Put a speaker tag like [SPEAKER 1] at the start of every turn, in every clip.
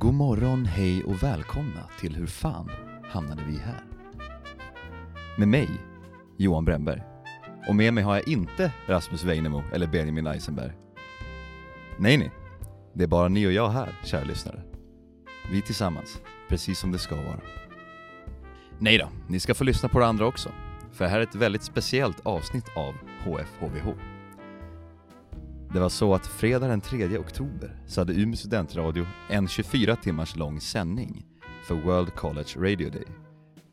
[SPEAKER 1] God morgon, hej och välkomna till Hur fan hamnade vi här? Med mig, Johan Bremberg. Och med mig har jag inte Rasmus Weinemo eller Benjamin Eisenberg. Nej, nej. Det är bara ni och jag här, kära lyssnare. Vi tillsammans, precis som det ska vara. Nej då, ni ska få lyssna på det andra också. För det här är ett väldigt speciellt avsnitt av HFHVH. Det var så att fredag den 3 oktober så hade Umeå studentradio en 24 timmars lång sändning för World College Radio Day,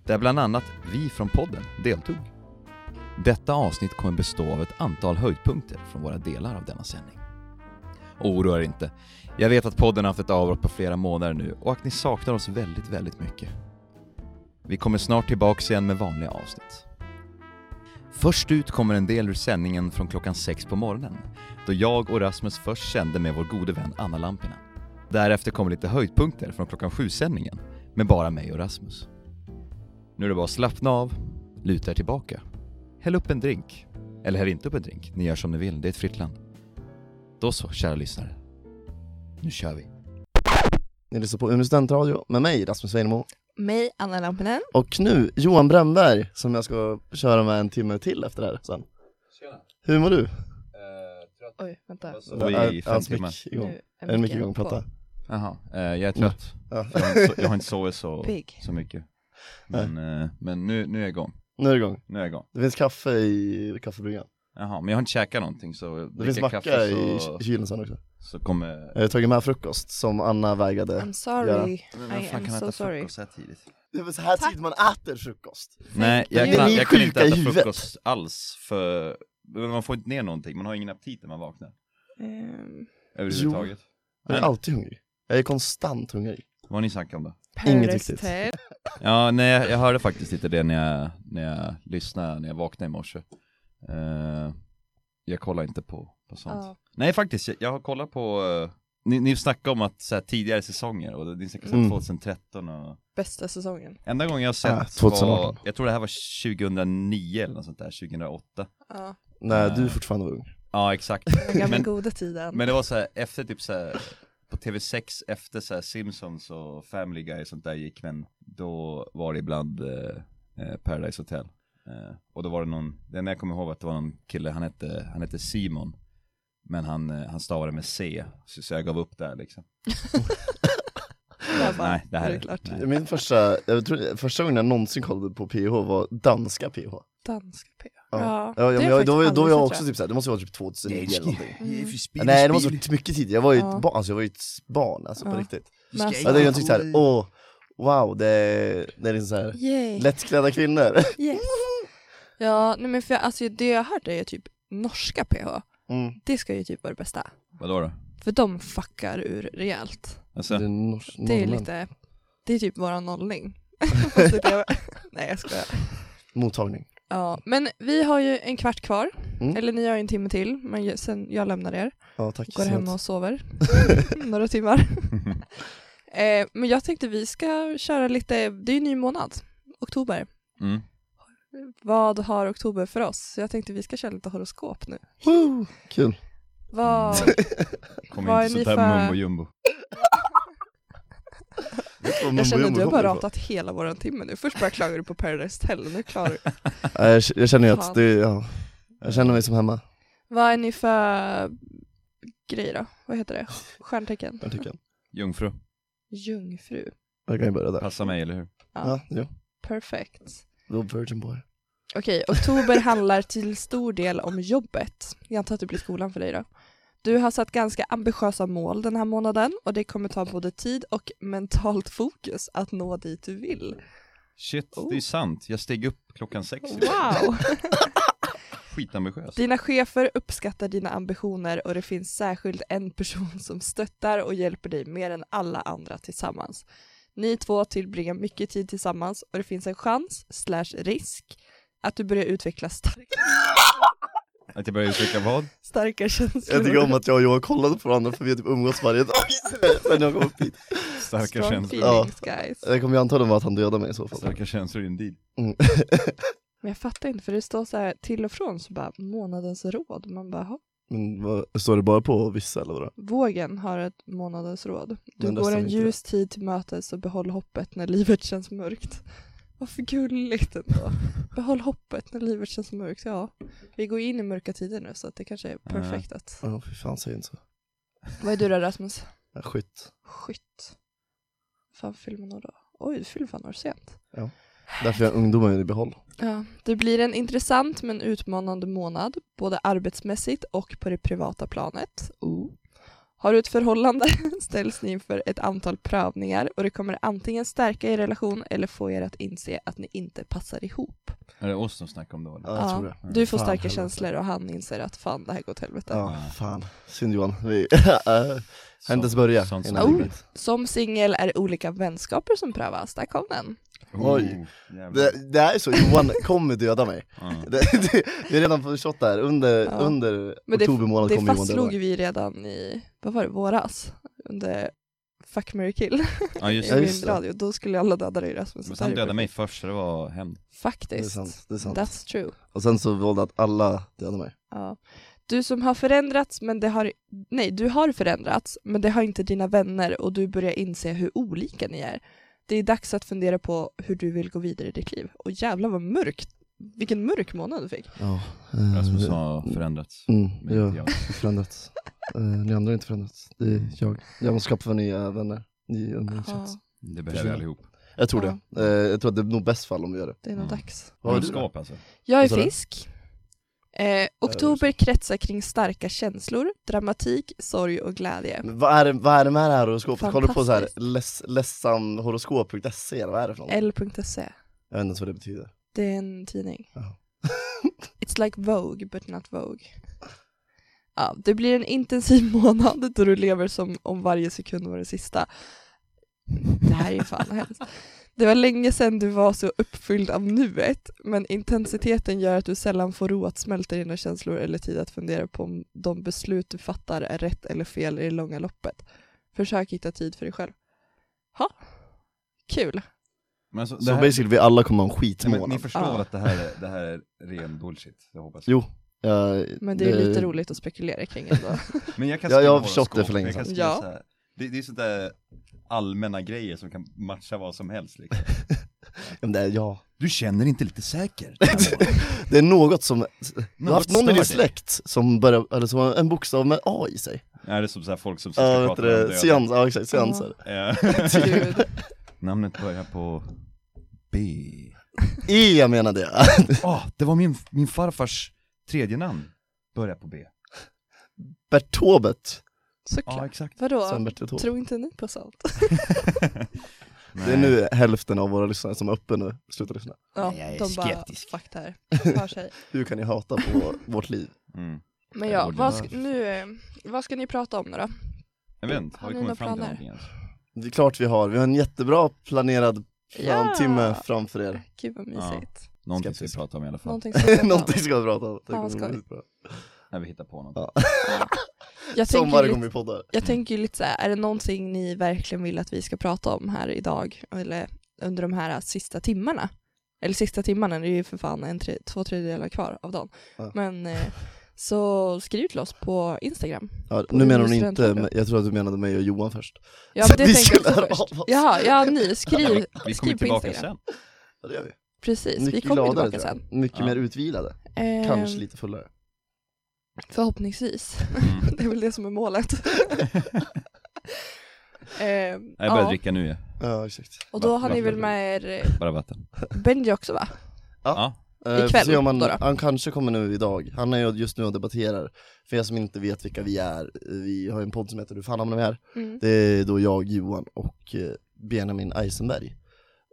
[SPEAKER 1] där bland annat vi från podden deltog. Detta avsnitt kommer bestå av ett antal höjdpunkter från våra delar av denna sändning. Oroa er inte. Jag vet att podden har haft ett avbrott på flera månader nu och att ni saknar oss väldigt, väldigt mycket. Vi kommer snart tillbaks igen med vanliga avsnitt. Först ut kommer en del ur sändningen från klockan sex på morgonen då jag och Rasmus först kände med vår gode vän Anna Lampinen. Därefter kommer lite höjdpunkter från klockan sju-sändningen med bara mig och Rasmus. Nu är det bara att slappna av, luta er tillbaka, häll upp en drink. Eller häll inte upp en drink, ni gör som ni vill, det är ett fritt land. Då så, kära lyssnare. Nu kör vi.
[SPEAKER 2] Ni lyssnar på Umeå studentradio med mig, Rasmus Weinemo.
[SPEAKER 3] mig, Anna Lampinen.
[SPEAKER 2] Och nu, Johan Bremberg, som jag ska köra med en timme till efter det här sen.
[SPEAKER 1] Tjena.
[SPEAKER 2] Hur mår du?
[SPEAKER 3] Oj, vänta.
[SPEAKER 1] Och i
[SPEAKER 2] Är- är
[SPEAKER 1] fem
[SPEAKER 2] hans mick
[SPEAKER 1] timmar.
[SPEAKER 2] igång?
[SPEAKER 3] Nu
[SPEAKER 2] Är den mycket igång?
[SPEAKER 3] på.
[SPEAKER 2] Prata.
[SPEAKER 1] Alltså, Jaha, eh, jag är trött.
[SPEAKER 2] Ja.
[SPEAKER 1] Jag har inte so- Jag har inte sovit så,
[SPEAKER 3] Pigg.
[SPEAKER 1] så mycket. Men, eh, men nu, nu är jag igång.
[SPEAKER 2] Nu är det igång.
[SPEAKER 1] Nu är jag igång.
[SPEAKER 2] Det finns kaffe i kaffebryggan.
[SPEAKER 1] Jaha, men jag har inte käkat någonting så
[SPEAKER 2] Det finns
[SPEAKER 1] dricker
[SPEAKER 2] macka
[SPEAKER 1] jag kaffe
[SPEAKER 2] i
[SPEAKER 1] så,
[SPEAKER 2] ky- kylen sen också.
[SPEAKER 1] så kommer...
[SPEAKER 2] Jag har tagit med frukost som Anna vägrade.
[SPEAKER 3] I'm sorry.
[SPEAKER 1] Men
[SPEAKER 3] I am so sorry.
[SPEAKER 1] så här tidigt?
[SPEAKER 2] Det är så här
[SPEAKER 3] Tack.
[SPEAKER 2] tid man äter frukost.
[SPEAKER 1] Nej, jag
[SPEAKER 3] you.
[SPEAKER 1] kan,
[SPEAKER 3] Ni är
[SPEAKER 1] jag kan inte
[SPEAKER 2] sjuka i
[SPEAKER 1] äta
[SPEAKER 2] huvudet.
[SPEAKER 1] frukost alls för men man får inte ner någonting, man har ingen aptit när man vaknar.
[SPEAKER 3] Ehm,
[SPEAKER 1] Överhuvudtaget.
[SPEAKER 2] Jag är
[SPEAKER 1] Nej.
[SPEAKER 2] alltid hungrig. Jag är konstant hungrig.
[SPEAKER 1] Vad har ni snackat om då?
[SPEAKER 2] Inget
[SPEAKER 3] Paradise
[SPEAKER 2] riktigt.
[SPEAKER 3] Hotel.
[SPEAKER 1] Ja, nej, jag- jag hörde faktiskt inte det när jag, när jag lyssnade, när jag vaknade i morse. Eh, jag kollar inte på, på sånt.
[SPEAKER 3] Ja.
[SPEAKER 1] Nej, faktiskt, jag, jag har kollat på, eh, ni, ni snackade om att så här, tidigare säsonger, och ni snackade om
[SPEAKER 2] Mm.
[SPEAKER 1] 2013 och
[SPEAKER 3] Bästa säsongen.
[SPEAKER 1] Enda gången jag har sett
[SPEAKER 2] Ah, 2018.
[SPEAKER 1] var, jag tror det här var 2009 eller något sånt där, 2008
[SPEAKER 3] Ja,
[SPEAKER 2] När
[SPEAKER 1] Nej.
[SPEAKER 2] du fortfarande var ung.
[SPEAKER 1] Ja exakt,
[SPEAKER 3] den gamla
[SPEAKER 1] Men-
[SPEAKER 3] goda tiden.
[SPEAKER 1] men det var så här, efter typ så här, på TV6 efter så här Simpsons och Family Guy och sånt där gick men då var det ibland eh, eh, Paradise Hotel eh, och då var det någon, det enda jag kommer ihåg var att det var någon kille, han hette, han hette Simon men han, eh, han stavade med C, så, så jag gav upp där liksom
[SPEAKER 3] Jag bara,
[SPEAKER 1] Nej, det här
[SPEAKER 3] är
[SPEAKER 1] är-
[SPEAKER 3] klart.
[SPEAKER 1] nej.
[SPEAKER 2] Min första, jag tror, första gången jag någonsin kollade på PH var danska PH.
[SPEAKER 3] Danska P.
[SPEAKER 2] Ja.
[SPEAKER 3] Ja,
[SPEAKER 2] Ja, ja,
[SPEAKER 3] det
[SPEAKER 2] men
[SPEAKER 3] är
[SPEAKER 2] jag, då, var-
[SPEAKER 3] faktiskt
[SPEAKER 2] då var jag
[SPEAKER 3] aldrig
[SPEAKER 2] också
[SPEAKER 3] sett,
[SPEAKER 2] typ såhär, det måste vara typ 2009 eller någonting.
[SPEAKER 3] Mm.
[SPEAKER 2] Nej det måste varit mycket tidigare, jag var ju
[SPEAKER 3] Ja.
[SPEAKER 2] ett barn, alltså jag var ju ett barn alltså på
[SPEAKER 3] Ja.
[SPEAKER 2] riktigt.
[SPEAKER 3] Men alltså,
[SPEAKER 2] Ja, det, jag tyckte såhär, åh, wow, det är, det är liksom såhär,
[SPEAKER 3] Yay.
[SPEAKER 2] lättklädda kvinnor.
[SPEAKER 3] Yes. Ja, nej men för jag, alltså det jag har hört är typ norska PH.
[SPEAKER 2] Mm.
[SPEAKER 3] Det ska ju typ vara det bästa.
[SPEAKER 1] Vadå då?
[SPEAKER 3] För de fuckar ur rejält.
[SPEAKER 2] Det
[SPEAKER 1] Alltså,
[SPEAKER 2] är, nors-
[SPEAKER 3] Det är
[SPEAKER 2] norrmän.
[SPEAKER 3] lite, det är typ våran nollning. Fast det är- nej jag skojar.
[SPEAKER 2] Mottagning.
[SPEAKER 3] Ja, men vi har ju en kvart kvar.
[SPEAKER 2] Mm.
[SPEAKER 3] Eller ni har ju en timme till, men ju- sen jag lämnar er.
[SPEAKER 2] Ja tack.
[SPEAKER 3] Går
[SPEAKER 2] så
[SPEAKER 3] hem
[SPEAKER 2] mycket.
[SPEAKER 3] och sover några timmar. eh, men jag tänkte vi ska köra lite, det är ju ny månad, oktober.
[SPEAKER 1] mm.
[SPEAKER 3] Vad har oktober för oss? Så jag tänkte vi ska köra lite horoskop nu.
[SPEAKER 2] Woo, Kul.
[SPEAKER 3] Vad,
[SPEAKER 1] kom
[SPEAKER 3] Vad
[SPEAKER 1] inte
[SPEAKER 3] är ni
[SPEAKER 1] sånt där
[SPEAKER 3] för-
[SPEAKER 1] mumbo jumbo
[SPEAKER 3] jag känner att du har bara ratat hela våran timme nu. Först bara klagar du på Paradise Hotel, nu klagar du.
[SPEAKER 2] Ja, jag, jag känner ju
[SPEAKER 3] Fan.
[SPEAKER 2] att det, ja, jag känner mig som hemma.
[SPEAKER 3] Vad är ni för grejer då? Vad heter det? Stjärntecken?
[SPEAKER 2] Jag tycker jag.
[SPEAKER 1] Jungfru,
[SPEAKER 3] Jungfru.
[SPEAKER 2] Jag kan ju börja där.
[SPEAKER 1] passa mig eller hur?
[SPEAKER 2] Ja, jo.
[SPEAKER 3] Perfekt.
[SPEAKER 2] Little virgin boy.
[SPEAKER 3] Okej, oktober handlar till stor del om jobbet. Jag antar att det blir skolan för dig då. Du har satt ganska ambitiösa mål den här månaden och det kommer ta både tid och mentalt fokus att nå dit du vill.
[SPEAKER 1] Shit,
[SPEAKER 3] Oh.
[SPEAKER 1] det är sant. Jag steg upp klockan sex. idag.
[SPEAKER 3] Wow!
[SPEAKER 1] Skitambitiös.
[SPEAKER 3] Dina chefer uppskattar dina ambitioner och det finns särskilt en person som stöttar och hjälper dig mer än alla andra tillsammans. Ni två tillbringar mycket tid tillsammans och det finns en chans, slash risk, att du börjar utveckla stark,
[SPEAKER 1] Att jag började uttrycka vad?
[SPEAKER 3] starka känslor.
[SPEAKER 2] Jag tycker om att jag och Johan kollade på varandra för vi har typ umgåtts varje dag sen jag kom upp hit.
[SPEAKER 1] Starka
[SPEAKER 3] Strong
[SPEAKER 1] känslor.
[SPEAKER 3] feelings guys.
[SPEAKER 2] Det kommer ju antagligen vara att han dödar mig i så fall.
[SPEAKER 1] Starka känslor indeed.
[SPEAKER 2] Mm.
[SPEAKER 3] Men jag fattar inte för det står så här till och från så bara månadens råd. Man bara, "Jaha."
[SPEAKER 2] Men vad, står det bara på vissa eller vadå?
[SPEAKER 3] Vågen har ett månadens råd. Du
[SPEAKER 2] Men det
[SPEAKER 3] går
[SPEAKER 2] stämmer
[SPEAKER 3] en
[SPEAKER 2] inte
[SPEAKER 3] ljus tid till mötes och behåll hoppet när livet känns mörkt. Vad för gulligt ändå. Behåll hoppet när livet känns mörkt. Ja, vi går in i mörka tider nu så att det kanske är perfekt att.
[SPEAKER 2] Ja, fy fan säg inte så.
[SPEAKER 3] Vad är du då Rasmus?
[SPEAKER 2] Ja, skytt.
[SPEAKER 3] Skytt. Fan fyller man år då? Oj, du fyller fan år sent.
[SPEAKER 2] Därför är ungdomen i behåll.
[SPEAKER 3] Ja, det blir en intressant men utmanande månad, både arbetsmässigt och på det privata planet. Oh. Har du ett förhållande ställs ni inför ett antal prövningar och det kommer antingen stärka er relation eller få er att inse att ni inte passar ihop.
[SPEAKER 1] Är det oss som snackar om det? eller?
[SPEAKER 2] Ja, jag
[SPEAKER 3] Ja,
[SPEAKER 2] tror det.
[SPEAKER 3] Du får
[SPEAKER 2] Fan,
[SPEAKER 3] starka
[SPEAKER 2] helvete.
[SPEAKER 3] känslor och han inser att fan det här går åt helvete.
[SPEAKER 2] Ja, fan. Synd Johan. Vi har inte ens
[SPEAKER 1] Sånt-
[SPEAKER 2] börjat
[SPEAKER 1] sånt som
[SPEAKER 2] innan
[SPEAKER 1] är
[SPEAKER 2] det
[SPEAKER 1] livet.
[SPEAKER 2] gick.
[SPEAKER 3] Som singel är det olika vänskaper som prövas, där kom den.
[SPEAKER 2] Oj.
[SPEAKER 1] Oh, jävlar.
[SPEAKER 2] det, det här är så, Johan kommer döda mig.
[SPEAKER 1] Ja.
[SPEAKER 2] Det, det, vi är redan på shot där, under,
[SPEAKER 3] Ja.
[SPEAKER 2] under
[SPEAKER 3] Men
[SPEAKER 2] oktober månad
[SPEAKER 3] Det
[SPEAKER 2] kommer Johan döda
[SPEAKER 3] fastslog
[SPEAKER 2] mig.
[SPEAKER 3] vi redan i, vad var det, våras? Under Fuck, marry, kill
[SPEAKER 1] Ja just
[SPEAKER 3] i
[SPEAKER 2] Ja,
[SPEAKER 1] det.
[SPEAKER 2] just
[SPEAKER 3] min
[SPEAKER 2] det.
[SPEAKER 3] radio. Då skulle alla döda dig Rasmus.
[SPEAKER 1] Men
[SPEAKER 3] Det här
[SPEAKER 1] sen
[SPEAKER 3] är
[SPEAKER 1] dödade mig
[SPEAKER 3] perfekt.
[SPEAKER 1] först så det var hämnd.
[SPEAKER 2] Det är
[SPEAKER 3] Faktiskt.
[SPEAKER 2] sant, det är sant.
[SPEAKER 3] That's true.
[SPEAKER 2] Och sen så valde att alla dödade mig.
[SPEAKER 3] Ja. Du som har förändrats men det har, nej du har förändrats men det har inte dina vänner och du börjar inse hur olika ni är. Det är dags att fundera på hur du vill gå vidare i ditt liv. Och jävlar vad mörkt, vilken mörk månad du fick.
[SPEAKER 2] Ja. eh,
[SPEAKER 1] Rasmus har förändrats.
[SPEAKER 2] Mm,
[SPEAKER 1] Men
[SPEAKER 2] ja,
[SPEAKER 1] inte jag.
[SPEAKER 2] förändrats. Uh, Leander har inte förändrats, det är jag. Jag måste skaffa nya vänner, ny umgängeskrets.
[SPEAKER 3] Ja,
[SPEAKER 1] Det behöver vi allihop.
[SPEAKER 2] Jag tror det. Eh, jag tror att det är nog bäst fall om vi gör det.
[SPEAKER 3] det är nog
[SPEAKER 1] Mm.
[SPEAKER 3] dags.
[SPEAKER 2] Vad har du då?
[SPEAKER 1] Horoskop alltså.
[SPEAKER 3] Jag är
[SPEAKER 2] Vad sa du?
[SPEAKER 3] fisk. Eh, oktober kretsar kring starka känslor, dramatik, sorg och glädje.
[SPEAKER 2] Men Vad är, det- vad är det med det här horoskopet? Kollar du på så här
[SPEAKER 3] Fantastiskt. Eh.
[SPEAKER 2] less, ledsamhoroskop.se eller vad är det för något?
[SPEAKER 3] L.se.
[SPEAKER 2] Jag vet inte ens vad det betyder.
[SPEAKER 3] Det är en tidning.
[SPEAKER 2] Jaha.
[SPEAKER 3] It's like Vogue but not Vogue. Ja, det blir en intensiv månad då du lever som om varje sekund var den sista. Det här är ju fan hemskt. Det var länge sedan du var så uppfylld av nuet, men intensiteten gör att du sällan får ro att smälta dina känslor eller tid att fundera på om de beslut du fattar är rätt eller fel i det långa loppet. Försök hitta tid för dig själv. Ha, kul.
[SPEAKER 1] Men alltså, det
[SPEAKER 2] Så
[SPEAKER 1] här-
[SPEAKER 2] basically, vi alla kommer ha
[SPEAKER 1] Nej,
[SPEAKER 2] en
[SPEAKER 1] men ni
[SPEAKER 2] skitmånad.
[SPEAKER 1] förstår
[SPEAKER 3] Ja.
[SPEAKER 1] väl att det här, är, det här är ren bullshit, det hoppas jag.
[SPEAKER 2] Jo. Jag-
[SPEAKER 3] Men det är lite roligt att spekulera kring ändå.
[SPEAKER 1] Men jag kan
[SPEAKER 2] Ja,
[SPEAKER 1] skriva
[SPEAKER 2] jag har förstått
[SPEAKER 1] horoskop,
[SPEAKER 2] det för länge
[SPEAKER 1] jag kan
[SPEAKER 3] sedan.
[SPEAKER 1] skriva
[SPEAKER 3] Ja.
[SPEAKER 1] så här. Det, det är sånt där allmänna grejer som kan matcha vad som helst liksom.
[SPEAKER 2] Ja, men det är, ja.
[SPEAKER 1] Du känner inte lite säker?
[SPEAKER 2] det är något som, du har
[SPEAKER 1] Något
[SPEAKER 2] haft någon i
[SPEAKER 1] stör
[SPEAKER 2] din
[SPEAKER 1] dig.
[SPEAKER 2] släkt som börjar, eller som har en bokstav med A i sig.
[SPEAKER 1] Är det som så här folk som ska
[SPEAKER 2] Ja, vet
[SPEAKER 1] prata
[SPEAKER 2] du
[SPEAKER 1] med
[SPEAKER 2] det? Seans, ja exakt, seanser.
[SPEAKER 1] Eh,
[SPEAKER 3] Gud.
[SPEAKER 1] Namnet börjar på B.
[SPEAKER 2] E jag menade jag.
[SPEAKER 1] Ah, det var min, min farfars tredje namn. Börjar på B.
[SPEAKER 2] Bertobet.
[SPEAKER 1] Ja,
[SPEAKER 3] Såklart.
[SPEAKER 1] exakt.
[SPEAKER 2] Som
[SPEAKER 3] Vadå?
[SPEAKER 2] Bertil Taube.
[SPEAKER 3] Tror inte ni på sånt?
[SPEAKER 2] Det är nu hälften av våra lyssnare som är uppe nu, sluta lyssna.
[SPEAKER 3] Ja,
[SPEAKER 1] Nej, jag är
[SPEAKER 3] de
[SPEAKER 1] skeptisk.
[SPEAKER 3] bara, fuck det här. Hör sig.
[SPEAKER 2] Hur kan ni hata på vårt liv?
[SPEAKER 1] Mm.
[SPEAKER 3] Men
[SPEAKER 1] Jag
[SPEAKER 3] ja,
[SPEAKER 1] borde
[SPEAKER 3] vad
[SPEAKER 1] ha-
[SPEAKER 3] ska, nu, eh, vad ska ni prata om nu då?
[SPEAKER 1] Jag vet inte,
[SPEAKER 3] Har
[SPEAKER 1] har vi
[SPEAKER 3] ni
[SPEAKER 1] kommit fram
[SPEAKER 3] några
[SPEAKER 1] till
[SPEAKER 3] planer?
[SPEAKER 1] någonting ens?
[SPEAKER 2] Det är klart vi har, vi har en jättebra planerad
[SPEAKER 3] Ja.
[SPEAKER 2] plantimme framför er.
[SPEAKER 3] Gud vad mysigt.
[SPEAKER 1] Någonting ska vi
[SPEAKER 2] Skeptisk.
[SPEAKER 1] prata om i alla fall.
[SPEAKER 3] Någonting som jag pratar om.
[SPEAKER 2] Någonting ska vi prata om. Det kommer bli
[SPEAKER 3] Fan, vad skoj.
[SPEAKER 2] bra.
[SPEAKER 1] När vi hittar på något.
[SPEAKER 3] jag
[SPEAKER 2] Som
[SPEAKER 3] tänker,
[SPEAKER 2] varje gång
[SPEAKER 3] lite,
[SPEAKER 2] vi poddar.
[SPEAKER 3] jag tänker ju lite så här, är det någonting ni verkligen vill att vi ska prata om här idag? Eller under de här eh, sista timmarna? Eller sista timmarna, det är ju för fan en tre, två tredjedelar kvar av dagen.
[SPEAKER 2] Ja.
[SPEAKER 3] Men eh, så skriv till oss på Instagram.
[SPEAKER 2] Ja,
[SPEAKER 3] på
[SPEAKER 2] nu menar
[SPEAKER 3] Umeå
[SPEAKER 2] hon inte,
[SPEAKER 3] studentradio.
[SPEAKER 2] jag tror att du menade mig och Johan först.
[SPEAKER 3] Ja,
[SPEAKER 2] Så
[SPEAKER 3] men det
[SPEAKER 2] vi
[SPEAKER 3] tänker jag
[SPEAKER 2] skulle
[SPEAKER 3] också
[SPEAKER 2] höra
[SPEAKER 3] först.
[SPEAKER 2] av oss.
[SPEAKER 3] Jaha, ja ni, skriv,
[SPEAKER 1] Vi kommer
[SPEAKER 3] skriv på
[SPEAKER 1] tillbaka
[SPEAKER 3] Instagram.
[SPEAKER 1] sen.
[SPEAKER 2] Ja, det gör vi.
[SPEAKER 3] Precis, vi
[SPEAKER 2] Mycket
[SPEAKER 3] kommer
[SPEAKER 2] gladare
[SPEAKER 3] tillbaka
[SPEAKER 2] tror jag.
[SPEAKER 3] sen.
[SPEAKER 2] Mycket
[SPEAKER 1] Ja.
[SPEAKER 2] mer utvilade,
[SPEAKER 3] Ehm,
[SPEAKER 2] kanske lite fullare.
[SPEAKER 3] Förhoppningsvis.
[SPEAKER 1] Mm.
[SPEAKER 3] Det är väl det som är målet. Ehm,
[SPEAKER 1] Jag börjar
[SPEAKER 3] ja,
[SPEAKER 1] dricka nu ju.
[SPEAKER 2] Ja exakt.
[SPEAKER 3] och då har ni
[SPEAKER 1] Vatten.
[SPEAKER 3] väl med er eh,
[SPEAKER 1] Bara vatten.
[SPEAKER 3] Benji också va?
[SPEAKER 1] Ja.
[SPEAKER 2] Eh,
[SPEAKER 3] Ikväll,
[SPEAKER 2] får se om han,
[SPEAKER 3] då då.
[SPEAKER 2] han kanske kommer nu idag, han är ju just nu och debatterar. För er som inte vet vilka vi är, eh, vi har ju en podd som heter Du fan hamnar vi här.
[SPEAKER 3] Mm.
[SPEAKER 2] Det är då jag, Johan och eh, Benjamin Eisenberg.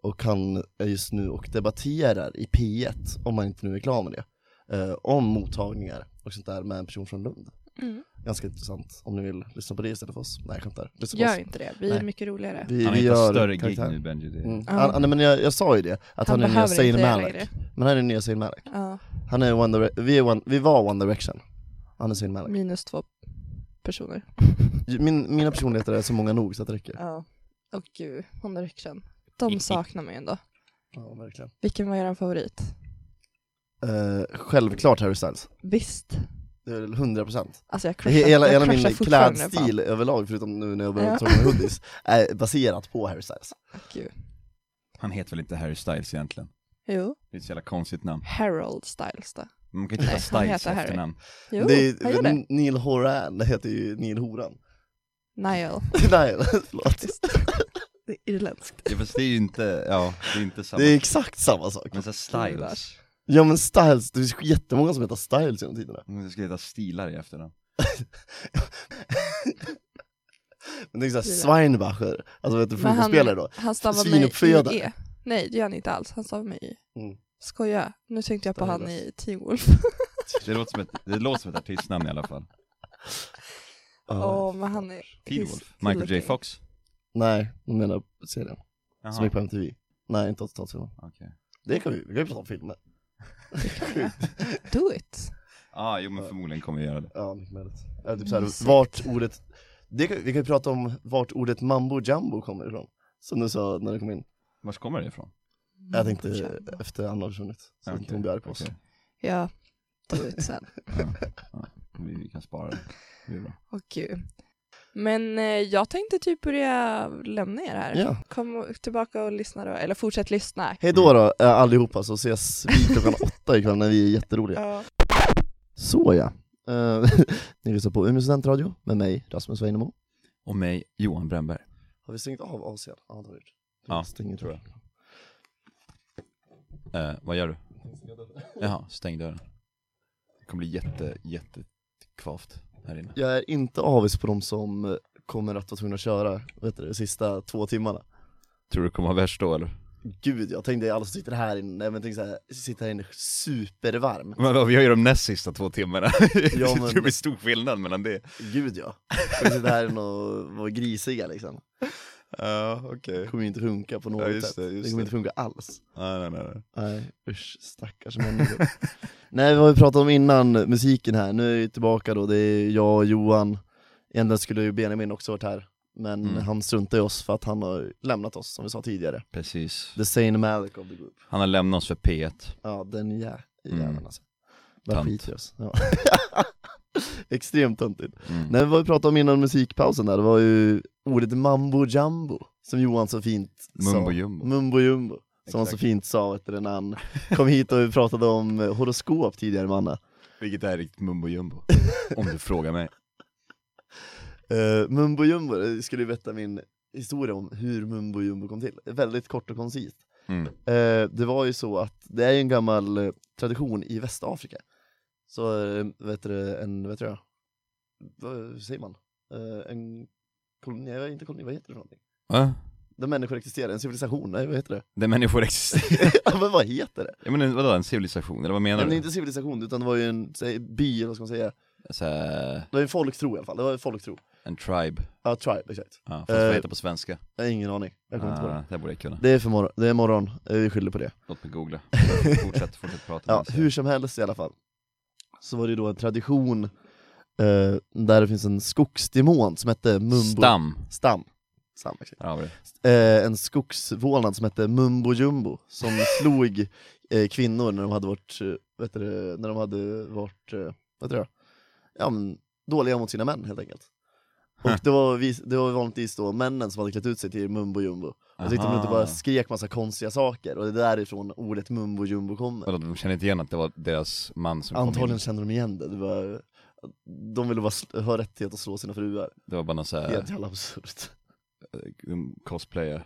[SPEAKER 2] Och han är just nu och debatterar i P1, om man inte nu är klar med det, eh, om mottagningar och sånt där med en person från Lund.
[SPEAKER 3] Mm.
[SPEAKER 2] Ganska intressant, om ni vill lyssna på det istället för oss. Nej jag skämtar, lyssna på
[SPEAKER 3] Gör
[SPEAKER 2] oss.
[SPEAKER 3] inte det, vi är
[SPEAKER 2] Nej.
[SPEAKER 3] mycket roligare.
[SPEAKER 2] Vi,
[SPEAKER 1] Han har
[SPEAKER 2] vi
[SPEAKER 1] hittat
[SPEAKER 2] gör
[SPEAKER 1] större gig
[SPEAKER 2] karaktär.
[SPEAKER 1] nu Benji. Det är...
[SPEAKER 2] Mm.
[SPEAKER 3] Ja.
[SPEAKER 2] Han, han, men jag, jag sa ju det, att han, är
[SPEAKER 3] Han
[SPEAKER 2] nya
[SPEAKER 3] behöver inte
[SPEAKER 2] Zayn
[SPEAKER 3] göra
[SPEAKER 2] Malik.
[SPEAKER 3] det.
[SPEAKER 2] Men han är nya Zayn Malik.
[SPEAKER 3] Ja,
[SPEAKER 2] Han är One Dire- vi, är one, vi var One Direction. Han är Zayn Malik.
[SPEAKER 3] minus två personer. Mm.
[SPEAKER 2] Min, mina personligheter är så många nog så att det räcker.
[SPEAKER 3] Ja. och eh, gud, One Direction. De saknar man ju ändå.
[SPEAKER 2] Ja, verkligen.
[SPEAKER 3] Vilken var er favorit?
[SPEAKER 2] Eh, självklart Harry Styles.
[SPEAKER 3] Visst.
[SPEAKER 2] Det är väl 100 procent.
[SPEAKER 3] Alltså jag crushar,
[SPEAKER 2] Hela,
[SPEAKER 3] jag
[SPEAKER 2] hela
[SPEAKER 3] crushar
[SPEAKER 2] min
[SPEAKER 3] fortfarande
[SPEAKER 2] klädstil överlag, förutom nu när jag började
[SPEAKER 3] Ja.
[SPEAKER 2] ta på mig hoodies, är baserat på Harry Styles.
[SPEAKER 3] på- Gud.
[SPEAKER 1] Han heter väl inte Harry Styles egentligen?
[SPEAKER 3] Jo,
[SPEAKER 1] Det är ett så jävla konstigt namn.
[SPEAKER 3] Harold Styles då.
[SPEAKER 1] Man kan inte
[SPEAKER 3] Nej,
[SPEAKER 1] heta
[SPEAKER 3] han
[SPEAKER 1] Styles i
[SPEAKER 3] heter Harry.
[SPEAKER 1] efternamn.
[SPEAKER 3] Jo,
[SPEAKER 2] det är,
[SPEAKER 3] han gör det.
[SPEAKER 2] Neil Horan, det heter ju Neil Horan.
[SPEAKER 3] Niall.
[SPEAKER 2] Nej, förlåt.
[SPEAKER 3] Faktiskt. Det är irländskt.
[SPEAKER 1] Ja, fast det är ju inte, ja, det är inte samma.
[SPEAKER 2] Det är exakt samma sak.
[SPEAKER 1] Men så här Styles.
[SPEAKER 2] Ja men Styles, det finns jättemånga som heter Styles genom tiderna.
[SPEAKER 1] Om Mm, det skulle heta Stilar i efternamn.
[SPEAKER 2] Men det är såhär
[SPEAKER 3] Stilar.
[SPEAKER 2] Schweinbacher, alltså vet du
[SPEAKER 3] Men han-
[SPEAKER 2] fotbollsspelare då?
[SPEAKER 3] Han stavar med
[SPEAKER 2] Svinuppfödare.
[SPEAKER 3] i E. Nej, det gör han inte alls. Han stavar med i. E.
[SPEAKER 2] Mm.
[SPEAKER 3] Skoja. Nu tänkte jag på
[SPEAKER 2] Det är
[SPEAKER 3] han
[SPEAKER 2] det.
[SPEAKER 3] i Teen Wolf.
[SPEAKER 1] Det låter som ett, det låter som ett artistnamn i alla fall.
[SPEAKER 3] Åh,
[SPEAKER 2] Ja.
[SPEAKER 3] men han är...
[SPEAKER 1] Teen
[SPEAKER 3] he's
[SPEAKER 1] Wolf. Michael J
[SPEAKER 3] looking.
[SPEAKER 1] Fox.
[SPEAKER 2] Nej, de menar serien,
[SPEAKER 1] Jaha,
[SPEAKER 2] som gick på MTV. Nej, inte 80-talsfilmen.
[SPEAKER 1] okej.
[SPEAKER 2] Det kan vi, vi kan ju prata om filmer.
[SPEAKER 3] Do it.
[SPEAKER 1] Ah, jo men förmodligen kommer vi göra det.
[SPEAKER 2] Ja, mycket möjligt. Eller typ såhär,
[SPEAKER 3] Mysigt.
[SPEAKER 2] vart ordet, det kan, vi kan ju prata om vart ordet mambo jumbo kommer ifrån. Som du sa när du kom in.
[SPEAKER 1] Var kommer det ifrån?
[SPEAKER 2] Jag tänkte efter Anna har försvunnit, så att
[SPEAKER 1] Okej,
[SPEAKER 2] hon blir arg på oss.
[SPEAKER 1] okej.
[SPEAKER 3] Ja, do it sen.
[SPEAKER 1] Vi, vi kan spara det. det är bra.
[SPEAKER 3] Åh gud. Men eh, jag tänkte typ börja lämna er här.
[SPEAKER 2] Ja.
[SPEAKER 3] Kom och- tillbaka och lyssna då, eller fortsätt lyssna.
[SPEAKER 2] Hej då då eh, allihopa, så ses vi klockan åtta ikväll när vi är jätteroliga.
[SPEAKER 3] Ja.
[SPEAKER 2] Så ja. Eh, ni lyssnar på Umeå studentradio med mig, Rasmus Weinemo.
[SPEAKER 1] Och mig, Johan Brännberg.
[SPEAKER 2] Har vi stängt av oss igen? Ja, det har vi gjort.
[SPEAKER 1] Ja,
[SPEAKER 2] stänger
[SPEAKER 1] tror jag. Eh, vad gör du? Jaha, stäng dörren. Det kommer bli jätte, jätte kvavt här inne.
[SPEAKER 2] Jag är inte avis på de som eh, kommer att vara tvungna att köra, vet du, de sista två timmarna.
[SPEAKER 1] Tror du det kommer vara värst då eller?
[SPEAKER 2] Gud, jag tänkte alla som sitter här inne, nej, men tänk såhär, sitter här inne supervarm.
[SPEAKER 1] Men vadå, vi har ju de näst sista två timmarna.
[SPEAKER 2] Ja, men-
[SPEAKER 1] Det blir stor skillnad mellan det.
[SPEAKER 2] Gud ja. Jag sitter här inne och vara grisiga liksom.
[SPEAKER 1] Ja, okej.
[SPEAKER 2] Det kommer ju inte funka på något
[SPEAKER 1] Ja, just
[SPEAKER 2] sätt.
[SPEAKER 1] det, just
[SPEAKER 2] det
[SPEAKER 1] det.
[SPEAKER 2] kommer inte funka alls.
[SPEAKER 1] Nej, nej, nej.
[SPEAKER 2] Nej, usch stackars människor. Nej, vad vi pratade om innan musiken här, nu är vi tillbaka då, det är jag och Johan. Egentligen skulle ju Benjamin också varit här, men
[SPEAKER 1] Mm.
[SPEAKER 2] han struntar i oss för att han har lämnat oss, som vi sa tidigare.
[SPEAKER 1] Precis.
[SPEAKER 2] The sane Malik of the group.
[SPEAKER 1] Han har lämnat oss för P1.
[SPEAKER 2] Ja, den jä-
[SPEAKER 1] Mm.
[SPEAKER 2] jäveln alltså. Bara
[SPEAKER 1] Tant.
[SPEAKER 2] skiter i oss. Ja. Extremt töntigt.
[SPEAKER 1] Mm.
[SPEAKER 2] Nej, men vad vi pratade om innan musikpausen där, det var ju ordet mambo jumbo, som Johan så fint
[SPEAKER 1] Mumbo
[SPEAKER 2] sa.
[SPEAKER 1] jumbo.
[SPEAKER 2] Mumbo jumbo, som han så
[SPEAKER 1] Exakt.
[SPEAKER 2] fint sa vet du, när han kom hit och vi pratade om eh, horoskop tidigare med Anna.
[SPEAKER 1] Vilket är riktigt mumbo jumbo. Om du frågar mig.
[SPEAKER 2] Eh, mumbo jumbo, eh, skulle du veta min historia om hur mumbo jumbo kom till? Väldigt kort och koncist.
[SPEAKER 1] Mm.
[SPEAKER 2] Eh, det var ju så att det är ju en gammal eh, tradition i Västafrika. Så eh, vet du, en, vet du jag, vad hur säger man? Eh, en koloni, nej, inte koloni, vad heter det för någonting?
[SPEAKER 1] Va?
[SPEAKER 2] Där människor existerar, en civilisation, nej vad heter det?
[SPEAKER 1] Där människor existerar.
[SPEAKER 2] Ja, Men vad heter det?
[SPEAKER 1] Ja men en- vadå, en civilisation? Eller vad
[SPEAKER 2] Nej,
[SPEAKER 1] menar
[SPEAKER 2] men
[SPEAKER 1] du?
[SPEAKER 2] inte civilisation, utan det var ju en säg, by, eller vad ska man säga?
[SPEAKER 1] Så här,
[SPEAKER 2] Det var ju en folktro i alla fall, det var en folktro.
[SPEAKER 1] en tribe.
[SPEAKER 2] Ja, tribe, exakt.
[SPEAKER 1] Ja, fast
[SPEAKER 2] Eh,
[SPEAKER 1] vad heter det på svenska?
[SPEAKER 2] Jag har ingen aning, jag kommer inte på det.
[SPEAKER 1] Ah, det borde jag kunna.
[SPEAKER 2] Det är, för morgon, det är morgon, Eh, vi skyller på det.
[SPEAKER 1] Låt mig googla. Fortsätt, fortsätt prata.
[SPEAKER 2] Ja,
[SPEAKER 1] med dig.
[SPEAKER 2] hur som helst i alla fall. Så var det ju då en tradition eh, där det finns en skogsdemon som hette Mumbo...
[SPEAKER 1] Stam.
[SPEAKER 2] Stam. Stam exakt.
[SPEAKER 1] Ja, vad är det?
[SPEAKER 2] eh, en skogsvålnad som hette Mumbo Jumbo som slog eh, kvinnor när de hade varit, eh, vet du, det, när de hade varit eh, vad tror jag, ja, men, dåliga mot sina män helt enkelt. Och det var, vis- det var vanligtvis då männen som hade klätt ut sig till Mumbo Jumbo. Och så gick de
[SPEAKER 1] Aha.
[SPEAKER 2] runt och bara skrek massa konstiga saker och det är därifrån ordet Mumbo Jumbo kommer.
[SPEAKER 1] Vadå, de känner inte igen att det var deras man som kom
[SPEAKER 2] Antagligen
[SPEAKER 1] in?
[SPEAKER 2] kände de igen det, det var, de ville bara sl- ha rättighet att slå sina fruar.
[SPEAKER 1] Det var bara någon så här,
[SPEAKER 2] Helt jävla absurt.
[SPEAKER 1] um, cosplayer.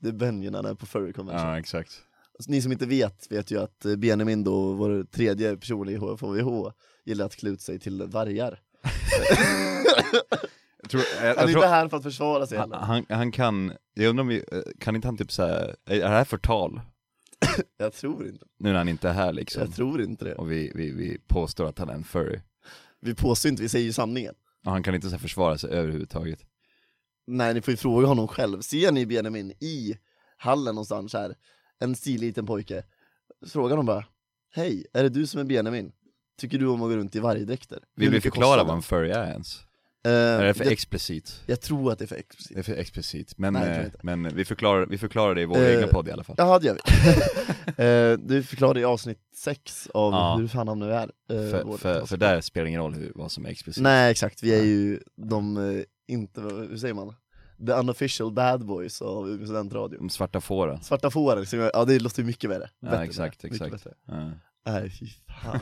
[SPEAKER 2] Det är Benji när han är på furry convention.
[SPEAKER 1] Ja, exakt.
[SPEAKER 2] Alltså, ni som inte vet, vet ju att eh, Benjamin då, vår tredje person i HFHVH, gillar att klä ut sig till vargar.
[SPEAKER 1] Jag tror, eh, jag,
[SPEAKER 2] Han
[SPEAKER 1] jag
[SPEAKER 2] är
[SPEAKER 1] tror, Ah,
[SPEAKER 2] inte här för att försvara sig
[SPEAKER 1] han,
[SPEAKER 2] heller.
[SPEAKER 1] han, han kan, jag undrar om, vi- eh, kan inte han typ så här, är det här förtal?
[SPEAKER 2] Jag tror inte
[SPEAKER 1] Nu när han inte är här liksom.
[SPEAKER 2] Jag tror inte det.
[SPEAKER 1] Och vi, vi, vi påstår att han är en furry.
[SPEAKER 2] Vi påstår inte, vi säger ju sanningen.
[SPEAKER 1] Och han kan inte så här försvara sig överhuvudtaget.
[SPEAKER 2] Nej, ni får ju fråga honom själv. Ser ni Benjamin i hallen någonstans här, en stilig liten pojke? Fråga honom bara, hej, är det du som är Benjamin? Tycker du om att gå runt i vargdräkter? Hur
[SPEAKER 1] Vill vi
[SPEAKER 2] mycket
[SPEAKER 1] förklara
[SPEAKER 2] kostar
[SPEAKER 1] vad
[SPEAKER 2] det?"
[SPEAKER 1] en furry är ens?
[SPEAKER 2] Eh,
[SPEAKER 1] Är det för
[SPEAKER 2] jag,
[SPEAKER 1] explicit?
[SPEAKER 2] jag tror att det är för explicit.
[SPEAKER 1] Det är för explicit, men,
[SPEAKER 2] Nej, jag tror
[SPEAKER 1] eh,
[SPEAKER 2] inte.
[SPEAKER 1] men vi, förklarar, vi förklarar det i vår
[SPEAKER 2] Eh,
[SPEAKER 1] egna podd i alla fall.
[SPEAKER 2] Jaha, det gör vi. Eh, du förklarade i avsnitt 6 av
[SPEAKER 1] Ja.
[SPEAKER 2] hur fan han nu är. eh,
[SPEAKER 1] för,
[SPEAKER 2] vår-
[SPEAKER 1] för, för där spelar det ingen roll hur, vad som är explicit.
[SPEAKER 2] Nej exakt, vi är
[SPEAKER 1] Nej.
[SPEAKER 2] ju de, eh, inte, hur säger man? The unofficial bad boys av Umeå studentradio.
[SPEAKER 1] De svarta fåren.
[SPEAKER 2] Svarta fåren, som jag- ja det låter ju mycket värre.
[SPEAKER 1] Ja,
[SPEAKER 2] Bättre
[SPEAKER 1] exakt,
[SPEAKER 2] med det. Mycket
[SPEAKER 1] exakt.
[SPEAKER 2] bättre.
[SPEAKER 1] Ja.
[SPEAKER 2] Nej fy fan.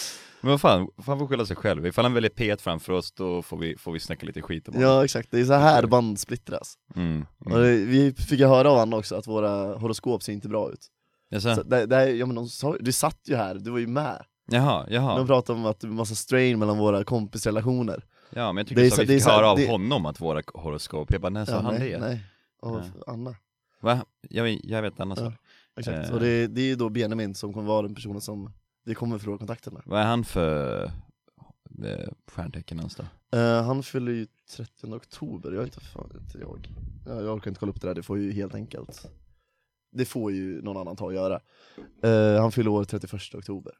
[SPEAKER 1] Men vad fan, fan får skylla sig själv. Ifall han väljer P1 framför oss, då får vi, får vi snacka lite skit om honom.
[SPEAKER 2] ja exakt, det är så här band splittras.
[SPEAKER 1] Mm,
[SPEAKER 2] Och
[SPEAKER 1] mm.
[SPEAKER 2] det, vi fick ju höra av honom också att våra horoskop ser inte bra ut.
[SPEAKER 1] Jaså?
[SPEAKER 2] Så det, det, här- ja, men de sa, du satt ju här, du var ju med.
[SPEAKER 1] Jaha,
[SPEAKER 2] De
[SPEAKER 1] jaha.
[SPEAKER 2] pratade om att det är massa strain mellan våra kompisrelationer.
[SPEAKER 1] Ja, men jag
[SPEAKER 2] Det
[SPEAKER 1] tycker
[SPEAKER 2] är
[SPEAKER 1] så,
[SPEAKER 2] så-
[SPEAKER 1] att
[SPEAKER 2] det är
[SPEAKER 1] vi
[SPEAKER 2] så
[SPEAKER 1] ska
[SPEAKER 2] här-
[SPEAKER 1] höra av
[SPEAKER 2] det-
[SPEAKER 1] honom att våra horoskop, jag bara, när sa
[SPEAKER 2] Ja,
[SPEAKER 1] han
[SPEAKER 2] nej,
[SPEAKER 1] det?
[SPEAKER 2] Nej. Och
[SPEAKER 1] Nej.
[SPEAKER 2] Anna.
[SPEAKER 1] Va? Jag, jag vet annars.
[SPEAKER 2] Ja. Exakt.
[SPEAKER 1] Eh.
[SPEAKER 2] Och det, det är ju då Benjamin som kommer vara den personen som vi kommer förlora kontakten med.
[SPEAKER 1] Vad är han för eh, stjärntecken ens då?
[SPEAKER 2] Eh, han fyller ju 30 oktober, jag är inte fan inte jag. Ja, jag orkar inte kolla upp det där, det får ju helt enkelt Det får ju någon annan ta och göra. Eh, han fyller år 31 oktober.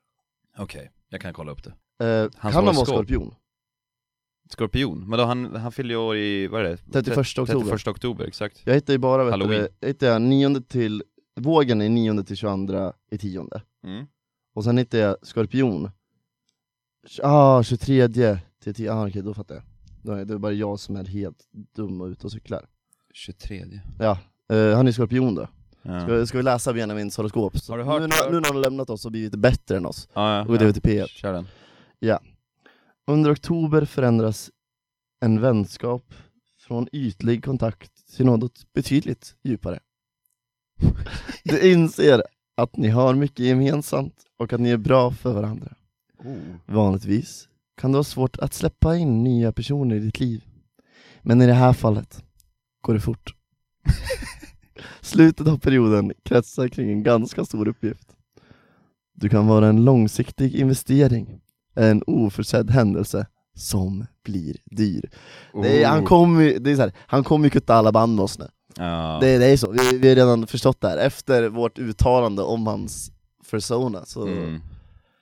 [SPEAKER 1] Okej, jag kan kolla upp det.
[SPEAKER 2] Uh, kan han vara
[SPEAKER 1] horoskop.
[SPEAKER 2] skorpion?
[SPEAKER 1] Skorpion, men då han, han fyller ju år i, vad är det?
[SPEAKER 2] 31 oktober.
[SPEAKER 1] 31 oktober, exakt.
[SPEAKER 2] Jag hittar ju bara, vet
[SPEAKER 1] Halloween.
[SPEAKER 2] du, jag hittar jag 9 till, vågen är 9 till 22 i tionde.
[SPEAKER 1] Mm.
[SPEAKER 2] Och sen hittade jag Skorpion. Ah, 23 till 10, ah, okej då fattar jag. Då är Det är bara jag som är helt dum och ute och cyklar.
[SPEAKER 1] 23.
[SPEAKER 2] Ja, eh, han är Skorpion då.
[SPEAKER 1] Ja.
[SPEAKER 2] Ska, ska vi läsa Benjamins horoskop? Så
[SPEAKER 1] Har du hört-
[SPEAKER 2] nu, när- nu när han har lämnat oss och blivit bättre än oss.
[SPEAKER 1] Ja,
[SPEAKER 2] Och det är P1.
[SPEAKER 1] Kör den.
[SPEAKER 2] Under oktober förändras en vänskap från ytlig kontakt till något betydligt djupare. Du inser att ni har mycket gemensamt och att ni är bra för varandra. Oh. Vanligtvis kan det vara svårt att släppa in nya personer i ditt liv. Men i det här fallet går det fort. Slutet av perioden kretsar kring en ganska stor uppgift. Du kan vara en långsiktig investering, en oförutsedd händelse som blir dyr. Det är,
[SPEAKER 1] Oh.
[SPEAKER 2] han kommer ju- det är så här, han kommer ju kutta alla band med oss nu.
[SPEAKER 1] Ja.
[SPEAKER 2] Det, det är så, vi, vi har redan förstått det här. Efter vårt uttalande om hans persona så
[SPEAKER 1] Mm.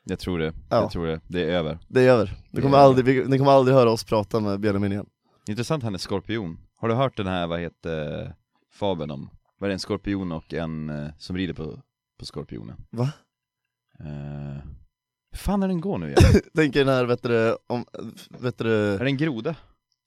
[SPEAKER 1] Jag tror det,
[SPEAKER 2] Ja.
[SPEAKER 1] jag tror det. Det är över.
[SPEAKER 2] Det är över. Ni kommer,
[SPEAKER 1] Det är
[SPEAKER 2] aldrig, vi- ni kommer aldrig höra oss prata med Benjamin igen.
[SPEAKER 1] Intressant han är skorpion. Har du hört den här, vad heter fabeln om? Var det en skorpion och en eh, som rider på, på skorpionen?
[SPEAKER 2] Va?
[SPEAKER 1] Eh, hur fan är den går nu igen?
[SPEAKER 2] Tänk er den här, vet du, om, vet du,
[SPEAKER 1] är det en groda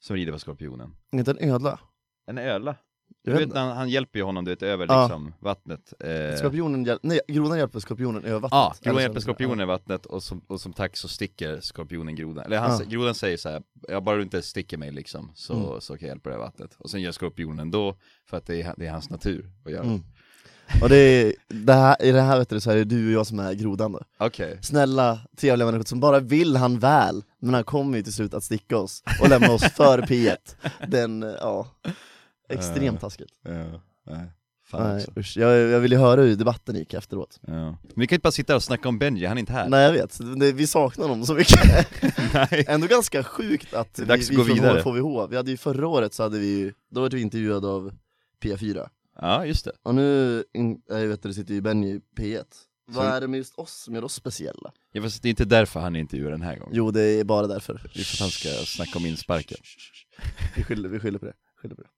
[SPEAKER 1] som rider på skorpionen?
[SPEAKER 2] inte en ödla?
[SPEAKER 1] En öla?
[SPEAKER 2] Jag
[SPEAKER 1] Du
[SPEAKER 2] vet
[SPEAKER 1] vet,
[SPEAKER 2] inte.
[SPEAKER 1] han, han hjälper ju honom du vet, över
[SPEAKER 2] Ja.
[SPEAKER 1] liksom, vattnet. Eh,
[SPEAKER 2] Skorpionen hjäl- nej, grodan hjälper skorpionen över vattnet.
[SPEAKER 1] Ja,
[SPEAKER 2] Eller
[SPEAKER 1] grodan
[SPEAKER 2] så-
[SPEAKER 1] hjälper skorpionen i vattnet och som, och som tack så sticker skorpionen grodan. Eller han,
[SPEAKER 2] Ja.
[SPEAKER 1] sä- grodan säger så här, jag bara du inte sticker mig liksom så,
[SPEAKER 2] Mm.
[SPEAKER 1] så kan jag hjälpa det här vattnet. Och sen gör skorpionen ändå för att det är, det är hans natur att göra.
[SPEAKER 2] Mm. Och det är, det här, i det här vet du, så är det du och jag som är grodan då.
[SPEAKER 1] Okej,
[SPEAKER 2] Snälla, trevliga människor som bara vill han väl, men han kommer ju till slut att sticka oss och lämna oss för P1. Den, ja, extremt taskigt.
[SPEAKER 1] ja, nej. Eh, Fan
[SPEAKER 2] Nej,
[SPEAKER 1] också.
[SPEAKER 2] usch. Jag, jag vill ju höra hur debatten gick efteråt.
[SPEAKER 1] Ja. Men vi kan inte bara sitta här och snacka om Benji, han är inte här.
[SPEAKER 2] Nej jag vet, Det- vi saknar honom så mycket.
[SPEAKER 1] Nej.
[SPEAKER 2] Ändå ganska sjukt att
[SPEAKER 1] Det
[SPEAKER 2] vi,
[SPEAKER 1] är dags att
[SPEAKER 2] vi
[SPEAKER 1] gå
[SPEAKER 2] från
[SPEAKER 1] vidare.
[SPEAKER 2] HVH, vi hade ju förra året så hade vi ju, då var vi intervjuade av P4
[SPEAKER 1] Ja, just det.
[SPEAKER 2] Och nu, in, jag vet du, sitter ju Benny i P1 Vad
[SPEAKER 1] Så-
[SPEAKER 2] är det med just oss som gör oss speciella?
[SPEAKER 1] Ja, fast det är inte därför han är intervjuad den här gången.
[SPEAKER 2] Jo det är bara därför
[SPEAKER 1] Det är för att han ska snacka om insparken.
[SPEAKER 2] Vi skyller, vi skyller på det, skyller på det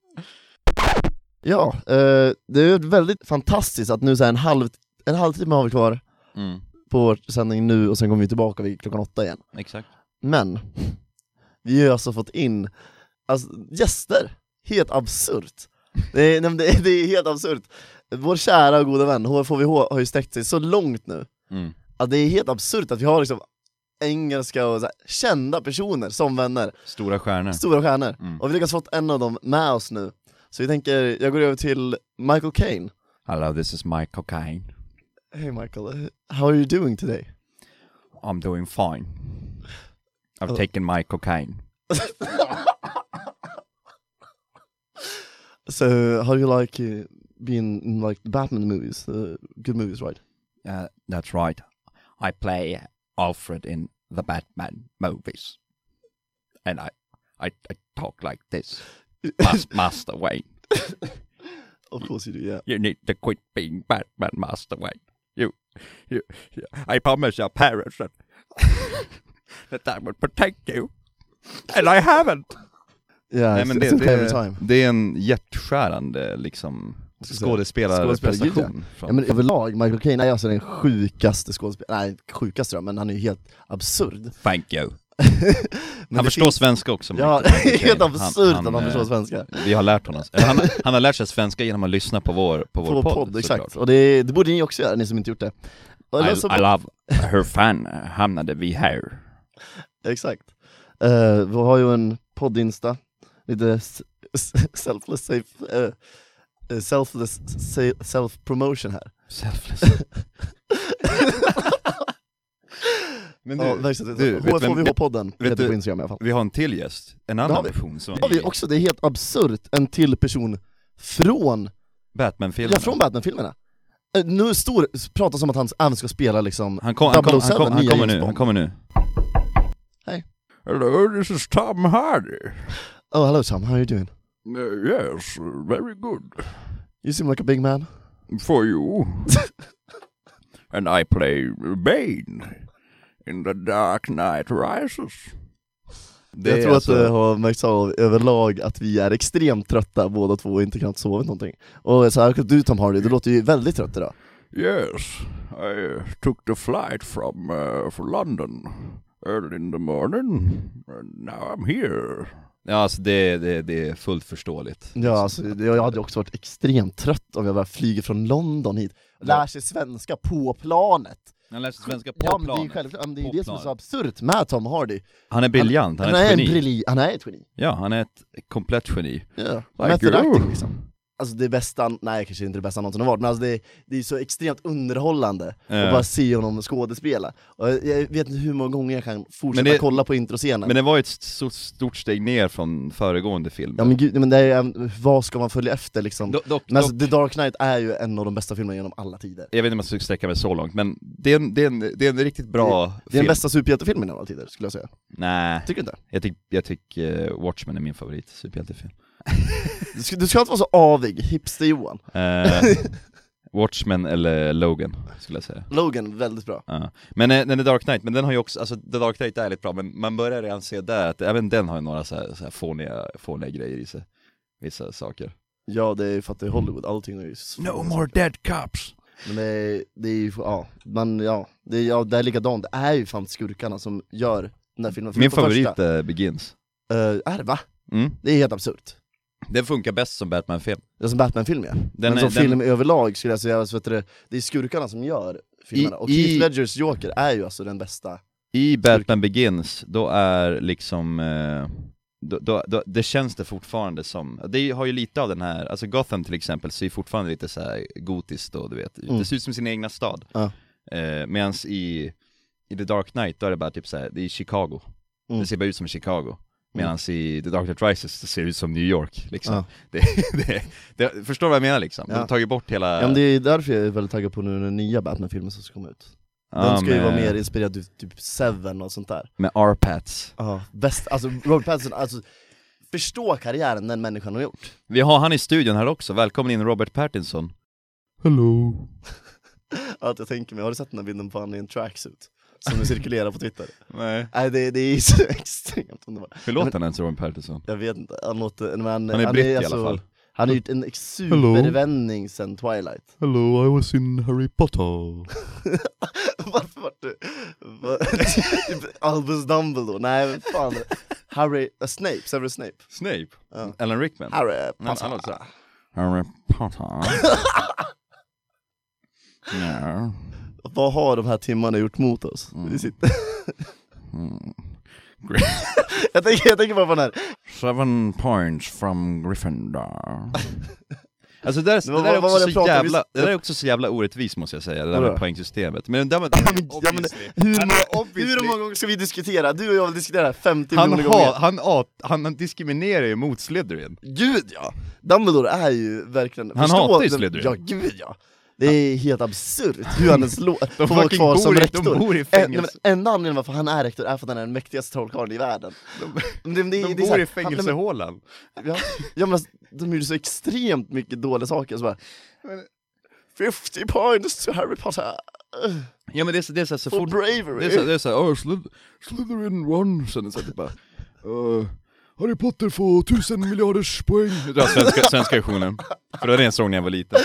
[SPEAKER 2] Ja, eh, det är ju väldigt fantastiskt att nu så här en halv, en halvtimme har vi kvar
[SPEAKER 1] Mm,
[SPEAKER 2] på vår sändning nu och sen kommer vi tillbaka vid klockan åtta igen
[SPEAKER 1] exakt.
[SPEAKER 2] Men, vi har ju alltså fått in alltså, gäster, helt absurt. Det är, nej, men det, är, det är helt absurt. Vår kära och goda vän HFHVH har ju sträckt sig så långt nu,
[SPEAKER 1] Mm.
[SPEAKER 2] att det är helt absurt att vi har liksom engelska och så här, kända personer som vänner,
[SPEAKER 1] Stora stjärnor.
[SPEAKER 2] stora stjärnor.
[SPEAKER 1] Mm.
[SPEAKER 2] Och vi har lyckats fått en av dem med oss nu. Så vi tänker, jag går över till Michael Caine.
[SPEAKER 1] Hello, this is Mike Cocaine.
[SPEAKER 2] Hey Michael, how are you doing today?
[SPEAKER 1] I'm doing fine. I've
[SPEAKER 2] Oh.
[SPEAKER 1] taken my cocaine.
[SPEAKER 2] So, how do you like uh, being in like Batman movies? Uh, good movies, right?
[SPEAKER 1] Uh, that's right. I play Alfred in the Batman movies, and I, I, I talk like this. Mas- Master Wayne,
[SPEAKER 2] Of course you do, yeah.
[SPEAKER 1] you need to quit being Batman, Master Wayne. You, you, you I promise your parents that That I would protect you. And I haven't!
[SPEAKER 2] Ja,
[SPEAKER 1] Nej, men det,
[SPEAKER 2] it's every
[SPEAKER 1] det,
[SPEAKER 2] time.
[SPEAKER 1] det är en hjärtskärande liksom
[SPEAKER 2] ska säga,
[SPEAKER 1] skådespelarprestation.
[SPEAKER 2] skådespelargud, Ja, men överlag, Michael Caine är alltså den sjukaste skådespelaren, nej sjukaste då, men han är ju helt absurd.
[SPEAKER 1] Thank you.
[SPEAKER 2] Men
[SPEAKER 1] han
[SPEAKER 2] det
[SPEAKER 1] förstår svenska också. Michael.
[SPEAKER 2] Ja,
[SPEAKER 1] Okej,
[SPEAKER 2] helt absurt att han
[SPEAKER 1] eh,
[SPEAKER 2] förstår svenska.
[SPEAKER 1] Vi har lärt honom. Eller han, han har lärt sig svenska genom att lyssna på vår, på vår
[SPEAKER 2] På
[SPEAKER 1] podd.
[SPEAKER 2] podd, exakt.
[SPEAKER 1] såklart.
[SPEAKER 2] Och det, det borde ni också göra, ni som inte gjort det. Och
[SPEAKER 1] I,
[SPEAKER 2] alltså-
[SPEAKER 1] I love hur fan hamnade vi här?
[SPEAKER 2] Exakt. Eh, vi har ju en poddinsta, lite s- s- selfless, safe, eh, eh, selfless sa- self-promotion här.
[SPEAKER 1] Selfless. Men
[SPEAKER 2] ja,
[SPEAKER 1] du,
[SPEAKER 2] verkligen.
[SPEAKER 1] du, vet vem-
[SPEAKER 2] HFHVH-podden
[SPEAKER 1] vet
[SPEAKER 2] heter
[SPEAKER 1] du-
[SPEAKER 2] på Instagram i alla fall.
[SPEAKER 1] vi har en till gäst. En
[SPEAKER 2] har
[SPEAKER 1] annan
[SPEAKER 2] vi.
[SPEAKER 1] person som
[SPEAKER 2] Ja, vi också, det är helt absurt, en till person från,
[SPEAKER 1] Batman-filmen.
[SPEAKER 2] ja, från Batman-filmerna. Eh, Nu stor, pratar som att han även ska spela liksom
[SPEAKER 1] Han, kom, han, kom, han,
[SPEAKER 2] 007,
[SPEAKER 1] kom, han
[SPEAKER 2] nya
[SPEAKER 1] kommer
[SPEAKER 2] James
[SPEAKER 1] nu, han
[SPEAKER 2] Bond.
[SPEAKER 1] kommer nu.
[SPEAKER 2] Hej.
[SPEAKER 1] Hello, this is Tom Hardy. Uh,
[SPEAKER 2] Oh hello Tom, how are you doing?
[SPEAKER 1] yes, very good.
[SPEAKER 2] You seem like a big man.
[SPEAKER 1] For you. And I play Bane in The Dark Knight Rises. Det
[SPEAKER 2] jag
[SPEAKER 1] är
[SPEAKER 2] tror
[SPEAKER 1] alltså-
[SPEAKER 2] att det har märkts av överlag att vi är extremt trötta båda två och inte knappt sovit någonting. Och särskilt du Tom Hardy, du låter ju väldigt trött idag.
[SPEAKER 1] Yes, I uh, took the flight from uh, from London early in the morning, and now I'm here. Ja, alltså det, det, det är fullt förståeligt.
[SPEAKER 2] Ja, alltså, det- jag hade också varit extremt trött om jag bara flyger från London hit. Lär sig svenska på planet!
[SPEAKER 1] Han lär sig svenska på
[SPEAKER 2] Ja men det är ju
[SPEAKER 1] planet.
[SPEAKER 2] självklart, men det är ju
[SPEAKER 1] På
[SPEAKER 2] det som är så
[SPEAKER 1] planet.
[SPEAKER 2] absurt med Tom Hardy.
[SPEAKER 1] Han är briljant, han,
[SPEAKER 2] Han
[SPEAKER 1] är
[SPEAKER 2] är,
[SPEAKER 1] ett
[SPEAKER 2] en
[SPEAKER 1] geni.
[SPEAKER 2] brilli- han är ett geni.
[SPEAKER 1] Ja, han är ett komplett geni.
[SPEAKER 2] Ja.
[SPEAKER 1] Like
[SPEAKER 2] Method
[SPEAKER 1] you.
[SPEAKER 2] acting liksom. Alltså det bästa, nej kanske inte det bästa han någonsin har varit, men alltså det, det är ju så extremt underhållande
[SPEAKER 1] Ja.
[SPEAKER 2] att bara se honom skådespela. Och jag jag vet inte hur många gånger jag kan fortsätta
[SPEAKER 1] Men det-
[SPEAKER 2] kolla på introscenen.
[SPEAKER 1] Men det var ju ett stort, stort steg ner från föregående film.
[SPEAKER 2] Ja men gud, men det är, ju- vad ska man följa efter liksom?
[SPEAKER 1] dock, dock,
[SPEAKER 2] men alltså, The Dark Knight är ju en av de bästa filmerna genom alla tider.
[SPEAKER 1] jag vet inte om jag ska sträcka mig så långt, men det är en, det är en, det är en riktigt bra
[SPEAKER 2] Det är den
[SPEAKER 1] film.
[SPEAKER 2] bästa superhjältefilmen genom alla tider, skulle jag säga.
[SPEAKER 1] Nej,
[SPEAKER 2] Tycker du inte?
[SPEAKER 1] jag tycker jag tyck, eh, Watchmen är min favorit superhjältefilm.
[SPEAKER 2] Du ska, du ska inte vara så avig, hipster-Johan.
[SPEAKER 1] Eh, Watchmen eller Logan, skulle jag säga.
[SPEAKER 2] Logan, väldigt bra.
[SPEAKER 1] Ja. Men eh, den är Dark Knight, men den har ju också, alltså The Dark Knight är lite bra, men man börjar redan se där att även den har ju några så här, så här fåniga, fåniga grejer i sig. Vissa saker.
[SPEAKER 2] Ja, det är ju för att det är Hollywood, allting är ju... s-
[SPEAKER 1] dead cops!
[SPEAKER 2] Men det är, det är ju, ja, man, ja, det är, ja, det är likadant, det är ju fan skurkarna som gör den här filmen.
[SPEAKER 1] Min
[SPEAKER 2] Förutom
[SPEAKER 1] favorit
[SPEAKER 2] första.
[SPEAKER 1] är Begins.
[SPEAKER 2] Eh, är det va?
[SPEAKER 1] Mm.
[SPEAKER 2] Det är helt absurt.
[SPEAKER 1] Den funkar bäst som Batman-film.
[SPEAKER 2] Det är som Batman-film ja.
[SPEAKER 1] Den
[SPEAKER 2] Men
[SPEAKER 1] är-
[SPEAKER 2] som
[SPEAKER 1] den-
[SPEAKER 2] film överlag skulle jag säga, så vet du, det är skurkarna som gör filmerna.
[SPEAKER 1] I-
[SPEAKER 2] och Keith
[SPEAKER 1] i-
[SPEAKER 2] Ledgers Joker är ju alltså den bästa.
[SPEAKER 1] I Batman Begins, då är liksom, eh, då, då, då, det känns det fortfarande som, det har ju lite av den här, alltså Gotham till exempel ser ju fortfarande lite så här gotiskt och du vet,
[SPEAKER 2] Mm.
[SPEAKER 1] det ser ut som sin egna stad.
[SPEAKER 2] Ja.
[SPEAKER 1] Eh, Medan i, i The Dark Knight, då är det bara typ så här, det är Chicago.
[SPEAKER 2] Mm.
[SPEAKER 1] Det ser bara ut som Chicago. Medan i The Dark Knight Rises, det ser ut som New York liksom.
[SPEAKER 2] Ja.
[SPEAKER 1] Det, det, det, förstår du vad jag menar liksom? De
[SPEAKER 2] Ja.
[SPEAKER 1] har tagit bort hela...
[SPEAKER 2] Ja, men det är därför jag är väldigt taggad på nu den nya Batman-filmen som ska komma ut. Den
[SPEAKER 1] Ja,
[SPEAKER 2] ska ju vara
[SPEAKER 1] med-
[SPEAKER 2] mer inspirerad av typ Seven och sånt där.
[SPEAKER 1] Med R-Pats.
[SPEAKER 2] Ja, bäst, alltså Robert Pattinson, alltså förstå karriären den människan har gjort.
[SPEAKER 1] Vi har han i studion här också, välkommen in Robert Pattinson Hello
[SPEAKER 2] Att jag tänker mig, har du sett den här bilden på han i en tracksuit? Som nu cirkulerar på Twitter.
[SPEAKER 1] Nej
[SPEAKER 2] Nej det, det är så extremt underbart.
[SPEAKER 1] Hur låter han ens Robert Pattinson?
[SPEAKER 2] Jag vet inte, han låter, men han, alltså-
[SPEAKER 1] Han är britt i alla fall.
[SPEAKER 2] Han har gjort en ex- supervändning sen Twilight.
[SPEAKER 4] Hello, I was in Harry Potter.
[SPEAKER 2] Varför vart du... va- typ Albus Dumbledore, nej men fan. Harry, äh, Snape, Severus Snape.
[SPEAKER 1] Snape?
[SPEAKER 2] Ja.
[SPEAKER 1] Alan Rickman?
[SPEAKER 2] Harry
[SPEAKER 1] Han- han
[SPEAKER 2] Potter.
[SPEAKER 1] låter såhär. Harry Potter Ja.
[SPEAKER 2] Vad har de här timmarna gjort mot oss? Vi sitter...
[SPEAKER 1] Mm.
[SPEAKER 2] jag, tänker, jag tänker bara på den här,
[SPEAKER 1] Seven points from Gryffindor Alltså det där, det
[SPEAKER 2] vad-
[SPEAKER 1] där är
[SPEAKER 2] vad var det
[SPEAKER 1] också
[SPEAKER 2] jag
[SPEAKER 1] så
[SPEAKER 2] pratade om?
[SPEAKER 1] jävla, det där är också så jävla orättvist måste jag säga, det där
[SPEAKER 2] Vadå?
[SPEAKER 1] med poängsystemet Men det där med,
[SPEAKER 2] ja, men, hur, många, hur många gånger ska vi diskutera? Du och jag vill diskutera det här 50
[SPEAKER 1] han,
[SPEAKER 2] miljoner
[SPEAKER 1] ha,
[SPEAKER 2] gånger.
[SPEAKER 1] han, hat- han diskriminerar ju mot Slytherin
[SPEAKER 2] Gud ja! Dumbledore är ju verkligen...
[SPEAKER 1] Han hatar ju Slytherin.
[SPEAKER 2] Ja, gud ja! Det är helt absurt hur han ens lå- får vara
[SPEAKER 1] fucking
[SPEAKER 2] kvar som
[SPEAKER 1] bor i- de
[SPEAKER 2] rektor.
[SPEAKER 1] bor i
[SPEAKER 2] En-
[SPEAKER 1] fängelse.
[SPEAKER 2] nej, men Enda anledningen varför han är rektor är för att han är den mäktigaste trollkarlen i världen. Men det- men det-
[SPEAKER 1] De
[SPEAKER 2] det
[SPEAKER 1] bor
[SPEAKER 2] är så
[SPEAKER 1] i
[SPEAKER 2] här, han- nej, men-
[SPEAKER 1] fängelsehålan
[SPEAKER 2] Ja, ja men alltså, de gjorde så extremt mycket dåliga saker, så bara 50 points to Harry Potter!
[SPEAKER 1] Ja men det är så, det är så, här, så
[SPEAKER 2] For
[SPEAKER 1] fort...
[SPEAKER 2] bravery!
[SPEAKER 1] Det är så, här- det är så här, oh, Slyth- Slytherin run, sen så här, typ bara, eh, Harry Potter får tusen miljarders poäng. Jag drar svenska, svenska versionen, för det var det en sång när jag var liten.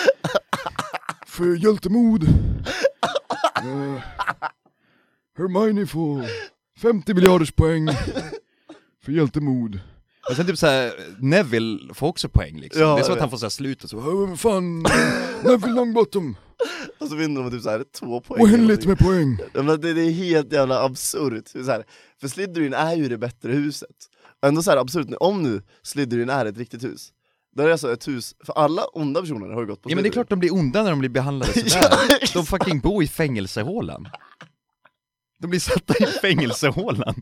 [SPEAKER 1] För hjältemod. Eh, Hermione får 50 miljarders poäng. För hjältemod. Och sen typ såhär, Neville får också poäng liksom.
[SPEAKER 2] Ja,
[SPEAKER 1] det är
[SPEAKER 2] jag
[SPEAKER 1] som att
[SPEAKER 2] vet.
[SPEAKER 1] han får såhär slutet så, "Åh, fan, Neville Longbottom,
[SPEAKER 2] Och så vinner de med typ såhär två poäng
[SPEAKER 1] oändligt med poäng.
[SPEAKER 2] Ja, men det, det är helt jävla absurt, så här, för Slytherin är ju det bättre huset. Ändå så här absurt, om nu Slytherin är ett riktigt hus, då är det alltså ett hus, för alla onda personer har ju gått på
[SPEAKER 1] Ja men det är klart de blir onda när de blir behandlade sådär.
[SPEAKER 2] Ja,
[SPEAKER 1] De fucking bor i fängelsehålan. De blir satta i fängelsehålan.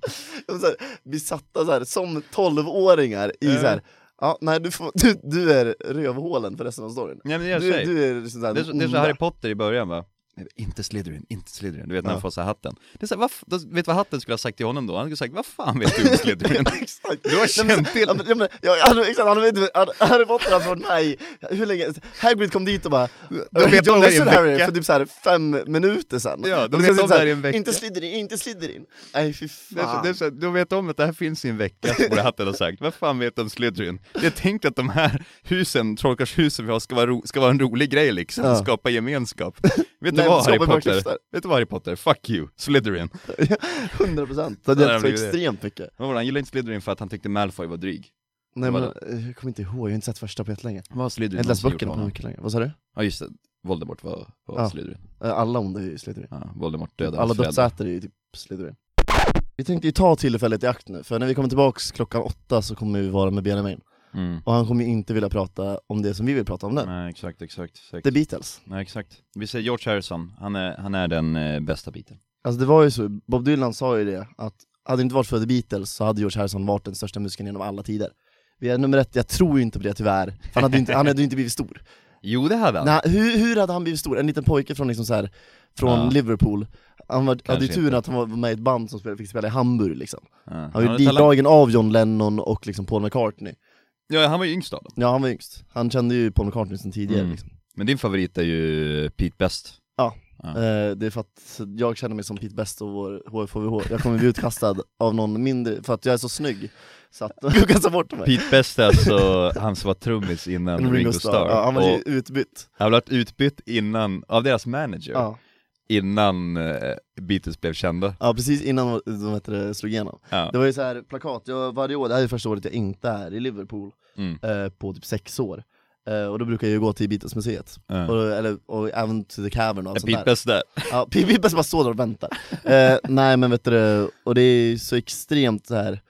[SPEAKER 2] De så här, blir satta så här, som 12-åringar i
[SPEAKER 1] Ja.
[SPEAKER 2] så här, ja, nej du, får, du, du är rövhålen för resten av storyn.
[SPEAKER 1] Nej men det är så.
[SPEAKER 2] Du, du är liksom så här,
[SPEAKER 1] Det är så, det är så
[SPEAKER 2] onda.
[SPEAKER 1] Harry Potter i början va? Eh, Inte Slytherin, inte Slytherin. Du vet när han
[SPEAKER 2] Ja.
[SPEAKER 1] får så här hatten. Det är så här, vad, f- då- vet du vad hatten skulle ha sagt till honom då? Han skulle ha sagt, vad fan vet du om Slytherin?
[SPEAKER 2] Exakt.
[SPEAKER 1] Du har
[SPEAKER 2] Nej, men-
[SPEAKER 1] känt till-
[SPEAKER 2] Ja, men, ja, men, ja, han, exakt, han, vet- han, Harry Potter har varit med i, hur länge, Hagrid kom dit och bara
[SPEAKER 1] De vet
[SPEAKER 2] "John
[SPEAKER 1] om det här i en
[SPEAKER 2] Lester, Harry
[SPEAKER 1] vecka.
[SPEAKER 2] för typ så här fem minuter sedan.
[SPEAKER 1] Ja, de
[SPEAKER 2] Och
[SPEAKER 1] vet
[SPEAKER 2] sen så
[SPEAKER 1] om
[SPEAKER 2] här,
[SPEAKER 1] det här i en vecka.
[SPEAKER 2] Inte Slytherin, inte Slytherin. Nej fy fan.
[SPEAKER 1] Det är så, det är så, de vet om att det här finns i en vecka, så borde hatten ha sagt. Vad fan vet du om Slytherin? Jag tänkte att de här husen, trollkarlshusen vi har, ska vara, ro, ska vara en rolig grej liksom,
[SPEAKER 2] Ja.
[SPEAKER 1] skapa gemenskap. Vet du
[SPEAKER 2] Nej,
[SPEAKER 1] vad
[SPEAKER 2] skapa
[SPEAKER 1] Harry
[SPEAKER 2] bara
[SPEAKER 1] Potter?
[SPEAKER 2] klyftor.
[SPEAKER 1] Vet du vad Harry Potter? Fuck you, Slytherin.
[SPEAKER 2] 100 procent. Det
[SPEAKER 1] Ja,
[SPEAKER 2] hade
[SPEAKER 1] det
[SPEAKER 2] hjälpt så
[SPEAKER 1] blir det.
[SPEAKER 2] extremt mycket.
[SPEAKER 1] Vad var det? Han gillade inte Slytherin för att han tyckte Malfoy var drig.
[SPEAKER 2] Nej men,
[SPEAKER 1] Vadå?
[SPEAKER 2] eh, jag kommer inte ihåg, jag har inte sett första på jättelänge.
[SPEAKER 1] Vad har Slytherin
[SPEAKER 2] Jag har inte läst
[SPEAKER 1] någonsin gjort
[SPEAKER 2] böckerna på
[SPEAKER 1] honom?
[SPEAKER 2] mycket länge. Vad sa du?
[SPEAKER 1] Ja just det, Voldemort var, var
[SPEAKER 2] Ja.
[SPEAKER 1] Slytherin.
[SPEAKER 2] Eh, Alla onda är ju Slytherin.
[SPEAKER 1] Ja, Voldemort dödade
[SPEAKER 2] Alla
[SPEAKER 1] Fred.
[SPEAKER 2] dödsätare är ju typ Slytherin. Vi tänkte ju ta tillfället i akt nu, för när vi kommer tillbaks klockan åtta så kommer vi vara med Benjamin.
[SPEAKER 1] Mm.
[SPEAKER 2] Och han kommer ju inte vilja prata om det som vi vill prata om nu.
[SPEAKER 1] Nej exakt, exakt, exakt.
[SPEAKER 2] The Beatles.
[SPEAKER 1] Nej, exakt. Vi säger George Harrison, han är, han är den eh, bästa biten.
[SPEAKER 2] Alltså det var ju så, Bob Dylan sa ju det, att hade det inte varit för The Beatles så hade George Harrison varit den största musikern genom alla tider. Vi är nummer ett, jag tror ju inte på det tyvärr, för han hade ju inte, han hade ju inte blivit stor.
[SPEAKER 1] Jo det hade han.
[SPEAKER 2] Nej, hur, hur hade han blivit stor? En liten pojke från, liksom så här, från
[SPEAKER 1] Ja.
[SPEAKER 2] Liverpool, han var, hade ju
[SPEAKER 1] Kanske
[SPEAKER 2] turen att han var var med i ett band som spelade, fick spela i Hamburg liksom.
[SPEAKER 1] Ja. Han
[SPEAKER 2] Han var
[SPEAKER 1] hade
[SPEAKER 2] ju
[SPEAKER 1] talang.
[SPEAKER 2] ditdragen av John Lennon och liksom Paul McCartney.
[SPEAKER 1] ja, han var ju yngst av dem.
[SPEAKER 2] Ja han var yngst, han kände ju Paul McCartney sedan tidigare
[SPEAKER 1] Mm.
[SPEAKER 2] liksom.
[SPEAKER 1] Men din favorit är ju Pete Best.
[SPEAKER 2] Eh, det är för att jag känner mig som Pete Best och vår HFHVH, jag kommer bli utkastad av någon mindre, för att jag är så snygg så att de kastar bort mig
[SPEAKER 1] Pete Best är alltså han som var trummis innan Ringo Starr.
[SPEAKER 2] Ja, han var ju
[SPEAKER 1] Och
[SPEAKER 2] utbytt
[SPEAKER 1] han blev utbytt innan, av deras manager,
[SPEAKER 2] ja.
[SPEAKER 1] innan eh, Beatles blev kända.
[SPEAKER 2] ja, precis innan de de heter det, slog igenom
[SPEAKER 1] Ja.
[SPEAKER 2] Det var ju så här plakat, jag, varje år, det här är första året jag inte är i Liverpool
[SPEAKER 1] Mm.
[SPEAKER 2] eh, på typ sex år eh, Och då brukar jag ju gå till Beatlesmuseet,
[SPEAKER 1] Ja.
[SPEAKER 2] och, eller, och även till The Cavern och allt
[SPEAKER 1] Är
[SPEAKER 2] sånt
[SPEAKER 1] Pete
[SPEAKER 2] där
[SPEAKER 1] Best där.
[SPEAKER 2] Ja, Pippi bäst bara står där och väntar. Eh, nej men vet du, och det är ju så extremt så här.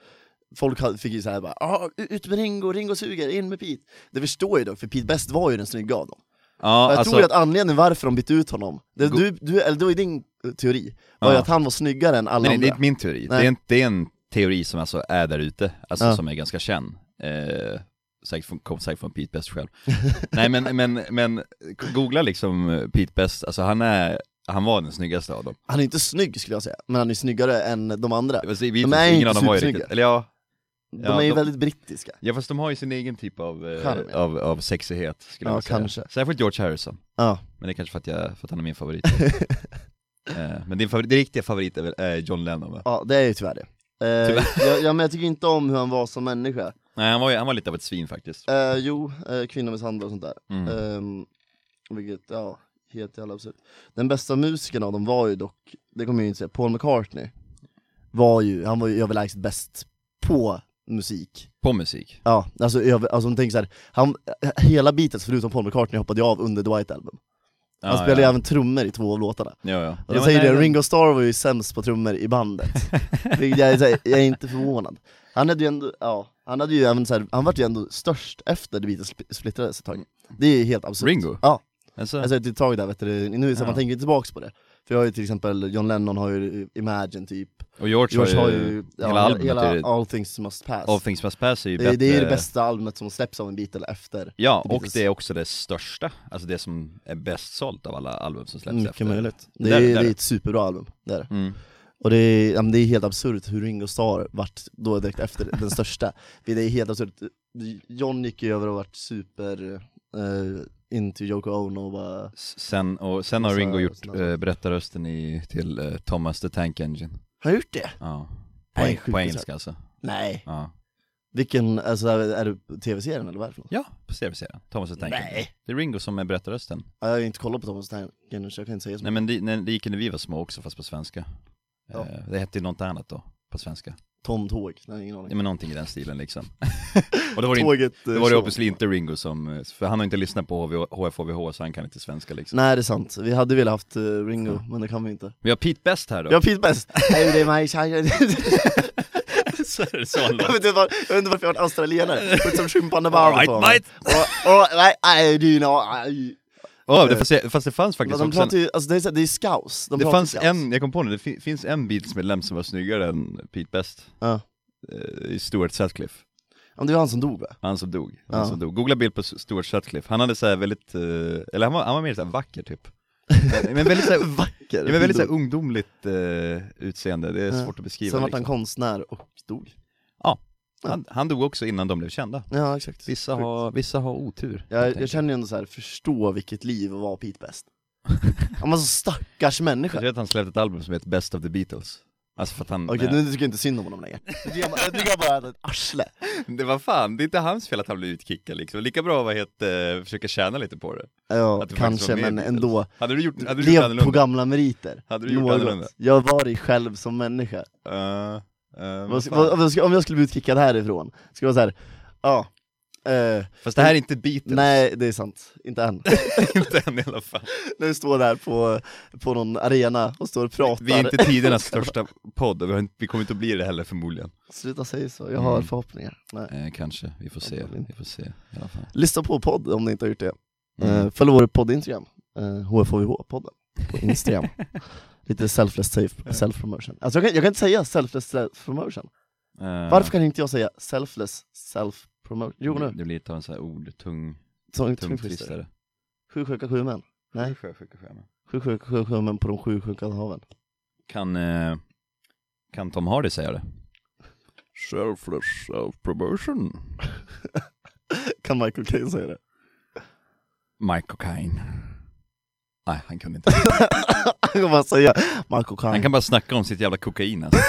[SPEAKER 2] Folk ha- fick ju såhär bara ah, ut med Ringo, Ringo suger, in med Pete. Det förstår jag dock, för Pete Best var ju den snygga av dem.
[SPEAKER 1] Ja,
[SPEAKER 2] jag
[SPEAKER 1] alltså,
[SPEAKER 2] tror ju att anledningen varför de bytte ut honom, det,
[SPEAKER 1] Go-
[SPEAKER 2] du, du, eller det var ju din eh, teori, var ju
[SPEAKER 1] Ja.
[SPEAKER 2] att han var snyggare än alla
[SPEAKER 1] nej, nej, det är
[SPEAKER 2] andra.
[SPEAKER 1] inte min teori.
[SPEAKER 2] Nej.
[SPEAKER 1] Det är, en, det är en teori som alltså är där ute, alltså
[SPEAKER 2] Ja.
[SPEAKER 1] som är ganska känd. Eh, säkert från, kom säkert från Pete Best själv. nej men, men, men googla liksom eh, Pete Best, alltså han är, han var den snyggaste av dem.
[SPEAKER 2] Han är inte snygg skulle jag säga, men han är snyggare än de andra.
[SPEAKER 1] Det var så i
[SPEAKER 2] De är
[SPEAKER 1] Beatles, ingen
[SPEAKER 2] inte
[SPEAKER 1] av dem var ju
[SPEAKER 2] supersnygga.
[SPEAKER 1] riktigt, eller ja,
[SPEAKER 2] De
[SPEAKER 1] Ja,
[SPEAKER 2] är ju
[SPEAKER 1] de-
[SPEAKER 2] väldigt brittiska.
[SPEAKER 1] Ja fast de har ju sin egen typ av,
[SPEAKER 2] Charm, ja.
[SPEAKER 1] eh, av, av sexighet skulle
[SPEAKER 2] Ja,
[SPEAKER 1] jag säga.
[SPEAKER 2] kanske.
[SPEAKER 1] Särskilt George Harrison,
[SPEAKER 2] Ja.
[SPEAKER 1] men det är kanske för att, jag, för att han är min favorit. eh, men din favorit, din riktiga favorit är väl eh, John Lennon va?
[SPEAKER 2] ja, det är ju tyvärr det. Eh, jag, ja, men jag tycker inte om hur han var som människa.
[SPEAKER 1] Nej han var, ju, han var lite av ett svin faktiskt.
[SPEAKER 2] Eh, jo, eh, kvinnomisshandel och sånt där.
[SPEAKER 1] Mm.
[SPEAKER 2] Ehm, vilket, ja, helt jävla absurt. Den bästa musikern av dem var ju dock, det kommer jag ju inte säga, Paul McCartney. Var ju, han var ju överlägset bäst på musik.
[SPEAKER 1] På musik.
[SPEAKER 2] Ja, alltså, över, alltså om du tänker så här, han, hela Beatles förutom Paul McCartney hoppade jag av under The White Album. Han
[SPEAKER 1] Ja,
[SPEAKER 2] spelade ju
[SPEAKER 1] ja.
[SPEAKER 2] även trummor i två av låtarna.
[SPEAKER 1] Ja, ja.
[SPEAKER 2] Och
[SPEAKER 1] ja,
[SPEAKER 2] då
[SPEAKER 1] men
[SPEAKER 2] säger
[SPEAKER 1] nej,
[SPEAKER 2] det,
[SPEAKER 1] men-
[SPEAKER 2] Ringo Starr var ju sämst på trummor i bandet. Vilket jag, är så här, jag är inte förvånad. Han hade ju ändå, ja, han hade ju även så här, han vart ju ändå störst efter The Beatles spl- splittrades ett tag. Det är ju helt absurt.
[SPEAKER 1] Ringo?
[SPEAKER 2] Ja,
[SPEAKER 1] Alltså,
[SPEAKER 2] alltså ett tag där vet du, nu så här,
[SPEAKER 1] Ja.
[SPEAKER 2] man tänker tillbaks på det. För jag har ju till exempel, John Lennon har ju Imagine typ,
[SPEAKER 1] och George,
[SPEAKER 2] George
[SPEAKER 1] har ju,
[SPEAKER 2] ja,
[SPEAKER 1] hela albumet är ju-
[SPEAKER 2] All Things Must Pass.
[SPEAKER 1] All Things Must Pass är ju
[SPEAKER 2] det,
[SPEAKER 1] bättre.
[SPEAKER 2] det är ju det bästa albumet som släpps av en Beatle efter.
[SPEAKER 1] Ja,
[SPEAKER 2] The
[SPEAKER 1] och
[SPEAKER 2] Beatles.
[SPEAKER 1] det är också det största, alltså det som är bäst sålt av alla album som släpps efter.
[SPEAKER 2] Mycket möjligt. Det
[SPEAKER 1] Där-
[SPEAKER 2] är, det
[SPEAKER 1] där-
[SPEAKER 2] är ett superbra album, det är det.
[SPEAKER 1] Mm.
[SPEAKER 2] Och det är, ja, men det är helt absurt hur Ringo Starr vart då direkt efter den största. Det är helt absurt. John gick ju över och vart super eh, into Yoko Ono och bara
[SPEAKER 1] S- Sen, och sen har
[SPEAKER 2] Massa
[SPEAKER 1] Ringo gjort
[SPEAKER 2] sådana saker.
[SPEAKER 1] eh, berättarrösten i, till eh, Thomas the Tank Engine.
[SPEAKER 2] Har jag gjort det?
[SPEAKER 1] Ja. På, eng-
[SPEAKER 2] Nej, sjukt
[SPEAKER 1] på
[SPEAKER 2] bisarrt.
[SPEAKER 1] engelska alltså.
[SPEAKER 2] Nej.
[SPEAKER 1] Ja,
[SPEAKER 2] Vilken, alltså är det tv-serien eller vad är det för något?
[SPEAKER 1] ja på tv-serien. Thomas the Tank Engine.
[SPEAKER 2] Nej.
[SPEAKER 1] Det är Ringo som är berättarrösten.
[SPEAKER 2] Ja, Jag har inte kollat på Thomas Tangen så jag kan inte säga så
[SPEAKER 1] Nej
[SPEAKER 2] mycket.
[SPEAKER 1] men det, när det gick när vi var små också fast på svenska.
[SPEAKER 2] Ja.
[SPEAKER 1] Eh, Det hette ju något annat då, på svenska.
[SPEAKER 2] Tom Tåg, nej ingen
[SPEAKER 1] Ja,
[SPEAKER 2] aning.
[SPEAKER 1] men någonting i den stilen liksom. och då var det, inte,
[SPEAKER 2] Tåget, eh,
[SPEAKER 1] då var det
[SPEAKER 2] så.
[SPEAKER 1] obviously inte Ringo som, eh, för han har inte lyssnat på HV, HFHVH så han kan inte svenska liksom.
[SPEAKER 2] Nej det är sant, vi hade velat haft eh, Ringo, men det kan vi inte.
[SPEAKER 1] Vi har Pete Best här då.
[SPEAKER 2] Jag Pete Best! Hey, det är mig, tja, jag
[SPEAKER 1] så är det så han
[SPEAKER 2] jag vet, inte var, jag vet inte varför jag har australienare, det är som
[SPEAKER 1] All
[SPEAKER 2] schimpandebarn
[SPEAKER 1] right,
[SPEAKER 2] på mig.
[SPEAKER 1] mate.
[SPEAKER 2] Och- och- nej, nej, du, no, nej.
[SPEAKER 1] Ja, det- fast, det- fast det fanns faktiskt
[SPEAKER 2] De
[SPEAKER 1] också en,
[SPEAKER 2] pratar ju, alltså det är, så- det är scouse, de
[SPEAKER 1] det
[SPEAKER 2] pratar
[SPEAKER 1] fanns
[SPEAKER 2] scouse.
[SPEAKER 1] en, jag kom på nu, det fi, finns en Beatles-medlem som var snyggare än Pete Best.
[SPEAKER 2] Ja.
[SPEAKER 1] Eh, i Stuart Sutcliffe,
[SPEAKER 2] Ja, men det var han som dog va?
[SPEAKER 1] han som dog. Han
[SPEAKER 2] Ja.
[SPEAKER 1] som dog. Googla bild på S- Stuart Sutcliffe, han hade så här väldigt, eh, eller han var, han var mer så här vacker typ. Men, men väldigt så här,
[SPEAKER 2] Vacker!
[SPEAKER 1] Ja, men väldigt så här ungdomligt eh, utseende, det är
[SPEAKER 2] Ja.
[SPEAKER 1] svårt att beskriva.
[SPEAKER 2] Sen vart
[SPEAKER 1] liksom.
[SPEAKER 2] han konstnär och dog.
[SPEAKER 1] han, han dog också innan de blev kända.
[SPEAKER 2] Ja exakt.
[SPEAKER 1] Vissa
[SPEAKER 2] Sjukt.
[SPEAKER 1] har, vissa har otur. helt
[SPEAKER 2] Jag, jag
[SPEAKER 1] enkelt.
[SPEAKER 2] känner ju ändå så här, förstå vilket liv att vara Pete Best. Han var så alltså, stackars
[SPEAKER 1] jag
[SPEAKER 2] människa.
[SPEAKER 1] tror att han släppte ett album som heter Best of the Beatles. Alltså för att han,
[SPEAKER 2] Okej,
[SPEAKER 1] nej.
[SPEAKER 2] nu tycker jag inte synd om honom längre. Jag tycker bara- jag tycker bara att han är ett arsle.
[SPEAKER 1] det var fan, det är inte hans fel att han blev utkickad liksom. Lika bra att eh, försöka tjäna lite på det.
[SPEAKER 2] Ja,
[SPEAKER 1] Att du faktiskt
[SPEAKER 2] kanske,
[SPEAKER 1] var med i
[SPEAKER 2] men
[SPEAKER 1] Beatles.
[SPEAKER 2] ändå.
[SPEAKER 1] Hade du gjort, hade du gjort
[SPEAKER 2] Lev på
[SPEAKER 1] annorlunda?
[SPEAKER 2] gamla meriter.
[SPEAKER 1] Hade du gjort
[SPEAKER 2] Något.
[SPEAKER 1] annorlunda?
[SPEAKER 2] Jag var dig själv som människa.
[SPEAKER 1] Eh, eh,
[SPEAKER 2] Vad
[SPEAKER 1] vad
[SPEAKER 2] sk-
[SPEAKER 1] fan.
[SPEAKER 2] vad- vad ska- Om jag skulle bli utkickad härifrån, skulle jag vara såhär, ja, eh,
[SPEAKER 1] Fast det här är inte Beatles,
[SPEAKER 2] nej det är sant, inte än.
[SPEAKER 1] inte än i alla fall.
[SPEAKER 2] När vi står där på, på någon arena och står och pratar.
[SPEAKER 1] Vi är inte tidernas största podd och vi, har inte, vi kommer inte att bli det heller förmodligen.
[SPEAKER 2] Sluta säga så, jag har
[SPEAKER 1] Mm.
[SPEAKER 2] förhoppningar. Nej.
[SPEAKER 1] Eh, kanske, vi får se. Vi får se i alla fall.
[SPEAKER 2] Lyssna på podd om ni inte har gjort det.
[SPEAKER 1] Mm.
[SPEAKER 2] Eh, följ vår podd Instagram, eh, HFHVH-podden på Instagram.
[SPEAKER 1] Eh,
[SPEAKER 2] Lite selfless safe- self-promotion. Alltså jag kan, jag kan inte säga selfless self-promotion.
[SPEAKER 1] Eh,
[SPEAKER 2] Varför kan inte jag säga selfless self-promotion? Jo
[SPEAKER 1] Det-
[SPEAKER 2] nu,
[SPEAKER 1] Det blir lite av en sån här ordtung,
[SPEAKER 2] tung, tung twistare.
[SPEAKER 1] tungtvistare.
[SPEAKER 2] Sju sjuka sju män. Nej,
[SPEAKER 1] Sjösjukeschema.
[SPEAKER 2] sju sjuka sju, sju män på de sju sjuka haven.
[SPEAKER 1] Kan, eh, kan Tom Hardy säga det? Selfless self-promotion.
[SPEAKER 2] Kan Michael Caine säga det?
[SPEAKER 1] Michael Caine. Nej, han kunde inte.
[SPEAKER 2] Han kan bara säga Michael Caine.
[SPEAKER 1] Han kan bara snacka om sitt jävla kokain alltså.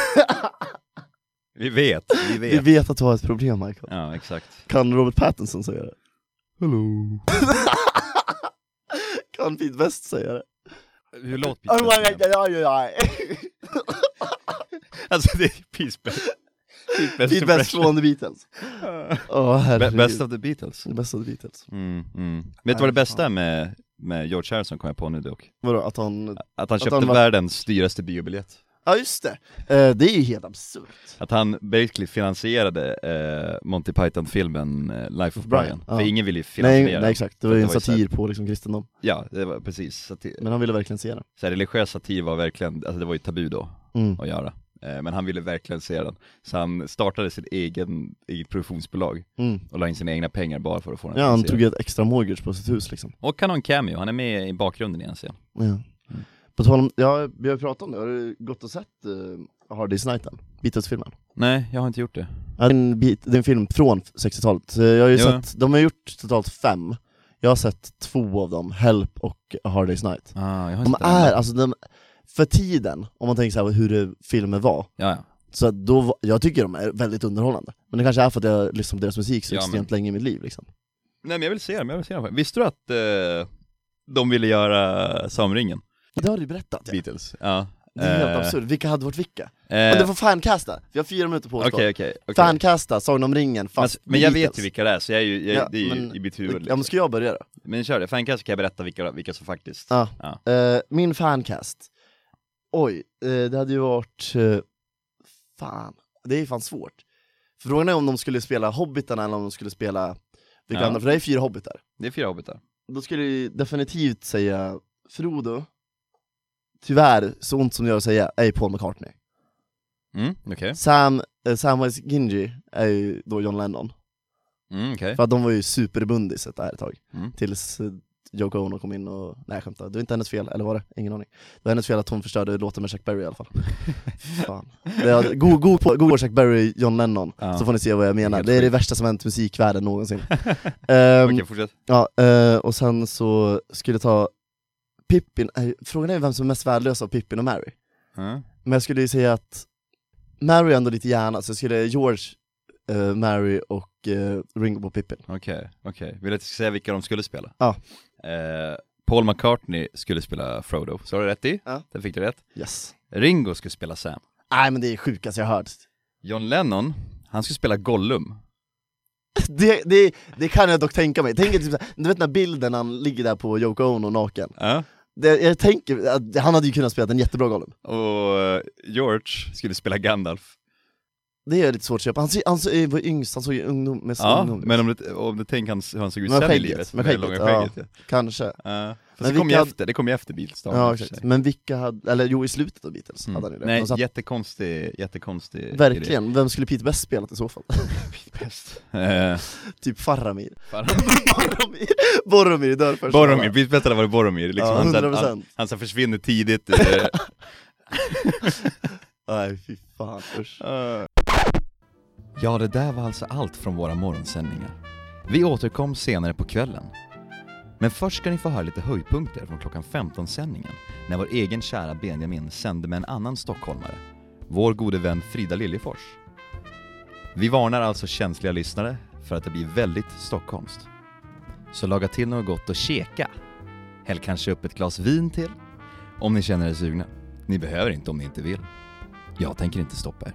[SPEAKER 1] Vi vet, vi
[SPEAKER 2] Vi
[SPEAKER 1] vet.
[SPEAKER 2] vet att du har ett problem Michael.
[SPEAKER 1] Ja, exakt.
[SPEAKER 2] Kan Robert Pattinson säga det?
[SPEAKER 4] Hello.
[SPEAKER 2] Kan Pete Best säga det?
[SPEAKER 1] Hur låter
[SPEAKER 2] Oh
[SPEAKER 1] Peace
[SPEAKER 2] my
[SPEAKER 1] Best? igen?
[SPEAKER 2] God,
[SPEAKER 1] Alltså det är Peace Best. Peace Best
[SPEAKER 2] Pete Best
[SPEAKER 1] impression.
[SPEAKER 2] från The Beatles. Åh
[SPEAKER 1] Be-
[SPEAKER 2] herregud.
[SPEAKER 1] Best of the Beatles.
[SPEAKER 2] Det bästa av The Beatles.
[SPEAKER 1] Mm, mm. Vet du vad det bästa är med, med George Harrison kom jag på nu dock?
[SPEAKER 2] Vadå, att han...
[SPEAKER 1] Att han
[SPEAKER 2] Att
[SPEAKER 1] köpte
[SPEAKER 2] han var-
[SPEAKER 1] världens dyraste biobiljett.
[SPEAKER 2] Ja just det! Eh, det är ju helt absurt.
[SPEAKER 1] Att han basically finansierade eh, Monty Python-filmen eh, Life of Brian,
[SPEAKER 2] Brian,
[SPEAKER 1] för
[SPEAKER 2] ja.
[SPEAKER 1] ingen ville ju finansiera
[SPEAKER 2] Nej, nej
[SPEAKER 1] den.
[SPEAKER 2] exakt, det var ju
[SPEAKER 1] Det
[SPEAKER 2] en
[SPEAKER 1] var ju
[SPEAKER 2] satir på liksom kristendom.
[SPEAKER 1] Ja, det var precis. Så, att,
[SPEAKER 2] Men han ville verkligen se den.
[SPEAKER 1] så här, religiös satir var verkligen, alltså det var ju tabu då
[SPEAKER 2] Mm.
[SPEAKER 1] att göra. Eh, men han ville verkligen se den. Så han startade sitt egen, eget produktionsbolag
[SPEAKER 2] Mm.
[SPEAKER 1] och la in sina egna pengar bara för att få den
[SPEAKER 2] Ja, han
[SPEAKER 1] finansierad.
[SPEAKER 2] tog ett extra mortgage på sitt hus liksom.
[SPEAKER 1] Och han har en cameo, han är med i bakgrunden i en scen.
[SPEAKER 2] Ja. På tal om, ja, vi har ju pratat om det, har du gått och sett uh, Hard Day's Night än? Beatles-filmen?
[SPEAKER 1] Nej, jag har inte gjort det.
[SPEAKER 2] Ja, det, är en bit, det är en film från 60-talet, så jag har ju
[SPEAKER 1] Jo.
[SPEAKER 2] sett, de har gjort totalt fem Jag har sett två av dem, Help och A Hard Day's Night
[SPEAKER 1] Ah, jag har
[SPEAKER 2] De
[SPEAKER 1] inte
[SPEAKER 2] är, alltså de, för tiden, om man tänker så här hur det, filmen var,
[SPEAKER 1] Ja, ja.
[SPEAKER 2] så att då, var- jag tycker de är väldigt underhållande Men det kanske är för att jag har lyssnat på deras musik så
[SPEAKER 1] Ja, men-
[SPEAKER 2] extremt länge i mitt liv liksom
[SPEAKER 1] Nej men jag vill se dem, jag vill se dem. Visste du att eh, de ville göra Samringen?
[SPEAKER 2] Det har du ju berättat ja.
[SPEAKER 1] Beatles. Ja.
[SPEAKER 2] Det är
[SPEAKER 1] Eh,
[SPEAKER 2] helt absurt, vilka hade varit vilka? Men du
[SPEAKER 1] eh,
[SPEAKER 2] får fancasta, vi har fyra minuter på oss
[SPEAKER 1] Okej,
[SPEAKER 2] då
[SPEAKER 1] okej. okej.
[SPEAKER 2] Fancasta, Sagan om ringen,
[SPEAKER 1] Men,
[SPEAKER 2] fast
[SPEAKER 1] men jag
[SPEAKER 2] Beatles.
[SPEAKER 1] vet ju vilka det är, så jag är ju, jag,
[SPEAKER 2] Ja,
[SPEAKER 1] det är ju
[SPEAKER 2] men-
[SPEAKER 1] i mitt huvud
[SPEAKER 2] Ja men
[SPEAKER 1] liksom.
[SPEAKER 2] ska jag börja då?
[SPEAKER 1] Men kör det, fan kanske kan jag berätta vilka, vilka som faktiskt...
[SPEAKER 2] Ja.
[SPEAKER 1] Ja.
[SPEAKER 2] Eh, min fancast. Oj, eh, det hade ju varit... eh, fan, det är ju fan svårt. Frågan är om de skulle spela Hobbitarna eller om de skulle spela vilka
[SPEAKER 1] Ja.
[SPEAKER 2] andra, för det är fyra Hobbitar.
[SPEAKER 1] Det är fyra hobbitar.
[SPEAKER 2] Då skulle jag ju definitivt säga Frodo. Tyvärr, så ont som det gör att säga, är ju Paul McCartney.
[SPEAKER 1] Mm, okej.
[SPEAKER 2] Sam, eh, Samwise Gingy är ju då John Lennon.
[SPEAKER 1] Mm, okej.
[SPEAKER 2] För att de var ju superbundiset där ett tag.
[SPEAKER 1] Mm.
[SPEAKER 2] Tills eh, Yoko Ono kom in och, nej jag skämtar, det var inte hennes fel, eller var det? Ingen aning. Det var hennes fel att hon förstörde låten med Chuck Berry i alla fall. Fan. Det är, go, go, på, go på Chuck Berry, John Lennon,
[SPEAKER 1] Ja.
[SPEAKER 2] så får ni se vad jag menar.
[SPEAKER 1] Helt
[SPEAKER 2] Det är det
[SPEAKER 1] sjukt.
[SPEAKER 2] värsta som hänt musikvärlden någonsin. Ehm,
[SPEAKER 1] Okej, fortsätt.
[SPEAKER 2] Ja, eh, och sen så skulle jag ta Pippin, eh, frågan är vem som är mest värdelös av Pippin och Mary.
[SPEAKER 1] Ja.
[SPEAKER 2] Men jag skulle ju säga att Mary är ändå lite hjärna, så jag skulle George, eh, Mary och eh, Ringo på Pippin.
[SPEAKER 1] Okej, okej. Vill du att jag ska säga vilka de skulle spela?
[SPEAKER 2] Ja.
[SPEAKER 1] Eh, Paul McCartney skulle spela Frodo, så har du rätt i.
[SPEAKER 2] Ja.
[SPEAKER 1] Det fick du rätt.
[SPEAKER 2] Yes.
[SPEAKER 1] Ringo skulle spela Sam.
[SPEAKER 2] Nej men det är sjukast jag har hört.
[SPEAKER 1] John Lennon, han skulle spela Gollum.
[SPEAKER 2] Det, det, det kan jag dock tänka mig. Tänk er typ, så här- du vet den här bilden han ligger där på Yoko Ono naken.
[SPEAKER 1] Ja.
[SPEAKER 2] Det, jag tänker att han hade ju kunnat spela en jättebra Gollum.
[SPEAKER 1] Och eh, George skulle spela Gandalf.
[SPEAKER 2] Det är lite svårt att köpa, han, ser- han ser- eh, var yngst, han såg ju ungdom, mest
[SPEAKER 1] Ja,
[SPEAKER 2] ungdom ut.
[SPEAKER 1] men om du, om du tänker hans- hur han såg ut
[SPEAKER 2] Med
[SPEAKER 1] sen i
[SPEAKER 2] skägget,
[SPEAKER 1] livet.
[SPEAKER 2] med
[SPEAKER 1] det
[SPEAKER 2] skägget,
[SPEAKER 1] långa
[SPEAKER 2] ja.
[SPEAKER 1] skägget. Ja.
[SPEAKER 2] Kanske.
[SPEAKER 1] Ja. Eh,
[SPEAKER 2] Men
[SPEAKER 1] Fast det kom ju
[SPEAKER 2] vilka-
[SPEAKER 1] efter, det kom ju efter Beatles. då, i
[SPEAKER 2] Ja,
[SPEAKER 1] och för
[SPEAKER 2] exakt.
[SPEAKER 1] sig.
[SPEAKER 2] Men vilka hade, eller jo i slutet av Beatles
[SPEAKER 1] Mm.
[SPEAKER 2] hade han ju det.
[SPEAKER 1] Nej,
[SPEAKER 2] De satt-
[SPEAKER 1] jättekonstig, jättekonstig
[SPEAKER 2] verkligen, vem skulle Pete Best spelat i så fall?
[SPEAKER 1] idé. Eh,
[SPEAKER 2] typ Faramir.
[SPEAKER 1] fan.
[SPEAKER 2] Boromir, Boromir dör först.
[SPEAKER 1] Boromir, Beatles bättre hade varit Boromir. Liksom.
[SPEAKER 2] Ja,
[SPEAKER 1] han, så här-
[SPEAKER 2] 100%.
[SPEAKER 1] han, han så här försvinner tidigt. eh,
[SPEAKER 2] Nej fy fan, usch.
[SPEAKER 1] Ja, det där var alltså allt från våra morgonsändningar. Vi återkom senare på kvällen. Men först ska ni få höra lite höjdpunkter från klockan 15-sändningen när vår egen kära Benjamin sände med en annan stockholmare, vår gode vän Frida Liljefors. Vi varnar alltså känsliga lyssnare för att det blir väldigt stockholmskt. Så laga till något gott och käka. Häll kanske upp ett glas vin till, om ni känner er sugna. Ni behöver inte om ni inte vill. Jag tänker inte stoppa er.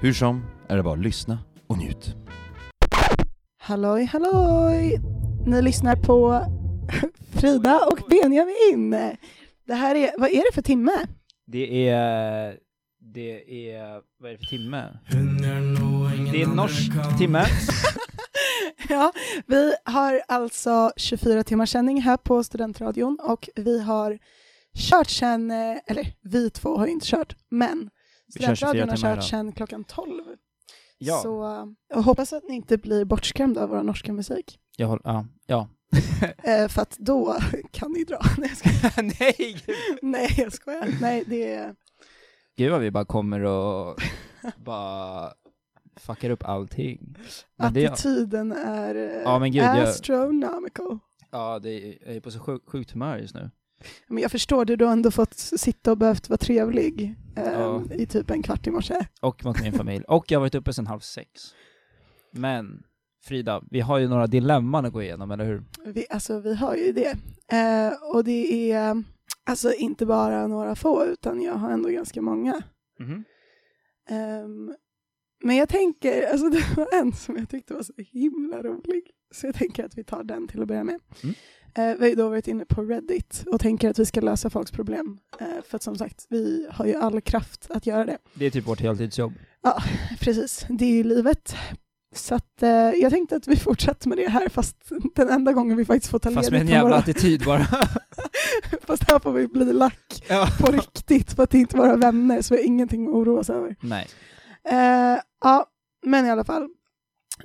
[SPEAKER 1] Hur som är det bara att lyssna och njut.
[SPEAKER 5] Halloj, halloj! Ni lyssnar på Frida och Benjamin. Det här är, vad är det för timme?
[SPEAKER 6] Det är... Det är... Vad är det för timme? Det
[SPEAKER 7] Det
[SPEAKER 6] är norsk timme.
[SPEAKER 5] ja, vi har alltså 24 timmars sändning här på Studentradion och vi har kört sen, eh, eller vi två har ju inte kört, men
[SPEAKER 6] Vi kör 24
[SPEAKER 5] Studentradion har
[SPEAKER 6] timmar
[SPEAKER 5] kört
[SPEAKER 6] idag.
[SPEAKER 5] sen klockan 12.
[SPEAKER 6] Ja.
[SPEAKER 5] Så eh, jag hoppas att ni inte blir bortskrämda av vår norska musik,
[SPEAKER 6] Jag håller... Ja. ja.
[SPEAKER 5] eh, för att då kan ni dra. Nej, jag skojar.
[SPEAKER 6] Nej!
[SPEAKER 5] Nej, jag skojar. Nej, det är...
[SPEAKER 6] Gud vad vi bara kommer och bara fuckar upp allting. Men det,
[SPEAKER 5] Attityden är eh,
[SPEAKER 6] Ja, men gud, jag-
[SPEAKER 5] astronomical.
[SPEAKER 6] ja, det är, jag är på så sjuk, sjukt humör just nu.
[SPEAKER 5] Men jag förstår det, du har ändå fått sitta och behövt vara trevlig eh,
[SPEAKER 6] Ja.
[SPEAKER 5] i typ en kvart i morse.
[SPEAKER 6] Och mot min familj. Och jag har varit uppe sedan halv sex. Men, Frida, vi har ju några dilemman att gå igenom, eller hur?
[SPEAKER 5] Vi, alltså, vi har ju det. Eh, och det är eh, alltså inte bara några få, utan jag har ändå ganska många.
[SPEAKER 6] Mhm.
[SPEAKER 5] Ehm, men jag tänker, alltså det var en som jag tyckte var så himla rolig, så jag tänker att vi tar den till att börja med.
[SPEAKER 6] Mm.
[SPEAKER 5] Eh, vi har ju då varit inne på Reddit och tänker att vi ska lösa folks problem, eh, för att som sagt, vi har ju all kraft att göra det.
[SPEAKER 6] Det är typ vårt heltidsjobb.
[SPEAKER 5] Ja, precis. Det är ju livet. Så att, eh, jag tänkte att vi fortsätter med det här, fast den enda gången vi faktiskt får ta
[SPEAKER 6] Fast med en
[SPEAKER 5] ledigt
[SPEAKER 6] jävla
[SPEAKER 5] våra...
[SPEAKER 6] attityd bara.
[SPEAKER 5] Fast här får vi bli lack
[SPEAKER 6] ja.
[SPEAKER 5] på riktigt, för att det är inte våra vänner, så vi har ingenting att oroa oss över.
[SPEAKER 6] Nej.
[SPEAKER 5] Eh, ja, men i alla fall.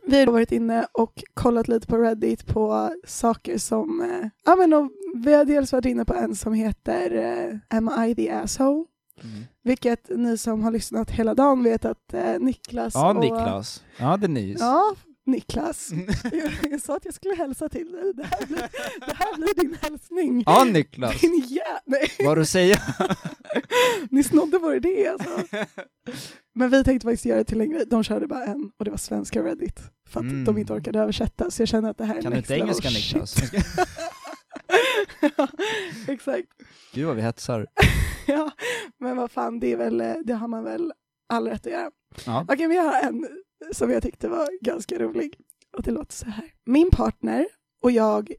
[SPEAKER 5] Vi har då varit inne och kollat lite på Reddit på saker som... Eh, ja, men om- vi har dels varit inne på en som heter eh, Am I the asshole?
[SPEAKER 6] Mm.
[SPEAKER 5] Vilket ni som har lyssnat hela dagen vet att eh, Niklas
[SPEAKER 6] Ja,
[SPEAKER 5] och...
[SPEAKER 6] Niklas. Ja, Denise.
[SPEAKER 5] Ja, Niklas. Jag, jag sa att jag skulle hälsa till dig. Det här blir, det här blir din hälsning.
[SPEAKER 6] Ja, Niklas.
[SPEAKER 5] Din jä... Nej,
[SPEAKER 6] Vad har du att säga?
[SPEAKER 5] ni snodde vår idé alltså. Men vi tänkte faktiskt göra det till en grej. De körde bara en och det var svenska Reddit. För att
[SPEAKER 6] Mm.
[SPEAKER 5] de inte orkade översätta. Så jag känner att det här är
[SPEAKER 6] Kan du
[SPEAKER 5] next
[SPEAKER 6] inte
[SPEAKER 5] level
[SPEAKER 6] engelska,
[SPEAKER 5] shit.
[SPEAKER 6] Niklas?
[SPEAKER 5] ja, exakt.
[SPEAKER 6] Gud vad vi hetsar.
[SPEAKER 5] Ja, men vad fan, det, är väl, eh, det har man väl all rätt att göra.
[SPEAKER 6] Ja.
[SPEAKER 5] Okej, men jag har en som jag tyckte var ganska rolig. Och det låter så här. Min partner och jag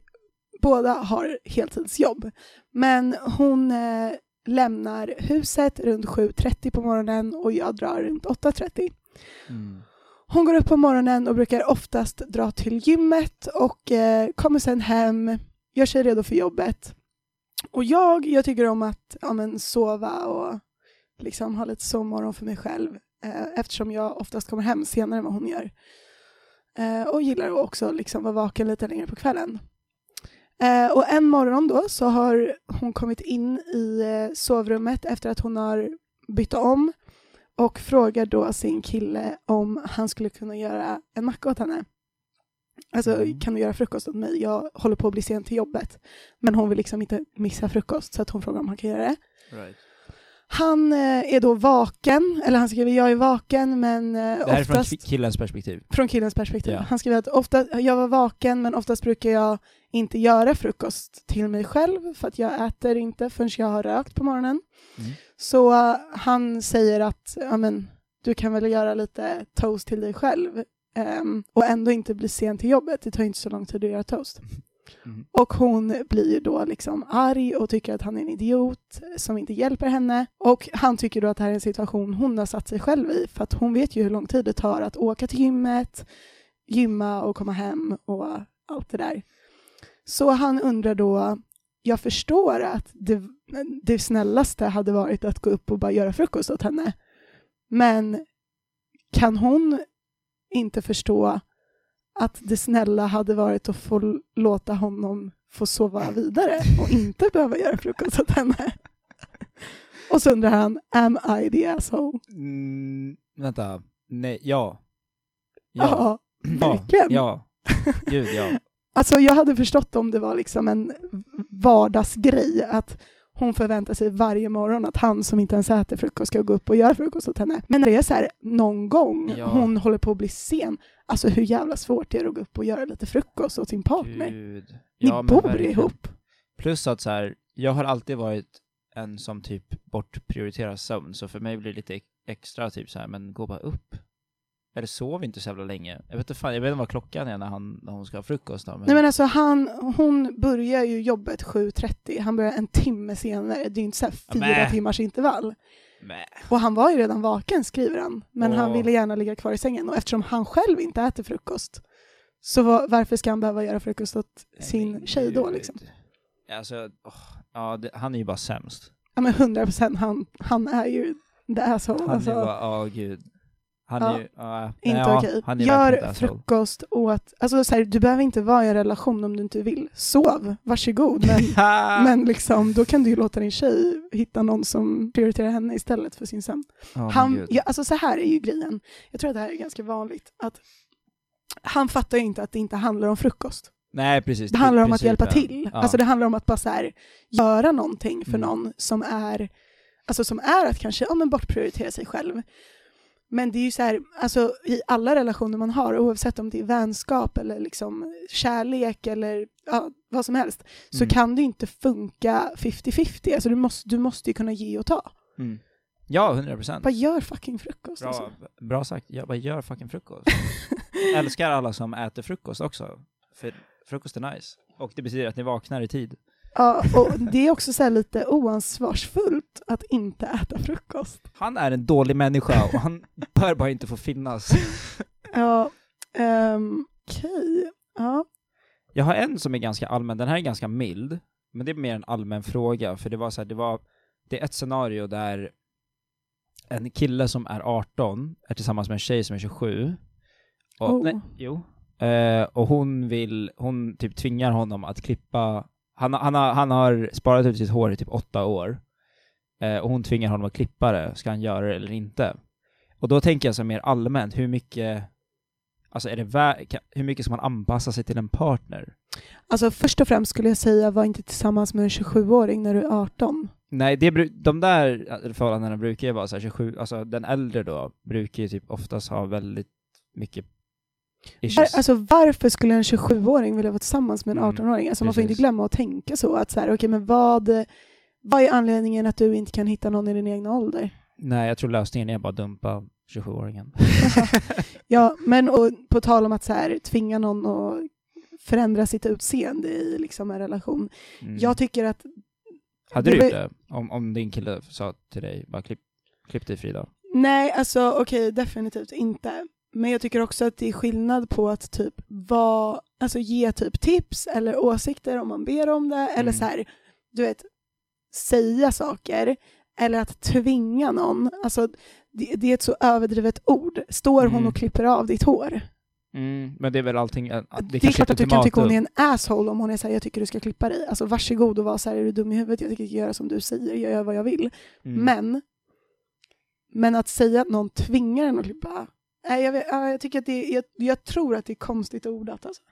[SPEAKER 5] båda har heltidsjobb. Men hon eh, lämnar huset runt 7.30 på morgonen och jag drar runt 8.30.
[SPEAKER 6] Mm.
[SPEAKER 5] Hon går upp på morgonen och brukar oftast dra till gymmet och eh, kommer sen hem, gör sig redo för jobbet. Och jag, jag tycker om att ja, men, sova och liksom ha lite sovmorgon för mig själv eh, eftersom jag oftast kommer hem senare än vad hon gör. Eh, och gillar att också liksom vara vaken lite längre på kvällen. Eh, och en morgon då så har hon kommit in i eh, sovrummet efter att hon har bytt om och frågar då sin kille om han skulle kunna göra en macka åt henne. Alltså,
[SPEAKER 6] Mm.
[SPEAKER 5] kan du göra frukost åt mig? Jag håller på att bli sen till jobbet. Men hon vill liksom inte missa frukost så att hon frågar om han kan göra det.
[SPEAKER 6] Right.
[SPEAKER 5] Han eh, är då vaken, eller han skriver jag är vaken men eh,
[SPEAKER 6] Det här är från
[SPEAKER 5] oftast
[SPEAKER 6] ki- killens perspektiv.
[SPEAKER 5] från killens perspektiv.
[SPEAKER 6] Ja.
[SPEAKER 5] Han skriver att ofta, jag var vaken men oftast brukar jag inte göra frukost till mig själv för att jag äter inte förrän jag har rökt på morgonen.
[SPEAKER 6] Mm.
[SPEAKER 5] Så eh, han säger att ja, men, du kan väl göra lite toast till dig själv ehm, och ändå inte bli sen till jobbet. Det tar ju inte så lång tid att göra toast.
[SPEAKER 6] Mm.
[SPEAKER 5] Och hon blir ju då liksom arg och tycker att han är en idiot som inte hjälper henne. Och han tycker då att det här är en situation hon har satt sig själv i för att hon vet ju hur lång tid det tar att åka till gymmet, gymma och komma hem och allt det där. Så han undrar då, jag förstår att det, det snällaste hade varit att gå upp och bara göra frukost åt henne. Men kan hon inte förstå att det snälla hade varit att få l- låta honom få sova vidare och inte behöva göra frukost åt henne. Och så undrar han, am I the asshole?
[SPEAKER 6] Mm, vänta. Nej, ja.
[SPEAKER 5] Ja,
[SPEAKER 6] ja.
[SPEAKER 5] verkligen.
[SPEAKER 6] ja. Gud, ja.
[SPEAKER 5] Alltså jag hade förstått om det var liksom en vardagsgrej att hon förväntar sig varje morgon att han som inte ens äter frukost ska gå upp och göra frukost åt henne. Men när det är så här någon gång
[SPEAKER 6] Ja.
[SPEAKER 5] hon håller på att bli sen, alltså hur jävla svårt det är att gå upp och göra lite frukost åt sin partner.
[SPEAKER 6] Gud.
[SPEAKER 5] Ni
[SPEAKER 6] Ja, men
[SPEAKER 5] bor
[SPEAKER 6] verkligen.
[SPEAKER 5] ihop.
[SPEAKER 6] Plus att så här, jag har alltid varit en som typ bortprioriterar sömn, så för mig blir det lite ex- extra typ så här, men gå bara upp. Eller sov inte så jävla länge. Jag vet inte fan, jag vet inte vad klockan är när, han, när hon ska ha frukost då, men...
[SPEAKER 5] Nej men alltså han, hon börjar ju jobbet 7.30, han börjar en timme senare, det är ju inte så här
[SPEAKER 6] Ja,
[SPEAKER 5] fyra
[SPEAKER 6] men.
[SPEAKER 5] timmars intervall.
[SPEAKER 6] Mäh.
[SPEAKER 5] Och han var ju redan vaken skriver han, men han
[SPEAKER 6] Åh.
[SPEAKER 5] ville gärna ligga kvar i sängen och eftersom han själv inte äter frukost så var, varför ska han behöva göra frukost åt
[SPEAKER 6] Nej,
[SPEAKER 5] sin
[SPEAKER 6] men
[SPEAKER 5] tjej då
[SPEAKER 6] gud.
[SPEAKER 5] liksom?
[SPEAKER 6] Alltså, åh, ja, det, han är ju bara sämst.
[SPEAKER 5] Ja men 100 procent, han, han är ju the asshole.
[SPEAKER 6] Han
[SPEAKER 5] alltså,
[SPEAKER 6] är ju bara, ja gud. Han
[SPEAKER 5] Ja.
[SPEAKER 6] är ju, ja, nej,
[SPEAKER 5] inte
[SPEAKER 6] ja,
[SPEAKER 5] okej.
[SPEAKER 6] Han är verkligen
[SPEAKER 5] Gör
[SPEAKER 6] ett asshole.
[SPEAKER 5] frukost åt, alltså så här, du behöver inte vara i en relation om du inte vill. Sov, varsågod. Men
[SPEAKER 6] Ah.
[SPEAKER 5] Men liksom, då kan du ju låta din tjej hitta någon som prioriterar henne istället för sin sömn.
[SPEAKER 6] Ja, men
[SPEAKER 5] han,
[SPEAKER 6] gud.
[SPEAKER 5] ja, alltså så här är ju grejen, jag tror att det här är ganska vanligt, att han fattar ju inte att det inte handlar om frukost.
[SPEAKER 6] nej precis.
[SPEAKER 5] Det handlar om att
[SPEAKER 6] Principen.
[SPEAKER 5] hjälpa till.
[SPEAKER 6] Ja.
[SPEAKER 5] Alltså det handlar om att bara så här, göra någonting för
[SPEAKER 6] Mm.
[SPEAKER 5] någon som är, alltså som är att kanske ja, men bortprioritera sig själv. Men det är ju så här, alltså i alla relationer man har, oavsett om det är vänskap eller liksom kärlek eller ja, vad som helst, så
[SPEAKER 6] Mm.
[SPEAKER 5] kan det ju inte funka 50-50. Alltså du måste, du måste ju kunna ge och ta.
[SPEAKER 6] Mm. Ja, hundra procent.
[SPEAKER 5] Bara gör fucking frukost.
[SPEAKER 6] Bra,
[SPEAKER 5] Alltså.
[SPEAKER 6] bra sagt. Jag bara gör fucking frukost. Älskar alla som äter frukost också. För frukost är nice. Och det betyder att ni vaknar i tid.
[SPEAKER 5] Ja, och det är också så här lite oansvarsfullt att inte äta frukost.
[SPEAKER 6] Han är en dålig människa och han bör bara inte få finnas.
[SPEAKER 5] Ja, um, okej. Ja.
[SPEAKER 6] Jag har en som är ganska allmän, den här är ganska mild, men det är mer en allmän fråga, för det var så här, det var, det är ett scenario där en kille som är 18 är tillsammans med en tjej som är 27. Och,
[SPEAKER 5] Oh.
[SPEAKER 6] nej, jo. Eh, och hon vill, hon typ tvingar honom att klippa, han, har- han, har, han har sparat ut sitt hår i typ åtta år. Eh, och hon tvingar honom att klippa det, ska han göra det eller inte? Och då tänker jag så här mer allmänt, hur mycket, alltså är det vä- kan, hur mycket ska man anpassa sig till en partner?
[SPEAKER 5] Alltså först och främst skulle jag säga var inte tillsammans med en 27-åring när du är 18.
[SPEAKER 6] Nej, det bru- de där eh, förhållandena brukar ju vara så här 27, alltså den äldre då brukar ju typ oftast ha väldigt mycket
[SPEAKER 5] Var,
[SPEAKER 6] issues.
[SPEAKER 5] alltså varför skulle en 27-åring vilja vara tillsammans med en
[SPEAKER 6] Mm,
[SPEAKER 5] 18-åring? Alltså man får inte
[SPEAKER 6] precis.
[SPEAKER 5] glömma att tänka så att så här, okej men vad, vad är anledningen att du inte kan hitta någon i din egna ålder?
[SPEAKER 6] Nej, jag tror lösningen är bara dumpa 27-åringen.
[SPEAKER 5] Ja, men och på tal om att så här, tvinga någon att förändra sitt utseende i liksom en relation.
[SPEAKER 6] Mm.
[SPEAKER 5] Jag tycker att
[SPEAKER 6] Hade
[SPEAKER 5] det
[SPEAKER 6] du
[SPEAKER 5] var-
[SPEAKER 6] gjort det? Om, om din kille sa till dig, bara klipp, klipp dig Frida.
[SPEAKER 5] Nej, alltså okej, definitivt inte. Men jag tycker också att det är skillnad på att typ vara, alltså ge typ tips eller åsikter om man ber om det, eller
[SPEAKER 6] Mm.
[SPEAKER 5] så här, du vet, säga saker, eller att tvinga någon. Alltså, det, det är ett så överdrivet ord. Står hon
[SPEAKER 6] Mm.
[SPEAKER 5] och klipper av ditt hår?
[SPEAKER 6] Mm, men det är väl allting... Det,
[SPEAKER 5] Det, är klart att du kan tycka hon är en asshole om hon är såhär, jag tycker du ska klippa dig. Alltså varsågod och vara såhär, är du dum i huvudet? Jag tänker göra som du säger, jag gör vad jag vill.
[SPEAKER 6] Mm.
[SPEAKER 5] Men, men att säga att någon tvingar en att klippa, nej jag, vet, ja, jag tycker att det är, jag, jag tror att det är konstigt ordat alltså.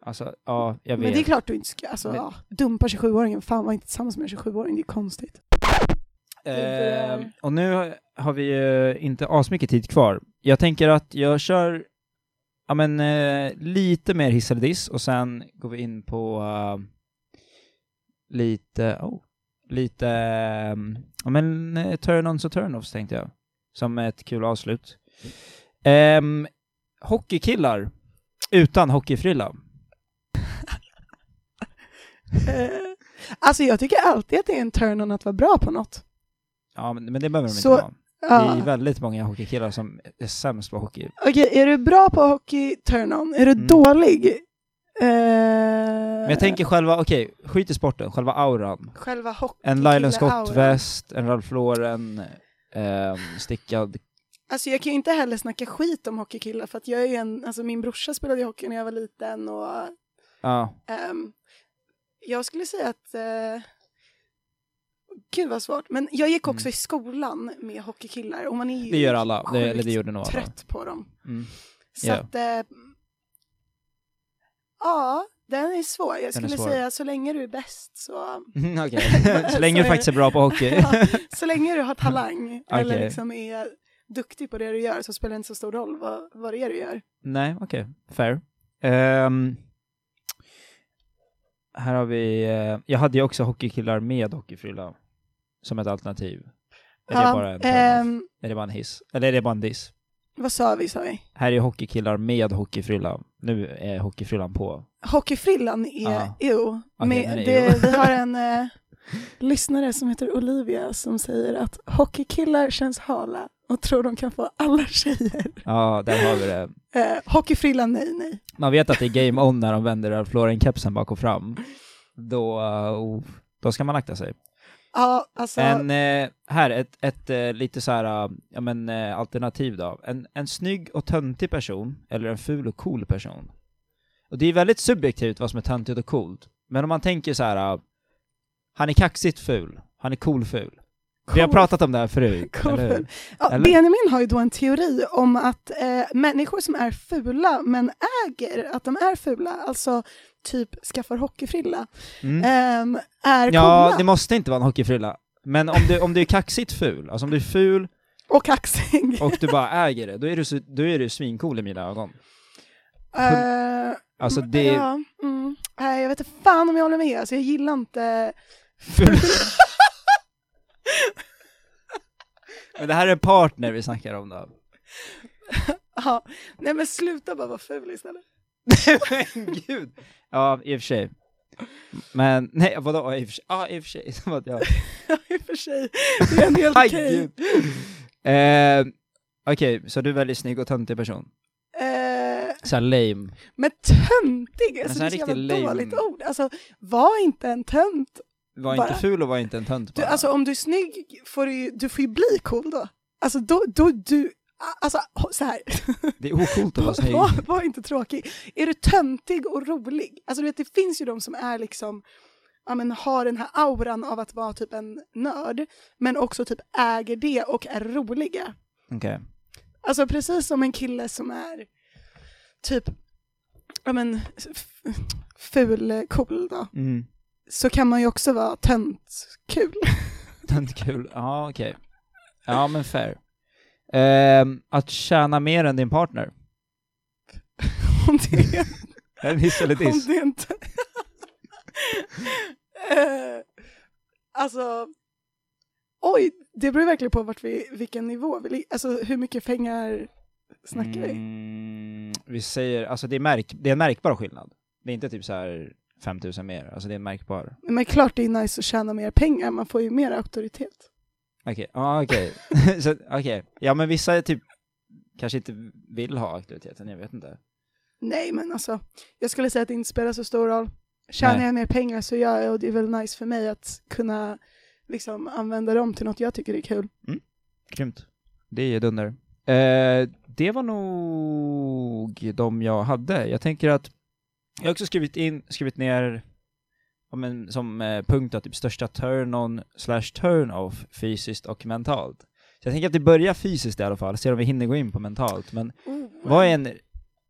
[SPEAKER 6] Alltså, ja, jag vet.
[SPEAKER 5] Men det är klart du inte ska, alltså
[SPEAKER 6] Men-
[SPEAKER 5] ja, dumpa 27-åringen, fan var inte tillsammans med en 27-åring, det är konstigt.
[SPEAKER 6] Eh, och nu har- har vi ju inte asmycket tid kvar. Jag tänker att jag kör ja, men, eh, lite mer hiss eller diss och sen går vi in på eh, lite, oh, lite, eh, ja men eh, turn-ons och turn-offs tänkte jag. Som ett kul avslut. Ehm, hockeykillar utan hockeyfrilla.
[SPEAKER 5] Eh, alltså jag tycker alltid att det är en turn-on att vara bra på något.
[SPEAKER 6] Ja, men, men det behöver de
[SPEAKER 5] Så-
[SPEAKER 6] inte vara.
[SPEAKER 5] Ja.
[SPEAKER 6] Det är väldigt många hockeykillar som är sämst på hockey.
[SPEAKER 5] Okej, är du bra på hockey turn-on? Är du
[SPEAKER 6] Mm.
[SPEAKER 5] dålig? Eh,
[SPEAKER 6] Men jag tänker själva, okej, skit i sporten, själva auran.
[SPEAKER 5] Själva
[SPEAKER 6] En Lylon
[SPEAKER 5] hockeykille-auran.
[SPEAKER 6] Scott-väst, en Ralph Lauren, ehm, stickad...
[SPEAKER 5] Alltså jag kan ju inte heller snacka skit om hockeykillar för att jag är ju en, alltså min brorsa spelade ju hockey när jag var liten och
[SPEAKER 6] Ja,
[SPEAKER 5] ehm, jag skulle säga att eh, Gud vad svårt, men jag gick också
[SPEAKER 6] Mm.
[SPEAKER 5] i skolan med hockeykillar och man är ju
[SPEAKER 6] det gör alla. Det, eller det
[SPEAKER 5] sjukt
[SPEAKER 6] gjorde nog alla.
[SPEAKER 5] trött på dem.
[SPEAKER 6] Mm.
[SPEAKER 5] Så
[SPEAKER 6] Ja.
[SPEAKER 5] att, eh, ja, den är svår. Jag skulle
[SPEAKER 6] svår.
[SPEAKER 5] säga så länge du är bäst så,
[SPEAKER 6] Mm, Okej, så länge du faktiskt är bra på hockey.
[SPEAKER 5] Ja. så länge du har talang eller
[SPEAKER 6] Okej.
[SPEAKER 5] liksom är duktig på det du gör så spelar det inte så stor roll vad, vad det är du gör.
[SPEAKER 6] Nej, okej, fair. Ehm, här har vi... eh, jag hade ju också hockeykillar med hockeyfrilla som ett alternativ. Är det
[SPEAKER 5] Ja,
[SPEAKER 6] bara en turn-off?
[SPEAKER 5] ehm,
[SPEAKER 6] Är det bara en hiss? Eller är det bara en diss?
[SPEAKER 5] vad sa vi, sa vi?
[SPEAKER 6] Här är hockeykillar med hockeyfrilla. Nu är hockeyfrillan på.
[SPEAKER 5] Hockeyfrillan är,
[SPEAKER 6] Ah.
[SPEAKER 5] jo,
[SPEAKER 6] Okej,
[SPEAKER 5] med,
[SPEAKER 6] den är E
[SPEAKER 5] det,
[SPEAKER 6] jo.
[SPEAKER 5] vi har en eh, lyssnare som heter Olivia som säger att hockeykillar känns hala och tror de kan få alla tjejer.
[SPEAKER 6] Ja, där har vi det.
[SPEAKER 5] Eh, hockeyfrillan, nej, nej.
[SPEAKER 6] Man vet att det är game on när de vänder Ralph Lauren-kepsen bak och fram. Då, eh, oh, då ska man akta sig.
[SPEAKER 5] Ja, alltså,
[SPEAKER 6] En, eh, här, ett, ett eh, lite så här, eh, ja men eh, alternativ då. En, en snygg och töntig person, eller en ful och cool person. Och det är väldigt subjektivt vad som är töntigt och coolt. Men om man tänker så här, eh, han är kaxigt ful, han är cool ful. Vi har
[SPEAKER 5] Cool.
[SPEAKER 6] pratat om det här förut,
[SPEAKER 5] Cool
[SPEAKER 6] eller hur?
[SPEAKER 5] ful. ja,
[SPEAKER 6] eller?
[SPEAKER 5] Benjamin har ju då en teori om att eh, människor som är fula men äger att de är fula, alltså typ skaffar hockeyfrilla,
[SPEAKER 6] Mm.
[SPEAKER 5] ehm, är
[SPEAKER 6] Ja,
[SPEAKER 5] coola
[SPEAKER 6] det måste inte vara en hockeyfrilla. Men om du, om du är kaxigt ful, alltså om du är ful
[SPEAKER 5] och kaxig.
[SPEAKER 6] och du bara äger det, då är du, så- då är du svincool i mina ögon.
[SPEAKER 5] Eh,
[SPEAKER 6] Alltså
[SPEAKER 5] Mm,
[SPEAKER 6] det...
[SPEAKER 5] Ja, mm. Nej, jag vet inte fan om jag håller med, alltså, jag gillar inte...
[SPEAKER 6] Men det här är en partner vi snackar om då.
[SPEAKER 5] ja. Nej men sluta bara vara ful istället.
[SPEAKER 6] Men gud! Ja, i och för sig. Men, nej vadå, ja, i och för sig, ja, i och för sig, som att jag...
[SPEAKER 5] Ja, i och för sig, det är en helt
[SPEAKER 6] Aj,
[SPEAKER 5] okej.
[SPEAKER 6] gud. Eh, Okej, så du väljer snygg och töntig person?
[SPEAKER 5] Eh,
[SPEAKER 6] Såhär lame.
[SPEAKER 5] men töntig, alltså,
[SPEAKER 6] så
[SPEAKER 5] det är
[SPEAKER 6] här
[SPEAKER 5] så jävla
[SPEAKER 6] riktigt lame.
[SPEAKER 5] dåligt ord. Alltså, var inte en tönt.
[SPEAKER 6] Var
[SPEAKER 5] Bara-
[SPEAKER 6] inte ful och var inte en tönt
[SPEAKER 5] Du,
[SPEAKER 6] bara.
[SPEAKER 5] alltså om du är snygg får du, ju- du får ju bli cool då. Alltså då, då du, alltså så här.
[SPEAKER 6] Det är ocoolt att vara snygg.
[SPEAKER 5] Var, var inte tråkig. Är du töntig och rolig? Alltså du vet, det finns ju de som är liksom, ja men har den här auran av att vara typ en nörd, men också typ äger det och är roliga.
[SPEAKER 6] Okej.
[SPEAKER 5] Alltså precis som en kille som är typ, ja men, f- ful cool då,
[SPEAKER 6] Mm.
[SPEAKER 5] så kan man ju också vara tönt-kul.
[SPEAKER 6] Tentkul, ja okej. Ja men fair. Ehm, att tjäna mer än din partner?
[SPEAKER 5] Om det är,
[SPEAKER 6] Är det en hiss eller
[SPEAKER 5] om
[SPEAKER 6] diss?
[SPEAKER 5] det inte... Eh, alltså, oj, det beror verkligen på vart vi, vilken nivå vi ligger, alltså hur mycket pengar snackar vi?
[SPEAKER 6] Mm, vi säger, alltså det är, märk, det är en märkbar skillnad. Det är inte typ så här 5000 mer, alltså det är en märkbar.
[SPEAKER 5] Men klart det är nice att tjäna mer pengar, man får ju mer auktoritet.
[SPEAKER 6] Okej, ja okej. Så, okej. Ja men vissa är typ, kanske inte vill ha auktoriteten, jag vet inte.
[SPEAKER 5] Nej men alltså, jag skulle säga att det inte spelar så stor roll. Tjänar
[SPEAKER 6] Nej.
[SPEAKER 5] jag mer pengar så gör jag och det är väl nice för mig att kunna liksom använda dem till något jag tycker är kul.
[SPEAKER 6] Grymt. Det är ju dunder. Eh, det var nog de jag hade. Jag tänker att jag har också skrivit in, skrivit ner ja, men, som eh, punkt att typ största turn-on slash turn-off fysiskt och mentalt. Så jag tänker att vi börjar fysiskt i alla fall, ser om vi hinner gå in på mentalt. Men vad är en...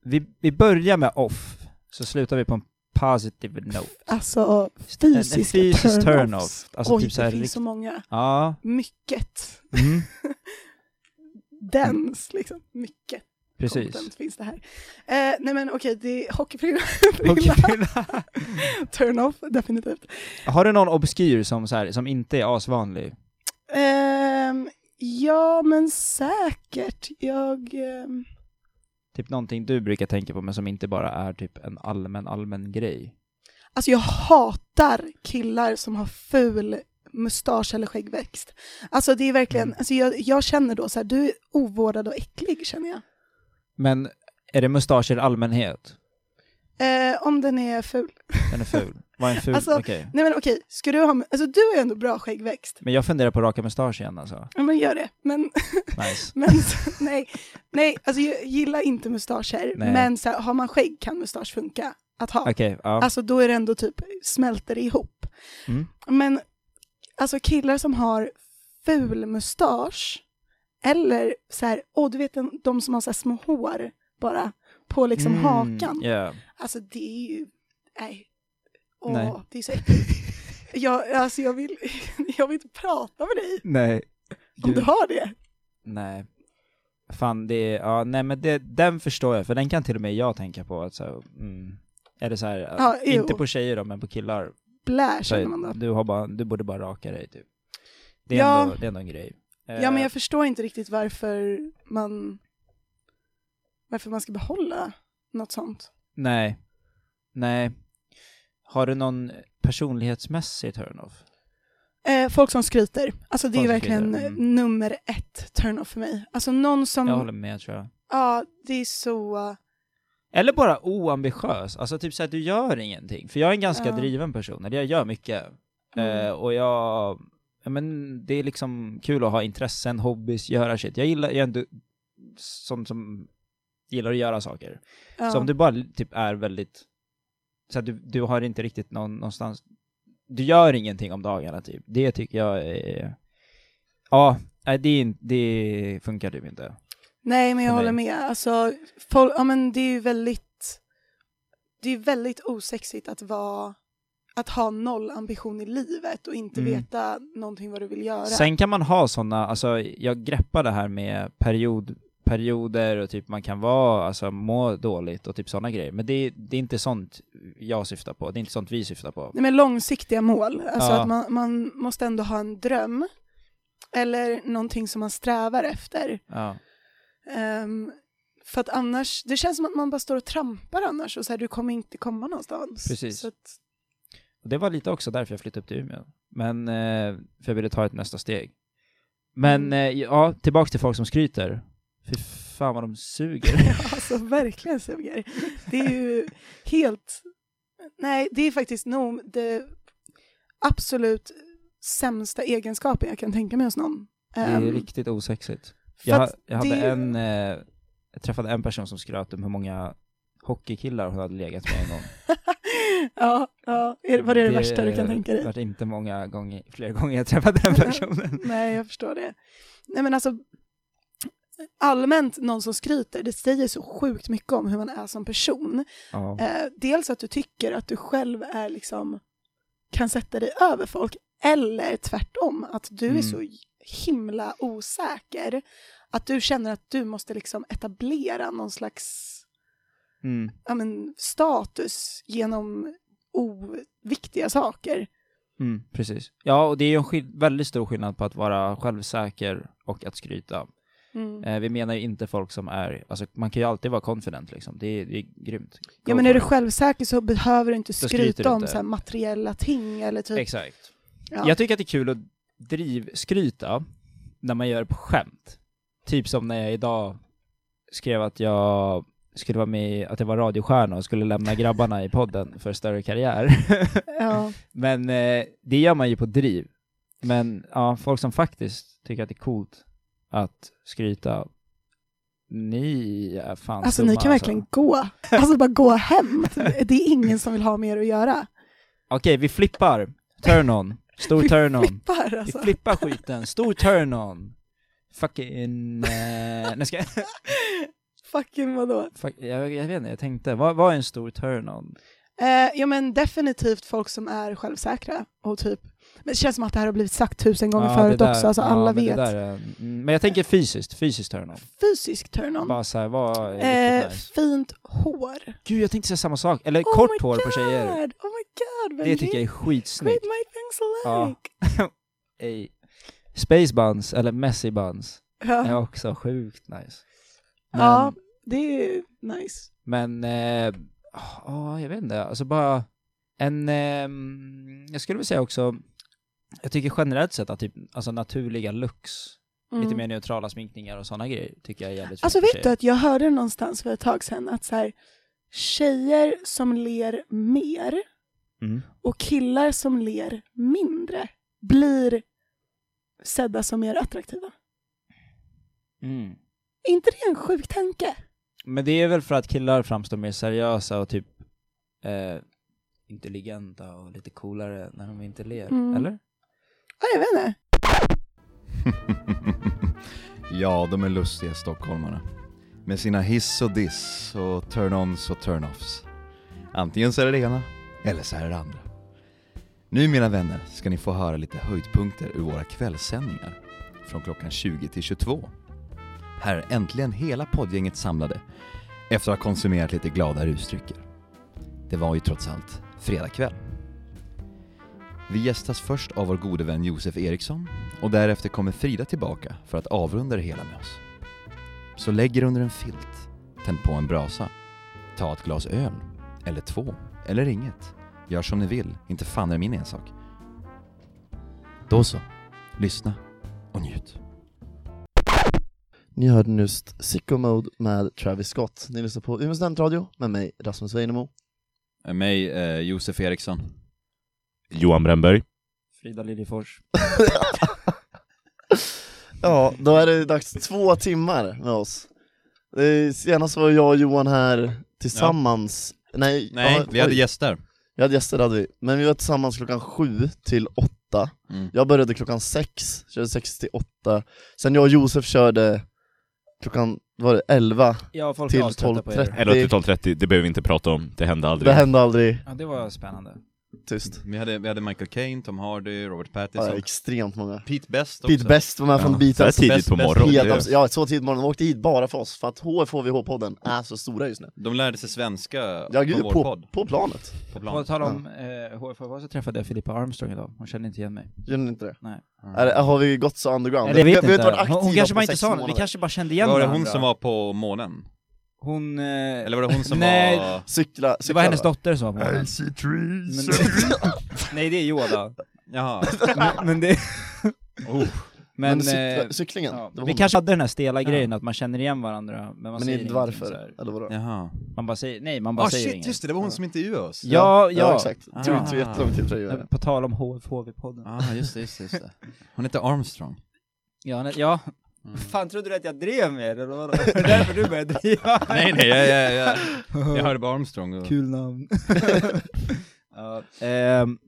[SPEAKER 6] Vi, vi börjar med off, så slutar vi på en positive note.
[SPEAKER 5] Alltså
[SPEAKER 6] En, en
[SPEAKER 5] fysiska
[SPEAKER 6] fysisk
[SPEAKER 5] turn-offs.
[SPEAKER 6] turn-off. Alltså
[SPEAKER 5] Oj,
[SPEAKER 6] typ så här,
[SPEAKER 5] det finns så
[SPEAKER 6] rikt-
[SPEAKER 5] många.
[SPEAKER 6] Ja.
[SPEAKER 5] Mycket.
[SPEAKER 6] Mm,
[SPEAKER 5] Dens, liksom. Mycket
[SPEAKER 6] precis.
[SPEAKER 5] content finns det här. Eh, nej men okej, det är hockeyfrilla.
[SPEAKER 6] Okej,
[SPEAKER 5] Turn-off, definitivt.
[SPEAKER 6] Har du någon obskyr som, så här, som inte är asvanlig?
[SPEAKER 5] Ehm, ja, men säkert. Jag... ehm,
[SPEAKER 6] Typ någonting du brukar tänka på men som inte bara är typ en allmän, allmän grej.
[SPEAKER 5] Alltså jag hatar killar som har ful mustasch eller skäggväxt. Alltså det är
[SPEAKER 6] Mm.
[SPEAKER 5] verkligen, alltså jag, jag känner då så här, du är ovårdad och äcklig känner jag.
[SPEAKER 6] Men är det mustascher i allmänhet?
[SPEAKER 5] Eh, om den är ful.
[SPEAKER 6] Den är ful. Vad är en ful?
[SPEAKER 5] Alltså-
[SPEAKER 6] Okej.
[SPEAKER 5] Nej men okej, ska du ha, alltså du har ju ändå bra skäggväxt.
[SPEAKER 6] Men jag funderar på att raka mustasch igen alltså.
[SPEAKER 5] Ja men gör det. Men,
[SPEAKER 6] Nice.
[SPEAKER 5] men så- nej, nej, alltså jag gillar inte mustascher,
[SPEAKER 6] Nej.
[SPEAKER 5] men så här, har man skägg kan mustasch funka att ha.
[SPEAKER 6] Okej, ja.
[SPEAKER 5] Alltså då är det ändå typ, smälter det ihop.
[SPEAKER 6] Mm.
[SPEAKER 5] Men alltså killar som har ful mustasch eller så här, åh du vet den- de som har så här små hår bara på liksom
[SPEAKER 6] Mm,
[SPEAKER 5] hakan.
[SPEAKER 6] yeah.
[SPEAKER 5] Alltså det är ju, nej. Åh,
[SPEAKER 6] Nej.
[SPEAKER 5] det är så äckligt. Jag, alltså, jag, vill, jag vill inte prata med dig
[SPEAKER 6] Nej.
[SPEAKER 5] om du har det.
[SPEAKER 6] Nej. Fan, det är, ja, nej men det, den förstår jag, för den kan till och med jag tänka på. Att så här, mm, är det så här,
[SPEAKER 5] Ja, jo.
[SPEAKER 6] inte på tjejer då, men på killar.
[SPEAKER 5] Blä
[SPEAKER 6] Så
[SPEAKER 5] känner man då.
[SPEAKER 6] här, du, har bara, du borde bara raka dig typ. Det är,
[SPEAKER 5] Ja.
[SPEAKER 6] ändå, det är ändå en grej. Eh,
[SPEAKER 5] Ja men jag förstår inte riktigt varför man, varför man ska behålla något sånt.
[SPEAKER 6] Nej. Nej. Har du någon personlighetsmässig turn-off?
[SPEAKER 5] Eh, folk som skryter. Alltså det
[SPEAKER 6] Folk
[SPEAKER 5] är
[SPEAKER 6] som
[SPEAKER 5] verkligen
[SPEAKER 6] skryter,
[SPEAKER 5] eh,
[SPEAKER 6] mm.
[SPEAKER 5] nummer ett turn-off för mig. Alltså någon som,
[SPEAKER 6] Jag
[SPEAKER 5] ja
[SPEAKER 6] håller med tror jag.
[SPEAKER 5] det är så,
[SPEAKER 6] Eller bara oambitiös, alltså typ såhär du gör ingenting. För jag är en ganska
[SPEAKER 5] Ja.
[SPEAKER 6] driven person, eller jag gör mycket.
[SPEAKER 5] Mm.
[SPEAKER 6] Eh, och jag, ja men det är liksom kul att ha intressen, hobbies, göra shit. Jag gillar, jag är ändå sån som gillar att göra saker.
[SPEAKER 5] ja.
[SPEAKER 6] Så om du bara typ är väldigt, så att du, du har inte riktigt någon, någonstans, du gör ingenting om dagarna typ. Det tycker jag är, ja, nej, det, är in- det funkar typ inte.
[SPEAKER 5] Nej men jag
[SPEAKER 6] för
[SPEAKER 5] håller
[SPEAKER 6] mig.
[SPEAKER 5] med. Alltså folk, ja men det är ju väldigt, det är väldigt osexigt att vara, att ha noll ambition i livet och inte
[SPEAKER 6] Mm.
[SPEAKER 5] veta någonting vad du vill göra.
[SPEAKER 6] Sen kan man ha sådana, alltså jag greppar det här med period, perioder och typ man kan vara, alltså må dåligt och typ sådana grejer. Men det, det är inte sånt jag syftar på, det är inte sånt vi syftar på.
[SPEAKER 5] Nej men långsiktiga mål, alltså
[SPEAKER 6] Ja.
[SPEAKER 5] att man, man måste ändå ha en dröm eller någonting som man strävar efter.
[SPEAKER 6] Ja.
[SPEAKER 5] Ehm, för att annars, det känns som att man bara står och trampar annars och så här, du kommer inte komma någonstans.
[SPEAKER 6] Precis.
[SPEAKER 5] Så att,
[SPEAKER 6] Och det var lite också därför jag flyttade upp till Umeå. Men, eh, för jag ville ta ett nästa steg. Men
[SPEAKER 5] Mm.
[SPEAKER 6] eh, ja, tillbaks till folk som skryter. Fy fan vad de suger.
[SPEAKER 5] alltså verkligen suger. Det är ju helt, nej det är faktiskt nog det absolut sämsta egenskapen jag kan tänka mig hos någon.
[SPEAKER 6] det är
[SPEAKER 5] Ehm,
[SPEAKER 6] riktigt osexigt.
[SPEAKER 5] för
[SPEAKER 6] Jag,
[SPEAKER 5] att
[SPEAKER 6] jag hade
[SPEAKER 5] det är-
[SPEAKER 6] en, eh, jag träffade en person som skröt om hur många hockeykillar hon hade legat med en gång.
[SPEAKER 5] ja, ja, Är- var det det värsta du kan tänka
[SPEAKER 6] Det
[SPEAKER 5] dig?
[SPEAKER 6] varit inte många gånger, flera gånger jag träffat den personen.
[SPEAKER 5] Nej, jag förstår det. Nej men alltså, allmänt någon som skryter, det säger så sjukt mycket om hur man är som person.
[SPEAKER 6] Ja.
[SPEAKER 5] Eh, dels att du tycker att du själv är liksom, kan sätta dig över folk, eller tvärtom, att du är
[SPEAKER 6] Mm.
[SPEAKER 5] så himla osäker att du känner att du måste liksom etablera någon slags
[SPEAKER 6] Mm.
[SPEAKER 5] ja, men, status genom oviktiga saker.
[SPEAKER 6] Mm, precis. Ja, och det är ju en skill- väldigt stor skillnad på att vara självsäker och att skryta. Eh, vi menar ju inte folk som är, alltså man kan ju alltid vara confident liksom, det är, det är grymt. Go
[SPEAKER 5] Ja, men
[SPEAKER 6] for
[SPEAKER 5] är du
[SPEAKER 6] it.
[SPEAKER 5] självsäker så behöver du inte
[SPEAKER 6] skryter
[SPEAKER 5] skryta
[SPEAKER 6] du
[SPEAKER 5] om
[SPEAKER 6] inte.
[SPEAKER 5] så här materiella ting eller typ...
[SPEAKER 6] Exakt.
[SPEAKER 5] Ja.
[SPEAKER 6] Jag tycker att det är kul att drivskryta när man gör det på skämt. Typ som när jag idag skrev att jag skulle vara med i- att jag var radiostjärna och skulle lämna grabbarna i podden för större karriär.
[SPEAKER 5] Ja.
[SPEAKER 6] Men eh, det gör man ju på driv. Men ja, folk som faktiskt tycker att det är coolt att skryta Ni är fan
[SPEAKER 5] Alltså
[SPEAKER 6] dumma,
[SPEAKER 5] ni kan verkligen gå. Alltså bara gå hem. Det är ingen som vill ha med er att göra.
[SPEAKER 6] Okej, vi flippar. Turn on. Stor
[SPEAKER 5] Vi
[SPEAKER 6] turn on.
[SPEAKER 5] Flippar
[SPEAKER 6] Vi
[SPEAKER 5] alltså.
[SPEAKER 6] flippar skiten. Stor turn on. Fucking... Eh, nej, ska jag,
[SPEAKER 5] Fucking vadå?
[SPEAKER 6] fuck, jag, jag vet inte, jag tänkte. Vad, vad är en stor turn on?
[SPEAKER 5] Eh, ja men definitivt folk som är självsäkra och typ, men det känns som att det här har blivit sagt tusen gånger
[SPEAKER 6] Ja,
[SPEAKER 5] förut
[SPEAKER 6] det där-
[SPEAKER 5] också, alltså
[SPEAKER 6] ja,
[SPEAKER 5] alla
[SPEAKER 6] men det
[SPEAKER 5] vet.
[SPEAKER 6] där är- mm, men jag tänker fysiskt, fysiskt turn on.
[SPEAKER 5] Fysisk turn-on.
[SPEAKER 6] Bara såhär, vad är riktigt
[SPEAKER 5] Eh,
[SPEAKER 6] nice?
[SPEAKER 5] fint hår.
[SPEAKER 6] Gud, jag tänkte säga samma sak. Eller
[SPEAKER 5] Oh
[SPEAKER 6] kort
[SPEAKER 5] my
[SPEAKER 6] hår på tjejer.
[SPEAKER 5] God. Oh my god,
[SPEAKER 6] Det tycker jag är
[SPEAKER 5] Great
[SPEAKER 6] skitsnyggt.
[SPEAKER 5] my things
[SPEAKER 6] Ja.
[SPEAKER 5] alike.
[SPEAKER 6] Ey. Space buns, eller messy buns,
[SPEAKER 5] Ja.
[SPEAKER 6] är
[SPEAKER 5] Ja.
[SPEAKER 6] också sjukt nice. Men,
[SPEAKER 5] det är nice.
[SPEAKER 6] men eh, ja, jag vet inte, alltså bara en, ehm, jag skulle vilja säga också, jag tycker generellt sett att typ, alltså naturliga looks,
[SPEAKER 5] Mm.
[SPEAKER 6] lite mer neutrala sminkningar och sådana grejer tycker jag är jävligt
[SPEAKER 5] Alltså
[SPEAKER 6] fint för
[SPEAKER 5] vet du att jag hörde någonstans för ett tag sedan att så här, tjejer som ler mer
[SPEAKER 6] tjejer. Mm.
[SPEAKER 5] och killar som ler mindre blir sedda som mer attraktiva.
[SPEAKER 6] Mm.
[SPEAKER 5] Är inte det en sjuk tanke?
[SPEAKER 6] Men det är väl för att killar framstår mer seriösa och typ eh, intelligenta och lite coolare när de inte ler,
[SPEAKER 5] Mm.
[SPEAKER 6] eller?
[SPEAKER 5] Ja, jag vet inte.
[SPEAKER 1] ja, de är lustiga stockholmarna. Med sina hiss och diss och turn-ons och turn-offs. Antingen så är det det ena, eller så är det det andra. Nu mina vänner ska ni få höra lite höjdpunkter ur våra kvällssändningar från klockan 20 till 22. Här är äntligen hela poddgänget samlade efter att ha konsumerat lite glada rusdrycker. Det var ju trots allt fredag kväll. Vi gästas först av vår gode vän Josef Eriksson och därefter kommer Frida tillbaka för att avrunda det hela med oss. Så lägg er under en filt, tänd på en brasa, ta ett glas öl, eller två, eller inget. Gör som ni vill, inte fan är det min ensak. Då så, lyssna och njut.
[SPEAKER 2] Ni hörde nyss Sicko Mode med Travis Scott. Ni lyssnar på Umeå studentradio med mig, Rasmus Weinemo.
[SPEAKER 1] Eh, Mig, Josef Eriksson.
[SPEAKER 4] Johan Brännberg.
[SPEAKER 6] Frida Liljefors.
[SPEAKER 2] Ja, då är det dags två timmar med oss. Eh, Senast var jag och Johan här tillsammans. Nej, ja, oj.
[SPEAKER 1] gäster.
[SPEAKER 2] Vi hade gäster hade vi, men vi var tillsammans klockan sju till åtta
[SPEAKER 1] Mm.
[SPEAKER 2] Jag började klockan sex, körde sex till åtta Sen jag och Josef körde klockan, vad var det, elva?
[SPEAKER 6] Ja, folk
[SPEAKER 2] Till
[SPEAKER 6] är aströtta på
[SPEAKER 2] 12.30.
[SPEAKER 6] er.
[SPEAKER 2] Det-
[SPEAKER 4] Eller 12.30, det behöver vi inte prata om, det hände aldrig.
[SPEAKER 2] Det hände aldrig,
[SPEAKER 6] Ja, det var spännande.
[SPEAKER 2] tyst
[SPEAKER 1] Vi hade, vi hade Michael Caine, Tom Hardy, Robert
[SPEAKER 2] ja, Extremt många
[SPEAKER 1] Pete Best
[SPEAKER 2] Pete Best var med från
[SPEAKER 1] Ja.
[SPEAKER 4] Så här
[SPEAKER 2] Beatles
[SPEAKER 4] tidigt på
[SPEAKER 1] Bäst-
[SPEAKER 4] morgonen.
[SPEAKER 2] Helt
[SPEAKER 4] det-
[SPEAKER 2] abs- Ja, så tidigt på morgonen, de åkte hit bara för oss, för att HFHVH-podden är så stora just nu
[SPEAKER 1] De lärde sig svenska
[SPEAKER 2] Ja gud, på, på planet,
[SPEAKER 1] på
[SPEAKER 6] På tal om eh, HFH så träffade jag Filippa Armstrong idag, hon kände inte igen mig.
[SPEAKER 2] gör ni inte det?
[SPEAKER 6] Nej.
[SPEAKER 1] Mm.
[SPEAKER 2] Är, det- har vi gått så underground?
[SPEAKER 6] Eller jag
[SPEAKER 2] Vi-
[SPEAKER 6] vet
[SPEAKER 2] vi har
[SPEAKER 6] inte,
[SPEAKER 2] varit
[SPEAKER 6] hon, hon
[SPEAKER 2] aktiva
[SPEAKER 6] kanske
[SPEAKER 2] på
[SPEAKER 6] bara inte
[SPEAKER 2] sex
[SPEAKER 6] sa något, vi
[SPEAKER 2] månader.
[SPEAKER 6] kanske bara kände igen
[SPEAKER 1] Var det hon
[SPEAKER 6] varandra.
[SPEAKER 1] som var på månen?
[SPEAKER 6] Hon... Eh,
[SPEAKER 1] Eller var det hon som
[SPEAKER 6] Nej, alltså,
[SPEAKER 1] var...
[SPEAKER 2] Cykla,
[SPEAKER 6] det
[SPEAKER 2] cykla
[SPEAKER 6] var hennes
[SPEAKER 2] va?
[SPEAKER 6] dotter som var på
[SPEAKER 4] see trees.
[SPEAKER 6] Nej, det är Yoda.
[SPEAKER 1] Jaha.
[SPEAKER 6] men, men det...
[SPEAKER 1] Oh.
[SPEAKER 6] Men,
[SPEAKER 2] Men cykla,
[SPEAKER 6] eh,
[SPEAKER 2] cyklingen,
[SPEAKER 6] Ja,
[SPEAKER 2] det var
[SPEAKER 6] vi
[SPEAKER 2] hon.
[SPEAKER 6] kanske hade den här stela grejen att man känner igen varandra men man
[SPEAKER 2] Men
[SPEAKER 6] säger
[SPEAKER 2] inte
[SPEAKER 6] ingenting
[SPEAKER 2] varför,
[SPEAKER 6] så här.
[SPEAKER 2] eller vadå?
[SPEAKER 1] Jaha.
[SPEAKER 6] Man bara säger, nej man bara
[SPEAKER 1] Ah
[SPEAKER 6] säger
[SPEAKER 1] shit,
[SPEAKER 6] inget.
[SPEAKER 1] just det, det var hon som intervjuade oss.
[SPEAKER 6] Ja, Ah. ja.
[SPEAKER 2] exakt. Det
[SPEAKER 1] Ah.
[SPEAKER 2] tog tog jättelång tid för dig att göra.
[SPEAKER 6] På tal om HFHV-podden.
[SPEAKER 1] Ah, just det, just det, just det. Hon heter Armstrong.
[SPEAKER 6] Ja, nej, ja.
[SPEAKER 1] Mm.
[SPEAKER 6] Fan, trodde du att jag drev med er eller vadå? Var det därför du började driva?
[SPEAKER 1] nej, nej, jag, jag, jag, jag hörde bara Armstrong och...
[SPEAKER 6] Kul namn. ja, ehm,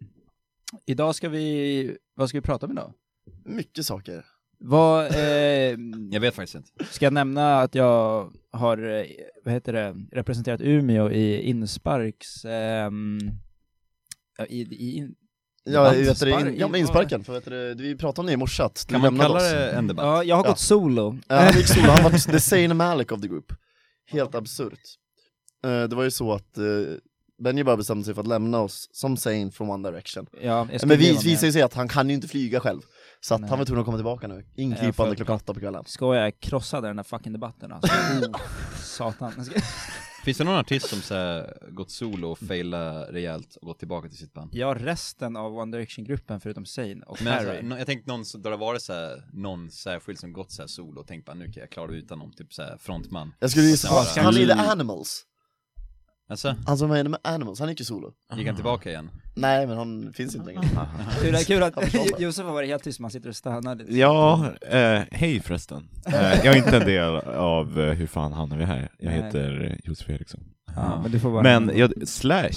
[SPEAKER 6] idag ska vi, vad ska vi prata om idag?
[SPEAKER 2] Mycket saker.
[SPEAKER 6] Vad, ehm,
[SPEAKER 1] Jag vet faktiskt inte.
[SPEAKER 6] Ska jag nämna att jag har, eh, vad heter det, representerat Umeå i insparks... ehm, ja, i, i, in,
[SPEAKER 2] Ja,
[SPEAKER 6] Inspark-
[SPEAKER 2] vet du, in, ja men insparken, för vet du, vi pratade om det i morse att du
[SPEAKER 1] Kan man
[SPEAKER 2] lämnade
[SPEAKER 1] kalla
[SPEAKER 2] oss.
[SPEAKER 1] det en debatt?
[SPEAKER 6] ja, jag har
[SPEAKER 2] Ja.
[SPEAKER 6] gått solo.
[SPEAKER 2] Ja, han gick solo, han var the sane Malik of the group. Helt absurt. Eh, det var ju så att uh, Benji bara bestämde sig för att lämna oss som Zayn från One Direction.
[SPEAKER 6] Ja, jag skulle
[SPEAKER 2] Men vi
[SPEAKER 6] leva med
[SPEAKER 2] visar ju sig att han kan ju inte flyga själv. Så att
[SPEAKER 6] Nej.
[SPEAKER 2] han var tvungen att komma tillbaka nu,
[SPEAKER 6] Ja, för-
[SPEAKER 2] ingripande klockan åtta på kvällen.
[SPEAKER 6] det. Skojar, jag krossade den där fucking debatten alltså. oh, satan. Jag ska-
[SPEAKER 1] Finns det någon artist som så här, gått solo och failat rejält och gått tillbaka till sitt band?
[SPEAKER 6] Ja, resten av One Direction-gruppen förutom Zayn och
[SPEAKER 1] Men alltså,
[SPEAKER 6] Harry.
[SPEAKER 1] nå- jag tänkte någon, som- där det varit så här, någon särskild som gått så här solo och tänkt bara nu kan jag klara det utan någon typ så här frontman.
[SPEAKER 2] Jag skulle gissa
[SPEAKER 1] Ja,
[SPEAKER 2] på
[SPEAKER 1] ska
[SPEAKER 2] han
[SPEAKER 1] vi-
[SPEAKER 2] är The Animals.
[SPEAKER 1] Alltså,
[SPEAKER 2] Han som var inne med Animals, han gick ju solo.
[SPEAKER 1] gick han tillbaka igen?
[SPEAKER 2] Nej men han finns inte längre.
[SPEAKER 6] Kul, kul
[SPEAKER 2] Han
[SPEAKER 6] att
[SPEAKER 2] försvann.
[SPEAKER 6] Josef har varit helt tyst, man sitter och stönar lite.
[SPEAKER 4] Ja, eh, hej förresten. Eh, jag är inte en del av eh, Hur fan hamnar vi här? Jag
[SPEAKER 6] Nej.
[SPEAKER 4] heter eh, Josef Eriksson.
[SPEAKER 6] Ja, men du får bara...
[SPEAKER 4] Men jag, Slash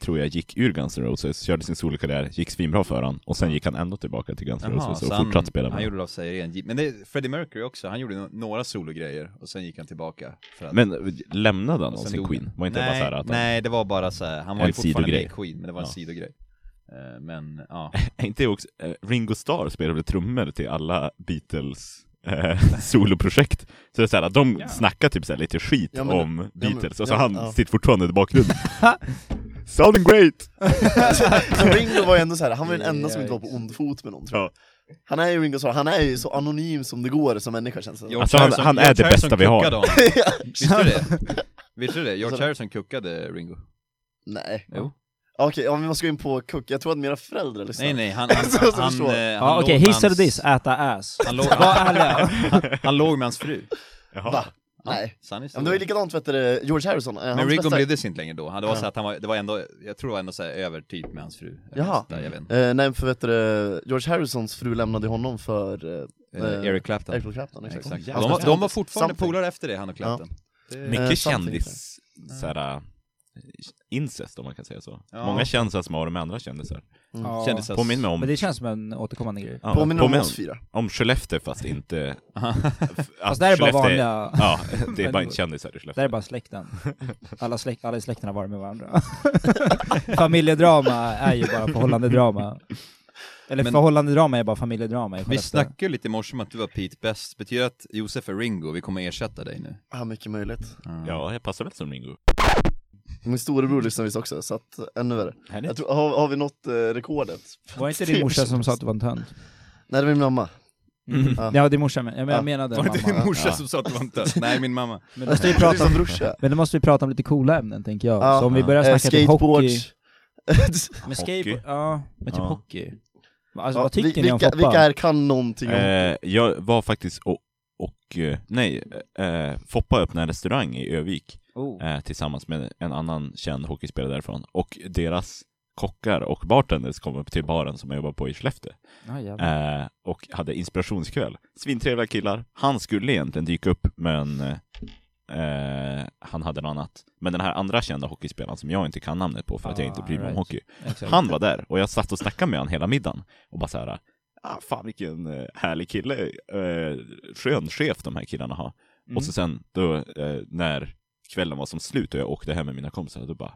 [SPEAKER 4] tror jag gick ur Guns N' Roses, körde sin solokarriär, gick svinbra för han, och sen gick han ändå tillbaka till Guns N' Roses och fortsatte spela
[SPEAKER 1] han
[SPEAKER 4] med.
[SPEAKER 1] gjorde väl av sig igen. Men det, Freddie Mercury också, han gjorde no- några sologrejer och sen gick han tillbaka. För att,
[SPEAKER 4] Men eh, lämnade han
[SPEAKER 1] och sen
[SPEAKER 4] någonsin
[SPEAKER 1] dog
[SPEAKER 4] Queen?
[SPEAKER 1] han.
[SPEAKER 4] Var inte
[SPEAKER 1] nej,
[SPEAKER 4] bara så här att
[SPEAKER 1] Nej, det var bara så här. han var
[SPEAKER 4] En
[SPEAKER 1] ju fortfarande med i
[SPEAKER 4] sidogrej.
[SPEAKER 1] Queen, men det var en
[SPEAKER 4] Ja.
[SPEAKER 1] sidogrej. Eh, Men ja,
[SPEAKER 4] han, inte också, eh, Ringo Starr spelade trummor till alla Beatles eh, soloprojekt. Så det är så här, de snackar typ så här lite skit
[SPEAKER 2] Ja, men-
[SPEAKER 4] om
[SPEAKER 2] men-
[SPEAKER 4] Beatles, och så
[SPEAKER 2] ja,
[SPEAKER 4] han
[SPEAKER 2] ja.
[SPEAKER 4] sitter fortfarande i bakgrunden. Sounding great!
[SPEAKER 6] Ah.
[SPEAKER 2] Så Ringo var ju ändå så här, han var ju den enda som
[SPEAKER 6] Ja,
[SPEAKER 2] inte var på ond fot med någon tror
[SPEAKER 4] Ja.
[SPEAKER 2] jag. Han är ju Ringo Starr, han är ju så anonym som det går som människa känns det som.
[SPEAKER 1] George
[SPEAKER 4] Alltså, han-
[SPEAKER 1] Harrison-
[SPEAKER 4] han är
[SPEAKER 1] George
[SPEAKER 4] det bästa
[SPEAKER 1] Harrison
[SPEAKER 4] vi har. Alltså-
[SPEAKER 1] kuckade honom. Visste du det? Visste du det? George Harrison kuckade Ringo.
[SPEAKER 2] Nej.
[SPEAKER 1] Jo.
[SPEAKER 2] Okej, om vi måste gå in på Cook, jag tror att mina föräldrar lyssnar.
[SPEAKER 1] Nej nej, han... han,
[SPEAKER 2] Så jag
[SPEAKER 1] han, han,
[SPEAKER 2] förstår.
[SPEAKER 1] eh, han
[SPEAKER 6] Ja, okej,
[SPEAKER 1] låg med
[SPEAKER 6] hiss eller
[SPEAKER 1] hans-
[SPEAKER 6] diss, äta ass.
[SPEAKER 1] Han låg,
[SPEAKER 6] Var ärliga.
[SPEAKER 1] han låg med hans fru.
[SPEAKER 4] Jaha.
[SPEAKER 2] Va? Nej.
[SPEAKER 1] Sann
[SPEAKER 2] Ja, men det var
[SPEAKER 1] historia.
[SPEAKER 2] ju likadant vet du, George Harrison, eh,
[SPEAKER 1] Men
[SPEAKER 2] hans
[SPEAKER 1] Ringo
[SPEAKER 2] bästa...
[SPEAKER 1] brydde sig inte längre då, han, det var
[SPEAKER 2] Ja.
[SPEAKER 1] så att han var, det var ändå, jag tror det var ändå så här över typ med hans fru. Eller
[SPEAKER 2] Jaha.
[SPEAKER 1] sånt Där,
[SPEAKER 4] Mm.
[SPEAKER 1] jag vet inte.
[SPEAKER 2] Eh, nej för vet du, George Harrisons fru lämnade honom för eh,
[SPEAKER 1] Eh, Eric Clapton.
[SPEAKER 2] Eric Clapton, exakt.
[SPEAKER 1] Exakt.
[SPEAKER 2] Hans
[SPEAKER 1] De, var-
[SPEAKER 2] bästa
[SPEAKER 1] de var
[SPEAKER 2] kompis.
[SPEAKER 1] fortfarande
[SPEAKER 2] Something.
[SPEAKER 1] polare efter det, han och Clapton.
[SPEAKER 2] Eh,
[SPEAKER 4] Mycket
[SPEAKER 2] something,
[SPEAKER 4] kändis, såhär, eh, incest om man kan säga så.
[SPEAKER 1] Ja.
[SPEAKER 4] Många kändisar som har de andra kändisar.
[SPEAKER 6] Ja.
[SPEAKER 1] Kändisar.
[SPEAKER 4] Påminn mig om,
[SPEAKER 6] Men det känns som en återkommande grej.
[SPEAKER 4] ja,
[SPEAKER 2] Påminner om
[SPEAKER 4] påminn
[SPEAKER 2] oss fyra.
[SPEAKER 4] om Skellefteå fast inte... Fast
[SPEAKER 6] Fast där är bara vanliga...
[SPEAKER 4] Ja, det är bara inte kändisar i
[SPEAKER 6] Det
[SPEAKER 4] Skellefteå.
[SPEAKER 6] här är bara släkten. Alla, släk, alla i släkten har varit med varandra. Familjedrama är ju bara förhållandedrama. Eller
[SPEAKER 1] Men-
[SPEAKER 6] förhållandedrama är bara familjedrama i
[SPEAKER 1] Vi
[SPEAKER 6] Skellefteå.
[SPEAKER 1] snackade ju lite i morse om att du var Pete Best, betyder det att Josef är Ringo, vi kommer ersätta dig nu? Mm.
[SPEAKER 2] Ja, mycket möjligt.
[SPEAKER 4] Ja, jag passar väl som Ringo.
[SPEAKER 2] Min storebror lyssnar visst också, så att eh, ännu värre.
[SPEAKER 6] Härligt.
[SPEAKER 2] Jag tror, har, har vi nått eh, rekordet?
[SPEAKER 6] Var inte din morsa som sa att du var en tönt?
[SPEAKER 2] Nej, det var min mamma.
[SPEAKER 6] Ja,
[SPEAKER 2] Ja.
[SPEAKER 6] din morsa men, ja, men
[SPEAKER 2] Ja.
[SPEAKER 6] jag menade
[SPEAKER 1] Var det din
[SPEAKER 6] mamma.
[SPEAKER 1] morsa som sa att du var en tönt? Nej, min mamma.
[SPEAKER 6] Men då måste vi
[SPEAKER 2] Det är
[SPEAKER 6] prata
[SPEAKER 2] som
[SPEAKER 6] om,
[SPEAKER 2] brorsa.
[SPEAKER 6] men då måste vi prata om lite coola ämnen tänker jag.
[SPEAKER 2] Ja.
[SPEAKER 6] Så om vi börjar
[SPEAKER 2] Eh,
[SPEAKER 6] snacka typ hockey.
[SPEAKER 2] skateboards.
[SPEAKER 6] Men
[SPEAKER 4] Hockey.
[SPEAKER 6] skateboard, ja, men typ
[SPEAKER 4] Ja.
[SPEAKER 6] hockey. Alltså
[SPEAKER 2] Ja,
[SPEAKER 6] vad tycker
[SPEAKER 2] vi-
[SPEAKER 6] ni om
[SPEAKER 2] vilka,
[SPEAKER 6] Foppa?
[SPEAKER 2] vilka här kan någonting om
[SPEAKER 4] Eh, jag var faktiskt och, och eh, nej, eh, Foppa öppnade en restaurang i Övik
[SPEAKER 6] Oh.
[SPEAKER 4] eh, tillsammans med en annan känd hockeyspelare därifrån och deras kockar och bartenders kom upp till baren som jag jobbar på i Skellefteå
[SPEAKER 6] Ja, jävlar.
[SPEAKER 4] eh, och hade inspirationskväll. Svintrevliga killar. Han skulle egentligen dyka upp, men eh, han hade något annat. Men den här andra kända hockeyspelaren som jag inte kan namnet på för att jag
[SPEAKER 6] Ah,
[SPEAKER 4] inte bryr mig om
[SPEAKER 6] right.
[SPEAKER 4] hockey,
[SPEAKER 6] Exakt. Mm.
[SPEAKER 4] han var där och jag satt och snackade med honom hela middagen och bara så här, ah, fan vilken eh, härlig kille, eh, skön chef de här killarna har.
[SPEAKER 6] Mm.
[SPEAKER 4] Och så sen då eh, när kvällen var som slut och jag åkte hem med mina kompisar, då bara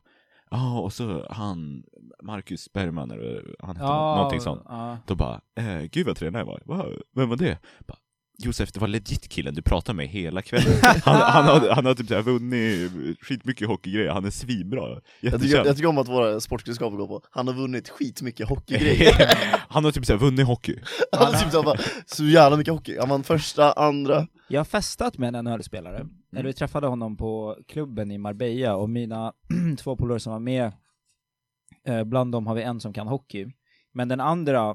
[SPEAKER 4] Ja, och så han, Marcus Bergman, eller han hette
[SPEAKER 6] Ja,
[SPEAKER 4] någonting sånt.
[SPEAKER 6] ja.
[SPEAKER 4] Då bara, eh, gud vad trevlig jag var. Va? Vem var det? Bara, Josef, det var legit killen du pratade med hela kvällen. Han, han, har, han har typ så här vunnit skitmycket hockeygrejer, han är svinbra.
[SPEAKER 2] Jag tycker,
[SPEAKER 4] Jättekänd.
[SPEAKER 2] jag tycker om att våra sportkunskaper går på, han har vunnit skitmycket hockeygrejer.
[SPEAKER 4] han har typ så här vunnit hockey.
[SPEAKER 2] han har typ så, bara, så jävla mycket hockey. Han vann första, andra.
[SPEAKER 6] Jag har festat med en NHL-spelare, eller vi träffade honom på klubben i Marbella och mina två polare som var med, eh, bland dem har vi en som kan hockey, men den andra,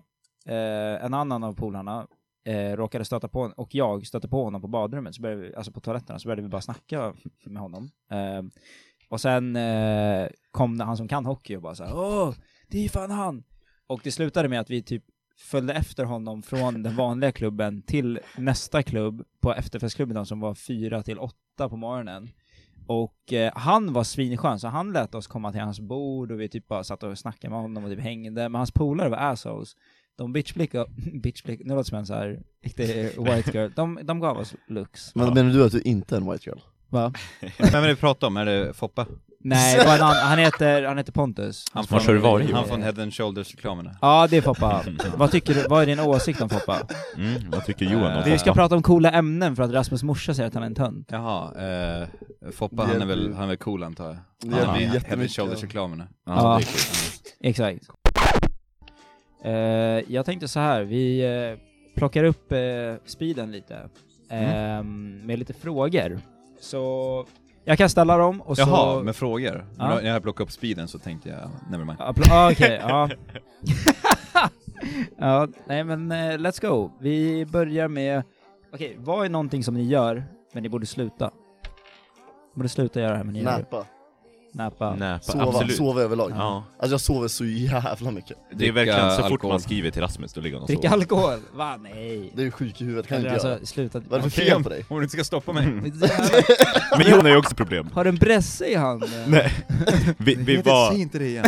[SPEAKER 6] eh, en annan av polarna, eh, råkade stöta på, och jag stötte på honom på badrummet, så började vi, alltså på toaletterna, så började vi bara snacka med honom. Eh, och sen eh, kom han som kan hockey och bara såhär Åh, det är ju fan han! Och det slutade med att vi typ följde efter honom från den vanliga klubben till nästa klubb på efterfestklubben som var fyra till åtta på morgonen. Och eh, han var svinskön, så han lät oss komma till hans bord och vi typ bara satt och snackade med honom och typ hängde, men hans polare var assholes. De bitchblickade, bitchblick, nu låter det som en såhär riktig white girl, de, de gav oss lux.
[SPEAKER 2] Men menar du att du inte är en white girl?
[SPEAKER 6] Va?
[SPEAKER 1] Vem är det vi pratar om? Är det Foppa?
[SPEAKER 6] Nej, det var en annan, han, heter, han heter Pontus.
[SPEAKER 1] Han
[SPEAKER 4] Vart har du varit,
[SPEAKER 1] Han
[SPEAKER 6] Johan?
[SPEAKER 1] från Head and Shoulders-reklamerna.
[SPEAKER 6] Ja, det är Foppa. vad, tycker du, vad är din åsikt om Foppa?
[SPEAKER 4] Mm, vad tycker Johan om
[SPEAKER 1] Eh,
[SPEAKER 6] Vi
[SPEAKER 4] det?
[SPEAKER 6] ska prata om coola ämnen för att Rasmus morsa säger att han är en tönt.
[SPEAKER 1] Jaha, eh, Foppa han är, väl, han är väl cool antar jag?
[SPEAKER 2] Det
[SPEAKER 1] Han
[SPEAKER 2] hjälper
[SPEAKER 1] är
[SPEAKER 2] ju
[SPEAKER 1] med Head and
[SPEAKER 2] jättemycket.
[SPEAKER 1] Shoulders-reklamerna.
[SPEAKER 6] Ja, exakt. Eh, jag tänkte så här, vi eh, plockar upp eh, speeden lite.
[SPEAKER 1] Mm.
[SPEAKER 6] eh, Med lite frågor. Så jag kan ställa dem och
[SPEAKER 1] Jaha,
[SPEAKER 6] så...
[SPEAKER 1] med frågor?
[SPEAKER 6] Ja.
[SPEAKER 1] När jag plockade upp speeden så tänkte jag, nevermind.
[SPEAKER 6] Appla- ah, Okej, ja. ja. Nej men eh, let's go. Vi börjar med, okej, vad är någonting som ni gör, men ni borde sluta? Borde sluta göra det här, men ni gör
[SPEAKER 2] Näpa.
[SPEAKER 6] det. Näpa.
[SPEAKER 4] Näpa,
[SPEAKER 2] Sova,
[SPEAKER 4] absolut.
[SPEAKER 2] sova överlag.
[SPEAKER 4] Ja.
[SPEAKER 2] Alltså jag sover så jävla mycket.
[SPEAKER 4] Det är
[SPEAKER 1] Dricka
[SPEAKER 4] verkligen så fort
[SPEAKER 1] alkohol.
[SPEAKER 4] man skriver till Rasmus, då ligger han och
[SPEAKER 6] Dricka
[SPEAKER 4] sover.
[SPEAKER 6] alkohol? Va? Nej.
[SPEAKER 2] Det är ju sjuk i huvudet, kan
[SPEAKER 6] Eller
[SPEAKER 2] inte göra.
[SPEAKER 6] alltså, sluta.
[SPEAKER 2] Vad är det för fel på dig?
[SPEAKER 1] Om du inte ska stoppa mig.
[SPEAKER 4] Men Jon har ju också problem.
[SPEAKER 6] Har du en bresse i handen?
[SPEAKER 4] Nej. Vi, vi var...
[SPEAKER 1] Säg inte det igen.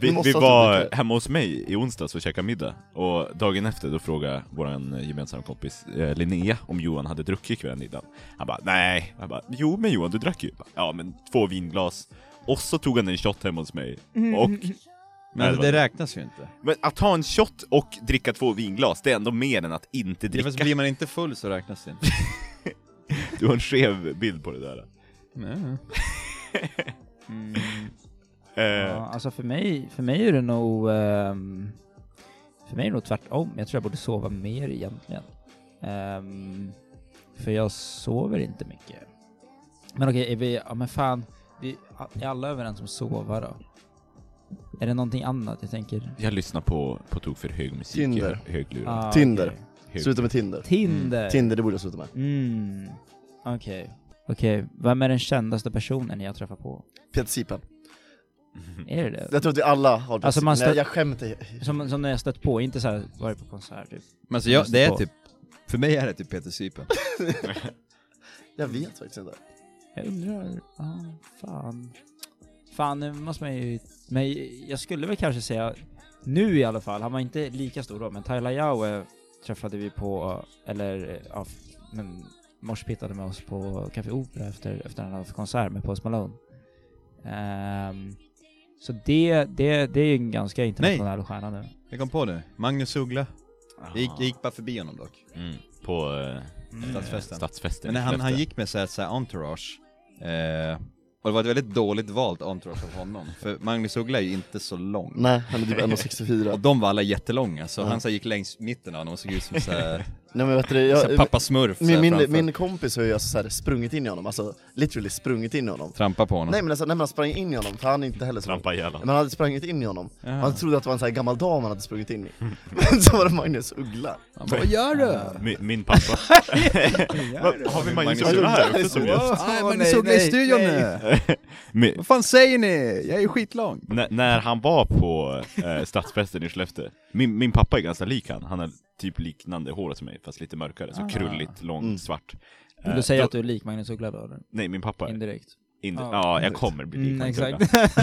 [SPEAKER 2] Vi
[SPEAKER 4] Vi,
[SPEAKER 2] måste
[SPEAKER 4] vi
[SPEAKER 2] ha
[SPEAKER 4] var
[SPEAKER 2] tillbaka.
[SPEAKER 4] hemma hos mig i onsdags och käkade middag, och dagen efter då frågade vår gemensamma kompis eh, Linnea om Johan hade druckit kvällen innan. Han bara nej, jag bara jo men Johan du drack ju. Jag bara, Ja men två vinglas, och så tog han en shot hemma hos mig. Och,
[SPEAKER 1] Men alltså, det räknas ju inte.
[SPEAKER 4] men att ta en shot och dricka två vinglas, det är ändå mer än att inte
[SPEAKER 1] Ja,
[SPEAKER 4] dricka.
[SPEAKER 1] fast blir man inte full så räknas det inte.
[SPEAKER 4] Du har en skev bild på det där.
[SPEAKER 1] Nej. Mm.
[SPEAKER 4] Eh,
[SPEAKER 6] Ja, alltså för mig, för mig är det nog... ehm, för mig är det nog tvärtom. Jag tror jag borde sova mer egentligen. Ehm, för jag sover inte mycket. Men okej, är vi... Ja men fan. Vi, är alla överens om sova då? Är det någonting annat jag tänker?
[SPEAKER 4] Jag lyssnar på, på tok för hög musik
[SPEAKER 2] Tinder.
[SPEAKER 4] i hö- höglurar.
[SPEAKER 6] Ah,
[SPEAKER 2] Tinder.
[SPEAKER 6] okej.
[SPEAKER 4] Hög-
[SPEAKER 2] Sluta med Tinder.
[SPEAKER 6] Tinder.
[SPEAKER 2] Tinder, det borde jag sluta med.
[SPEAKER 6] Mm. Okej. Okej, vem är den kändaste personen jag träffar på?
[SPEAKER 2] Peter Sipen.
[SPEAKER 6] Är det det?
[SPEAKER 2] Jag tror att vi alla har Peter
[SPEAKER 6] Alltså, man
[SPEAKER 2] Sipen. Nej,
[SPEAKER 6] stö-
[SPEAKER 2] jag skämtar.
[SPEAKER 6] Som, som när jag stött på, inte såhär varit på konsert typ.
[SPEAKER 1] Men alltså jag, det är typ, för mig är det typ Peter Sipen.
[SPEAKER 2] Jag vet faktiskt inte.
[SPEAKER 6] Jag undrar, ah, fan. Fan, nu måste man ju, men jag skulle väl kanske säga, nu i alla fall, han var inte lika stor då, men Tyler Yahweh träffade vi på, eller ja, f- men morspittade med oss på Café Opera efter, efter han hade haft konsert med Post Malone. Ehm, så det, det, det är ju en ganska internationell stjärna nu.
[SPEAKER 1] Jag kom på det. Magnus Uggla. Jag gick,
[SPEAKER 4] Ah.
[SPEAKER 1] jag gick bara förbi honom dock.
[SPEAKER 4] Mm, på eh,
[SPEAKER 1] Mm. Stadsfesten.
[SPEAKER 4] stadsfesten. i
[SPEAKER 1] Men han, han
[SPEAKER 4] Skellefteå.
[SPEAKER 1] gick med så här, så här entourage. Eh, och det var ett väldigt dåligt valt entourage av honom. För Magnus Uggla är ju inte så lång.
[SPEAKER 2] Nej, han är typ
[SPEAKER 1] Och
[SPEAKER 2] 1,64.
[SPEAKER 1] de var alla jättelånga, så
[SPEAKER 2] Ja.
[SPEAKER 1] han så här, gick längs mitten av dem och såg ut som så här,
[SPEAKER 2] Nej men vet du,
[SPEAKER 1] så här,
[SPEAKER 2] jag,
[SPEAKER 1] pappa smurf så här,
[SPEAKER 2] min, min,
[SPEAKER 1] framför.
[SPEAKER 2] min kompis har ju alltså så här sprungit in i honom, alltså literally sprungit in i honom.
[SPEAKER 1] Trampa på honom.
[SPEAKER 2] Nej men alltså, nej, men han sprang in i honom, för han är inte heller så lång.
[SPEAKER 4] Trampa ihjäl honom.
[SPEAKER 2] Men han hade sprungit in i honom.
[SPEAKER 1] Jaha.
[SPEAKER 2] Han trodde att det var en sån här gammal dam han hade sprungit in i. Men så var det Magnus Uggla.
[SPEAKER 1] Han bara, "Ah, Vad gör du?
[SPEAKER 4] Min, min pappa. Vad- Har vi Magnus Uggla här också som gäst?
[SPEAKER 1] Ah, Nej,
[SPEAKER 6] Åh,
[SPEAKER 1] Magnus
[SPEAKER 6] nej,
[SPEAKER 1] Uggla i
[SPEAKER 6] nej,
[SPEAKER 1] studion
[SPEAKER 6] nej.
[SPEAKER 1] nu!
[SPEAKER 4] Med-
[SPEAKER 1] Vad fan säger ni? Jag är skitlång!
[SPEAKER 4] När, när han var på eh, stadsfesten i Skellefteå, min, min pappa är ganska lik han, han har typ liknande hår som mig fast lite mörkare, så
[SPEAKER 6] Ah.
[SPEAKER 4] krulligt, långt,
[SPEAKER 2] Mm.
[SPEAKER 4] svart.
[SPEAKER 6] Vill
[SPEAKER 4] Eh,
[SPEAKER 6] du säga
[SPEAKER 4] då-
[SPEAKER 6] att du är lik Magnus Uggla då? eller?
[SPEAKER 4] Nej, min pappa. är
[SPEAKER 6] Indirekt.
[SPEAKER 4] Indi-
[SPEAKER 6] Ah.
[SPEAKER 4] ja, jag kommer bli lik
[SPEAKER 6] Mm,
[SPEAKER 4] Magnus Uggla.
[SPEAKER 6] exakt.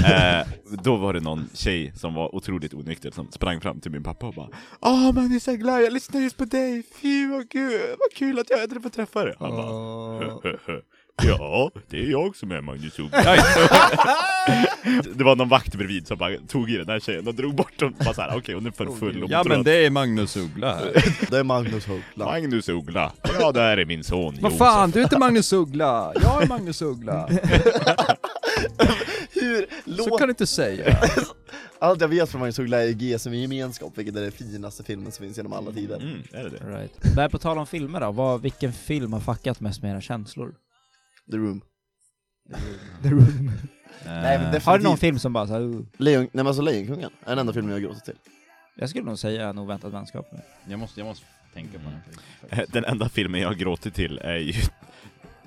[SPEAKER 4] Eh, då var det någon tjej som var otroligt onykter som sprang fram till min pappa och bara "Ah, Åh Magnus Uggla, jag lyssnar just på dig, fy vad kul, vad kul att jag äntligen får träffa dig! Han bara Ja, det är jag som är Magnus Uggla. det var någon vakt bredvid som bara tog i den här tjejen och drog bort den. Bara såhär, okej hon är för full och
[SPEAKER 1] Ja men
[SPEAKER 4] trött.
[SPEAKER 1] det är Magnus Uggla här.
[SPEAKER 2] Det är Magnus Uggla.
[SPEAKER 4] Magnus Uggla. Ja, det här är min son
[SPEAKER 1] Vad fan, du är inte Magnus Uggla! Jag är Magnus Uggla!
[SPEAKER 2] Hur
[SPEAKER 1] Så kan
[SPEAKER 2] låter...
[SPEAKER 1] du inte säga.
[SPEAKER 2] Allt jag vet från Magnus Uggla är GSM i gemenskap, vilket är den finaste filmen som finns genom alla tider.
[SPEAKER 4] Mm, är det det?
[SPEAKER 6] Right. Där på tal om filmer då, vad, vilken film har fuckat mest med era känslor?
[SPEAKER 2] The Room.
[SPEAKER 6] The Room.
[SPEAKER 2] Nej,
[SPEAKER 1] Eh,
[SPEAKER 2] men
[SPEAKER 6] Har du någon
[SPEAKER 2] definitivt.
[SPEAKER 6] film som bara såhär, uh,
[SPEAKER 2] Lejon... Nej men alltså Lejonkungen, är den enda filmen jag har gråtit till.
[SPEAKER 6] jag skulle nog säga en oväntad vänskap. Med.
[SPEAKER 1] Jag måste, jag måste tänka på Eh, den.
[SPEAKER 4] Den enda filmen jag har gråtit till är ju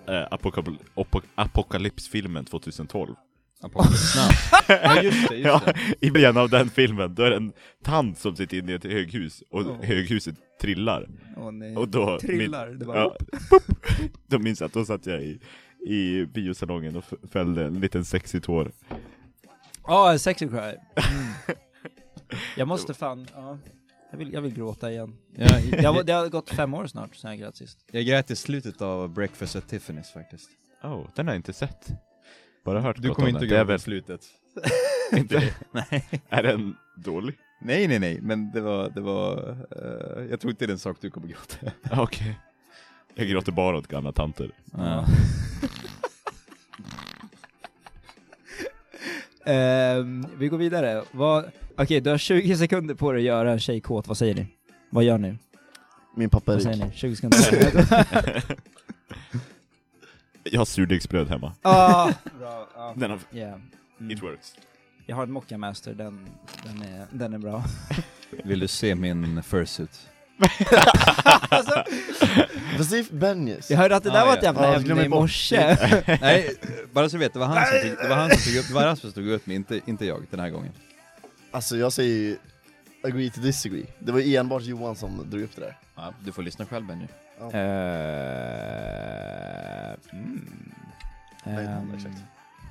[SPEAKER 4] eh, Apokab- Apo- Apokalypsfilmen 2012.
[SPEAKER 1] Apocalypse Now. Ja just det,
[SPEAKER 4] Ja,
[SPEAKER 1] just det.
[SPEAKER 4] I början av den filmen, då är det en tant som sitter inne i ett höghus och
[SPEAKER 6] Oh.
[SPEAKER 4] höghuset trillar.
[SPEAKER 6] Åh nej.
[SPEAKER 4] Och då,
[SPEAKER 6] Trillar, det bara
[SPEAKER 4] ja, Då minns jag att då satt jag i, i biosalongen och f- fällde en liten sexig tår.
[SPEAKER 6] Ja, en sexy cry. Mm. Jag måste fan, ja. Jag vill, jag vill gråta igen.
[SPEAKER 1] Ja,
[SPEAKER 6] Det har,
[SPEAKER 1] jag,
[SPEAKER 6] det har gått fem år snart sen jag grät sist.
[SPEAKER 1] jag grät i slutet av Breakfast at Tiffany's faktiskt.
[SPEAKER 4] Oh, den har jag inte sett. Bara hört
[SPEAKER 1] Du
[SPEAKER 4] gott
[SPEAKER 1] kommer
[SPEAKER 4] om
[SPEAKER 1] inte
[SPEAKER 4] den. Det är
[SPEAKER 1] gråta i
[SPEAKER 4] väl
[SPEAKER 1] slutet.
[SPEAKER 4] inte...
[SPEAKER 1] Nej.
[SPEAKER 4] Är den dålig?
[SPEAKER 1] Nej nej nej, men det var, det var, eh, jag tror inte det är en sak du kommer gråta.
[SPEAKER 4] Okej. Jag gråter bara åt gamla tanter.
[SPEAKER 1] Ja.
[SPEAKER 6] Ehm, vi går vidare. Vad- Okej, du har 20 sekunder på dig att göra en tjej kåt. Vad säger ni? Vad gör ni?
[SPEAKER 2] Min pappa är
[SPEAKER 6] Vad säger
[SPEAKER 2] rik.
[SPEAKER 6] ni? 20 sekunder.
[SPEAKER 4] Jag har surdegsbröd hemma.
[SPEAKER 6] ah, bra. Ja.
[SPEAKER 4] Den har...
[SPEAKER 6] Yeah.
[SPEAKER 4] It
[SPEAKER 6] Mm.
[SPEAKER 4] works.
[SPEAKER 6] Jag har en mockamaster, den, den, är, den är bra.
[SPEAKER 1] Vill du se min fursuit?
[SPEAKER 6] alltså,
[SPEAKER 2] Fast det är Benjis.
[SPEAKER 6] jag hörde att det där
[SPEAKER 1] Ah,
[SPEAKER 6] var ett
[SPEAKER 1] ja.
[SPEAKER 6] jävla
[SPEAKER 2] Ja, jag
[SPEAKER 6] ämne
[SPEAKER 2] glömmer
[SPEAKER 6] i
[SPEAKER 2] bort
[SPEAKER 6] morse.
[SPEAKER 1] Nej, bara så du vet, det var han som tog, det var han som tog upp, det var Rasmus som tog upp mig, inte, inte jag den här gången.
[SPEAKER 2] Alltså jag säger ju agree to disagree. Det var ju enbart Johan som drog upp det där.
[SPEAKER 1] Ja, du får lyssna själv Benny.
[SPEAKER 6] Eh, mm.
[SPEAKER 2] Nej,
[SPEAKER 6] Ehm,
[SPEAKER 2] exakt.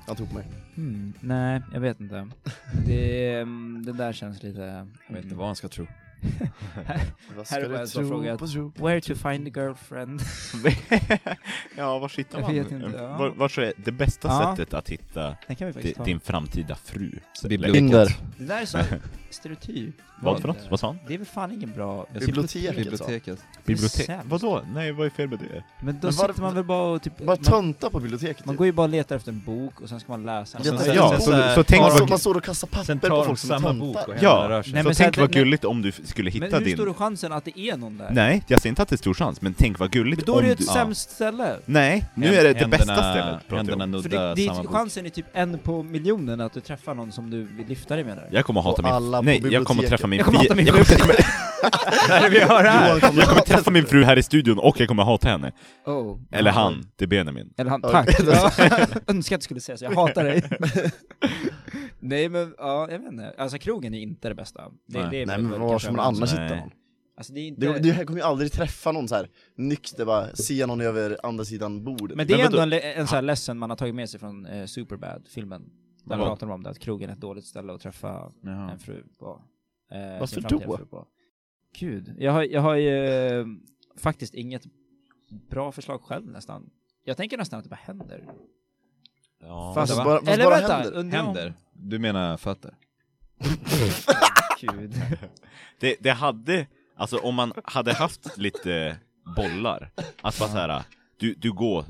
[SPEAKER 2] Han tog på mig.
[SPEAKER 6] hmm, nej, jag vet inte. Det, mm, det där känns lite...
[SPEAKER 1] Jag vet inte
[SPEAKER 6] mm.
[SPEAKER 1] vad han ska tro.
[SPEAKER 2] Vad
[SPEAKER 6] Här är bara en sån fråga.
[SPEAKER 2] på tro?
[SPEAKER 6] Where to find a girlfriend?
[SPEAKER 4] ja, var hittar
[SPEAKER 6] Jag
[SPEAKER 4] man? Eh,
[SPEAKER 6] vet inte, ja.
[SPEAKER 4] Var, var så är det bästa
[SPEAKER 6] Ja.
[SPEAKER 4] sättet att hitta
[SPEAKER 6] Den kan vi faktiskt
[SPEAKER 4] di-
[SPEAKER 6] ta.
[SPEAKER 4] din framtida fru?
[SPEAKER 1] Biblioteket.
[SPEAKER 2] Tinder.
[SPEAKER 6] Det där är så stereotyp.
[SPEAKER 4] Vad för något? Vad sa han?
[SPEAKER 6] Det är väl fan ingen bra...
[SPEAKER 1] Jag
[SPEAKER 2] Biblioteket sa
[SPEAKER 1] Biblioteket.
[SPEAKER 4] Bibliotek?
[SPEAKER 6] sämst.
[SPEAKER 4] Vadå? Nej, vad är fel med det?
[SPEAKER 6] Men då
[SPEAKER 2] Men var-
[SPEAKER 6] sitter man väl bara och typ...
[SPEAKER 2] Bara
[SPEAKER 6] man,
[SPEAKER 2] tönta på biblioteket
[SPEAKER 6] man
[SPEAKER 2] typ.
[SPEAKER 6] går ju bara och letar efter en bok och sen ska man läsa
[SPEAKER 2] Jag
[SPEAKER 6] den.
[SPEAKER 2] tar-
[SPEAKER 4] Ja, så, så tänk
[SPEAKER 2] man, står,
[SPEAKER 4] vad,
[SPEAKER 2] man står och kastar
[SPEAKER 1] Sen
[SPEAKER 2] papper på
[SPEAKER 1] tar de
[SPEAKER 2] folk som är
[SPEAKER 1] samma bok och
[SPEAKER 2] töntar.
[SPEAKER 1] händer
[SPEAKER 4] Ja.
[SPEAKER 1] rör sig.
[SPEAKER 6] Nej,
[SPEAKER 4] så
[SPEAKER 6] men
[SPEAKER 4] tänk
[SPEAKER 6] så
[SPEAKER 4] vad
[SPEAKER 6] att-
[SPEAKER 4] gulligt om du f- skulle
[SPEAKER 6] Men
[SPEAKER 4] hitta
[SPEAKER 6] hur stor är
[SPEAKER 4] din...
[SPEAKER 6] chansen att det är någon där?
[SPEAKER 4] Nej, jag ser inte att det är stor chans, men tänk vad gulligt
[SPEAKER 6] Men då är det
[SPEAKER 4] om
[SPEAKER 6] ju ett
[SPEAKER 4] du...
[SPEAKER 6] sämst ställe.
[SPEAKER 4] Nej, nu är det det bästa stället pratar jag
[SPEAKER 1] Händerna
[SPEAKER 4] om.
[SPEAKER 6] För
[SPEAKER 1] nuddar
[SPEAKER 6] det, det,
[SPEAKER 1] samma
[SPEAKER 6] är-
[SPEAKER 1] bok.
[SPEAKER 6] chansen är typ en på miljonen att du träffar någon som du vill lyfta dig med där.
[SPEAKER 4] Jag kommer att hata
[SPEAKER 2] Och
[SPEAKER 4] min...
[SPEAKER 2] alla på
[SPEAKER 4] Nej, jag kommer att
[SPEAKER 2] biblioteket.
[SPEAKER 4] träffa min...
[SPEAKER 6] Jag kommer
[SPEAKER 4] fri-
[SPEAKER 6] hata min
[SPEAKER 4] jag kommer
[SPEAKER 6] fru.
[SPEAKER 4] träffa-
[SPEAKER 6] Vad är det vi gör här?
[SPEAKER 2] Johan kommer-
[SPEAKER 4] Jag kommer att träffa min fru här i studion och jag kommer att hata henne.
[SPEAKER 6] Oh.
[SPEAKER 4] Eller han, det är Benjamin.
[SPEAKER 6] Eller han,
[SPEAKER 2] Oj.
[SPEAKER 6] tack! Ja, önskar att du skulle säga så, jag hatar dig. Nej men, ja, jag vet inte. Alltså krogen är inte det bästa. Det,
[SPEAKER 4] Nej.
[SPEAKER 6] det är
[SPEAKER 2] Nej
[SPEAKER 6] väl-
[SPEAKER 2] men
[SPEAKER 6] väl
[SPEAKER 2] var
[SPEAKER 6] kanske
[SPEAKER 2] ska man
[SPEAKER 6] överens.
[SPEAKER 2] annars
[SPEAKER 4] Nej.
[SPEAKER 2] hitta någon?
[SPEAKER 6] Alltså det är inte...
[SPEAKER 2] Du, du kommer ju aldrig träffa någon så här nykter bara, se någon över andra sidan bordet.
[SPEAKER 6] Men det är
[SPEAKER 4] Men
[SPEAKER 6] ändå
[SPEAKER 4] vadå?
[SPEAKER 6] en, en sån här lesson man har tagit med sig från eh, Superbad-filmen. Där
[SPEAKER 1] Vadå?
[SPEAKER 6] pratar de om det, att krogen är ett dåligt ställe att träffa en fru på. Eh, sin
[SPEAKER 2] då?
[SPEAKER 6] framtida fru på. Gud, jag har, jag har ju eh, faktiskt inget bra förslag själv nästan. Jag tänker nästan att det bara händer.
[SPEAKER 1] Ja.
[SPEAKER 6] Fast-
[SPEAKER 1] Fast,
[SPEAKER 2] Alltså, bara- fast bara händer.
[SPEAKER 6] undrar om-
[SPEAKER 1] händer? Du menar fötter?
[SPEAKER 6] Gud.
[SPEAKER 4] Det, det hade, alltså om man hade haft lite bollar, att bara såhär, du, du går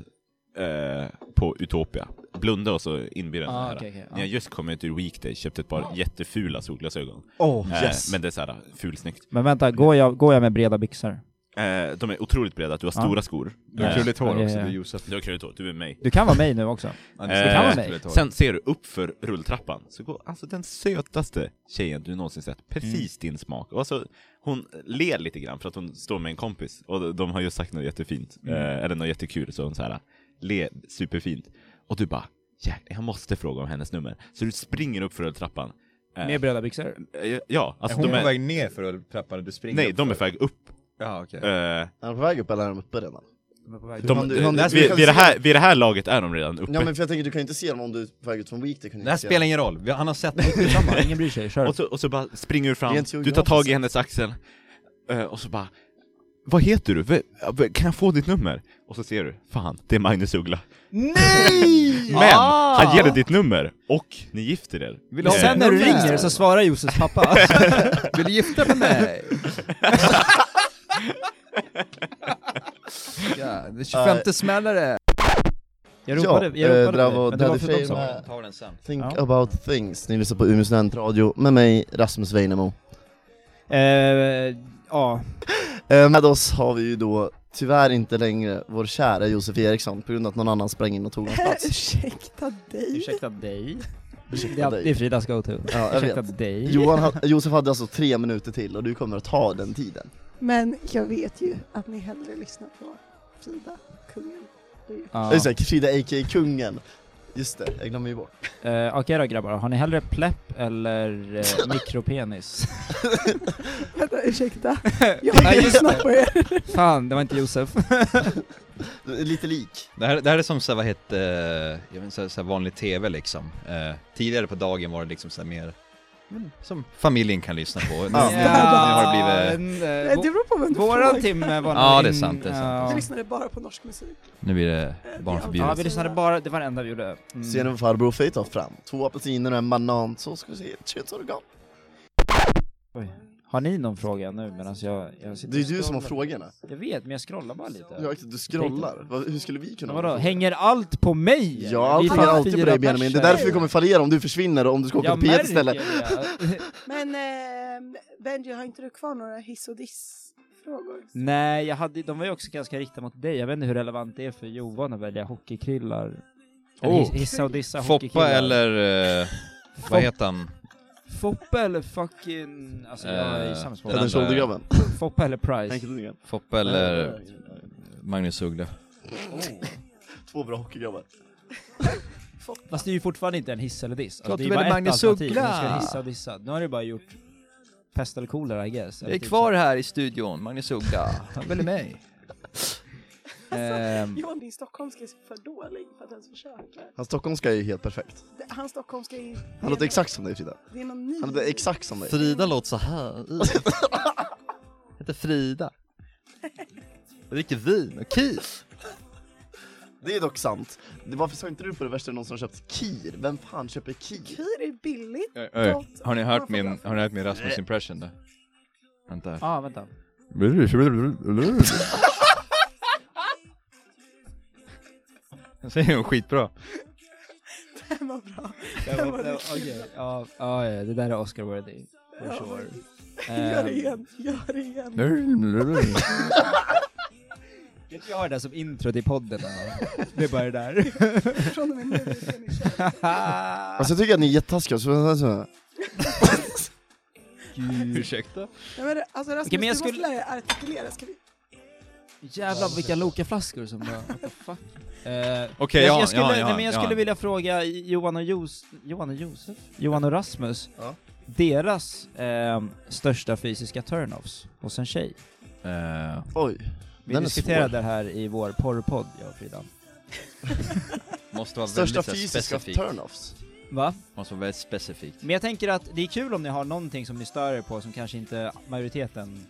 [SPEAKER 4] eh, på Utopia, blunda och så inbjuder den
[SPEAKER 6] Ah,
[SPEAKER 4] här.
[SPEAKER 6] okej, Ah. okej,
[SPEAKER 4] När jag just kom ut ur Weekday köpte ett par jättefula solglasögon.
[SPEAKER 2] oh,
[SPEAKER 4] Eh, Men det är såhär fulsnyggt.
[SPEAKER 6] Men vänta, går jag, går jag med breda byxor?
[SPEAKER 4] Eh, de är otroligt breda, du har
[SPEAKER 6] Ja.
[SPEAKER 4] stora skor.
[SPEAKER 1] Du har
[SPEAKER 4] Eh,
[SPEAKER 1] krulligt hår
[SPEAKER 6] Ja, ja,
[SPEAKER 1] också,
[SPEAKER 6] ja.
[SPEAKER 1] du Ah. är Josef.
[SPEAKER 4] Du har krulligt hår, du är mig.
[SPEAKER 6] Du kan vara mig nu också.
[SPEAKER 1] Ja,
[SPEAKER 4] Eh,
[SPEAKER 1] ska
[SPEAKER 6] kan
[SPEAKER 1] vara
[SPEAKER 6] man mig.
[SPEAKER 1] krulligt hår.
[SPEAKER 4] Sen ser du upp för rulltrappan, så går alltså den sötaste tjejen du någonsin sett,
[SPEAKER 1] Mm.
[SPEAKER 4] precis din smak. Och alltså, hon ler lite grann för att hon står med en kompis och de har ju sagt något jättefint,
[SPEAKER 1] Mm.
[SPEAKER 4] eh, eller något jättekul, så hon så här ler superfint. Och du bara, jäklar, jag måste fråga om hennes nummer. Så du springer upp för rulltrappan. Eh,
[SPEAKER 6] Med breda byxor?
[SPEAKER 4] eh, ja, alltså
[SPEAKER 1] Hon är
[SPEAKER 4] de
[SPEAKER 1] på
[SPEAKER 4] är,
[SPEAKER 1] väg ner för att trappan, du springer
[SPEAKER 4] nej,
[SPEAKER 1] upp
[SPEAKER 4] de är
[SPEAKER 1] för-
[SPEAKER 4] på väg upp.
[SPEAKER 1] Ja, okej.
[SPEAKER 4] Eh,
[SPEAKER 2] Är han på väg upp eller är han uppe redan?
[SPEAKER 4] de,
[SPEAKER 2] du- han-
[SPEAKER 4] eh,
[SPEAKER 2] du
[SPEAKER 4] vid,
[SPEAKER 2] kan
[SPEAKER 4] vid, det
[SPEAKER 2] se-
[SPEAKER 4] här, vid det här laget är de redan uppe.
[SPEAKER 2] Ja men för jag tänker du kan ju inte se dem om du är på väg ut från Weekday kan du
[SPEAKER 1] Det här
[SPEAKER 2] inte se
[SPEAKER 1] spelar
[SPEAKER 2] dem.
[SPEAKER 1] ingen roll, Vi- han har sett något
[SPEAKER 6] Skitsamma, ingen bryr sig, kör.
[SPEAKER 4] Och så, och så bara springer du fram,
[SPEAKER 2] Rent
[SPEAKER 4] du tar
[SPEAKER 2] geografiskt.
[SPEAKER 4] tag i hennes axel eh, och så bara Vad heter du? V- eh, v- Kan jag få ditt nummer? Och så ser du, fan, det är Magnus Uggla.
[SPEAKER 6] Nej!
[SPEAKER 4] Men han ger dig ditt nummer och ni gifter er. Eh.
[SPEAKER 1] Vill
[SPEAKER 6] Och
[SPEAKER 1] ha-
[SPEAKER 6] sen när Ah! du ringer så svarar Josefs pappa.
[SPEAKER 1] Vill du gifta med mig? ja, det 25 smäller det!
[SPEAKER 6] Jag ropade,
[SPEAKER 2] Ja, eh,
[SPEAKER 6] jag ropade
[SPEAKER 2] där
[SPEAKER 6] på
[SPEAKER 2] var
[SPEAKER 6] dig, men det var
[SPEAKER 2] Daddy
[SPEAKER 6] för
[SPEAKER 2] Frey
[SPEAKER 6] dem som-
[SPEAKER 2] med.
[SPEAKER 1] tar den sen.
[SPEAKER 2] Think
[SPEAKER 6] Ja.
[SPEAKER 2] about things, ni lyssnar på Umeå studentradio med mig, Rasmus Weinemo.
[SPEAKER 6] Eh, Ja,
[SPEAKER 2] Eh, Med oss har vi ju då tyvärr inte längre vår kära Josef Eriksson på grund av att någon annan sprang in och tog hans plats.
[SPEAKER 5] Ursäkta dig.
[SPEAKER 6] ursäkta dig. Det
[SPEAKER 2] Ursäkta
[SPEAKER 6] är, det är
[SPEAKER 2] dig.
[SPEAKER 6] Fridas go-to.
[SPEAKER 2] Ja, jag
[SPEAKER 6] ursäkta
[SPEAKER 2] vet.
[SPEAKER 6] dig.
[SPEAKER 2] Johan, ha- Josef hade alltså tre minuter till och du kommer att ta den tiden.
[SPEAKER 5] Men jag vet ju att ni hellre lyssnar på Frida, kungen.
[SPEAKER 6] Ja.
[SPEAKER 2] Ja. Just det, Frida a.k.a. kungen. Just det, jag glömmer ju bort.
[SPEAKER 6] Eh, Okej då grabbar, har ni hellre plepp eller eh, mikropenis?
[SPEAKER 5] Vänta, ursäkta. Jag har inte
[SPEAKER 6] Nej, just
[SPEAKER 5] lyssnat på er.
[SPEAKER 6] Fan, det var inte Josef.
[SPEAKER 2] Det är Lite lik.
[SPEAKER 1] Det här, det här är som så här, vad hette, eh, jag vet inte, så här, så här vanlig tv liksom. Eh, tidigare på dagen var det liksom så här mer, men, som familjen kan lyssna på. Nu,
[SPEAKER 2] Ja.
[SPEAKER 1] nu, nu har det blivit,
[SPEAKER 6] en,
[SPEAKER 5] Nej, Det
[SPEAKER 6] eh,
[SPEAKER 5] beror på vem du
[SPEAKER 6] Våran
[SPEAKER 5] frågar.
[SPEAKER 6] timme var
[SPEAKER 1] Ja,
[SPEAKER 6] nog
[SPEAKER 1] det är
[SPEAKER 6] in-
[SPEAKER 1] sant, det är sant.
[SPEAKER 5] Jag
[SPEAKER 6] ja.
[SPEAKER 5] lyssnade bara på norsk musik.
[SPEAKER 1] nu blir det
[SPEAKER 6] Ja,
[SPEAKER 1] barnförbjudet.
[SPEAKER 6] vi lyssnade bara, det var det enda vi gjorde. Mm.
[SPEAKER 2] Ser ni vad farbror Frej tar fram? Två apelsiner och en banan, så ska vi se ett könsorgan.
[SPEAKER 6] Oj. Har ni någon fråga nu medan jag, jag sitter
[SPEAKER 2] Det är
[SPEAKER 6] och
[SPEAKER 2] ju du som har
[SPEAKER 6] scrollar?
[SPEAKER 2] frågorna.
[SPEAKER 6] Jag vet, men jag scrollar bara lite.
[SPEAKER 2] Ja, exakt, du scrollar. Vad- Hur skulle vi kunna...
[SPEAKER 6] Vadå, hänger allt på mig?
[SPEAKER 2] Ja, allt hänger alltid på dig Benjamin. Det är därför vi kommer fallera om du försvinner och om du ska åka till P1 istället.
[SPEAKER 5] Men eh, Benji, har inte du kvar några hiss och diss-frågor?
[SPEAKER 6] Nej, jag hade, de var ju också ganska riktade mot dig. Jag vet inte hur relevant det är för Johan att välja hockeykrillar. Eller
[SPEAKER 1] Oh.
[SPEAKER 6] his- hissa och dissa
[SPEAKER 1] Foppa
[SPEAKER 6] hockeykillar.
[SPEAKER 1] eller, eh, vad heter han?
[SPEAKER 6] Foppa eller fucking... Alltså jag är i
[SPEAKER 1] Eh,
[SPEAKER 6] samhällsfrågor.
[SPEAKER 1] den där-
[SPEAKER 2] Head and Shoulder-grabben?
[SPEAKER 6] eh, Foppa eller Price.
[SPEAKER 2] Henke
[SPEAKER 1] Foppa eller Magnus Uggla?
[SPEAKER 6] Oh.
[SPEAKER 2] Två bra hockeygrabbar.
[SPEAKER 6] Fast det är ju fortfarande inte en hiss eller diss.
[SPEAKER 1] Klart
[SPEAKER 6] Alltså, det
[SPEAKER 1] du
[SPEAKER 6] är ju bara
[SPEAKER 1] väljer
[SPEAKER 6] ett
[SPEAKER 1] Magnus
[SPEAKER 6] alternativ.
[SPEAKER 1] Uggla!
[SPEAKER 6] Nu ska det hissa och dissa. Nu har du bara gjort pest eller typ kolera I guess.
[SPEAKER 1] Vi är kvar här i studion, Magnus Uggla. Han väljer mig.
[SPEAKER 6] Ehm,
[SPEAKER 5] Johan, din stockholmska är så för dålig för att ens försöka.
[SPEAKER 2] Hans stockholmska är ju helt perfekt.
[SPEAKER 5] Det- Hans stockholmska är...
[SPEAKER 2] Han låter exakt som dig Frida.
[SPEAKER 5] Det är någon ny.
[SPEAKER 2] Han låter exakt som dig.
[SPEAKER 1] Frida låter så här. Heter Frida. Dricker vin och kis.
[SPEAKER 2] Det är dock sant. Det- Varför sa inte du på det värsta någon som köpt KIR? Vem fan köper KIR?
[SPEAKER 5] Kyr är billigt. gott.
[SPEAKER 1] Har ni hört
[SPEAKER 5] Man får
[SPEAKER 1] min,
[SPEAKER 5] bra-
[SPEAKER 1] har ni hört min Rasmus impression då? Vänta.
[SPEAKER 6] Ja, ah, vänta.
[SPEAKER 1] Den säger hon skitbra.
[SPEAKER 5] Den var bra.
[SPEAKER 6] Det
[SPEAKER 5] Den
[SPEAKER 6] var-
[SPEAKER 5] var
[SPEAKER 6] det var-
[SPEAKER 5] riktigt
[SPEAKER 6] Okej, ja, ja, ja, det där är Oscar-worthy. For
[SPEAKER 5] Ja.
[SPEAKER 6] sure.
[SPEAKER 5] Gör det
[SPEAKER 6] Ehm,
[SPEAKER 5] igen. Gör det igen.
[SPEAKER 6] Kanske jag har det där som intro till podden. eller? Det är bara det där.
[SPEAKER 5] Från och med nu är ni kört.
[SPEAKER 2] Alltså jag tycker att ni är jättetaskiga. Så- så- så-
[SPEAKER 1] Ursäkta?
[SPEAKER 5] Nej, men alltså Rasmus,
[SPEAKER 6] Okej, men jag
[SPEAKER 5] du
[SPEAKER 6] skulle-
[SPEAKER 5] måste lära dig artikulera. Ska vi...
[SPEAKER 6] Jävlar vilka Loka-flaskor som bara, what the fuck. Eh,
[SPEAKER 1] Okej,
[SPEAKER 6] jag,
[SPEAKER 1] ja,
[SPEAKER 6] jag skulle,
[SPEAKER 1] ja, ja,
[SPEAKER 6] nej, men jag
[SPEAKER 1] ja.
[SPEAKER 6] skulle vilja fråga Johan och, Jos, Johan och Josef, Johan och Rasmus,
[SPEAKER 2] Ja.
[SPEAKER 6] deras ehm, största fysiska turn-offs hos en tjej.
[SPEAKER 1] Eh,
[SPEAKER 2] Oj.
[SPEAKER 6] Vi
[SPEAKER 2] Den är
[SPEAKER 6] diskuterade
[SPEAKER 2] svår.
[SPEAKER 6] det här i vår porrpodd, jag och Frida.
[SPEAKER 1] måste vara
[SPEAKER 2] Största
[SPEAKER 1] väldigt så här
[SPEAKER 2] fysiska
[SPEAKER 1] specifikt.
[SPEAKER 2] turn-offs.
[SPEAKER 6] Va?
[SPEAKER 1] Måste vara väldigt specifikt.
[SPEAKER 6] Men jag tänker att det är kul om ni har någonting som ni stör er på som kanske inte majoriteten,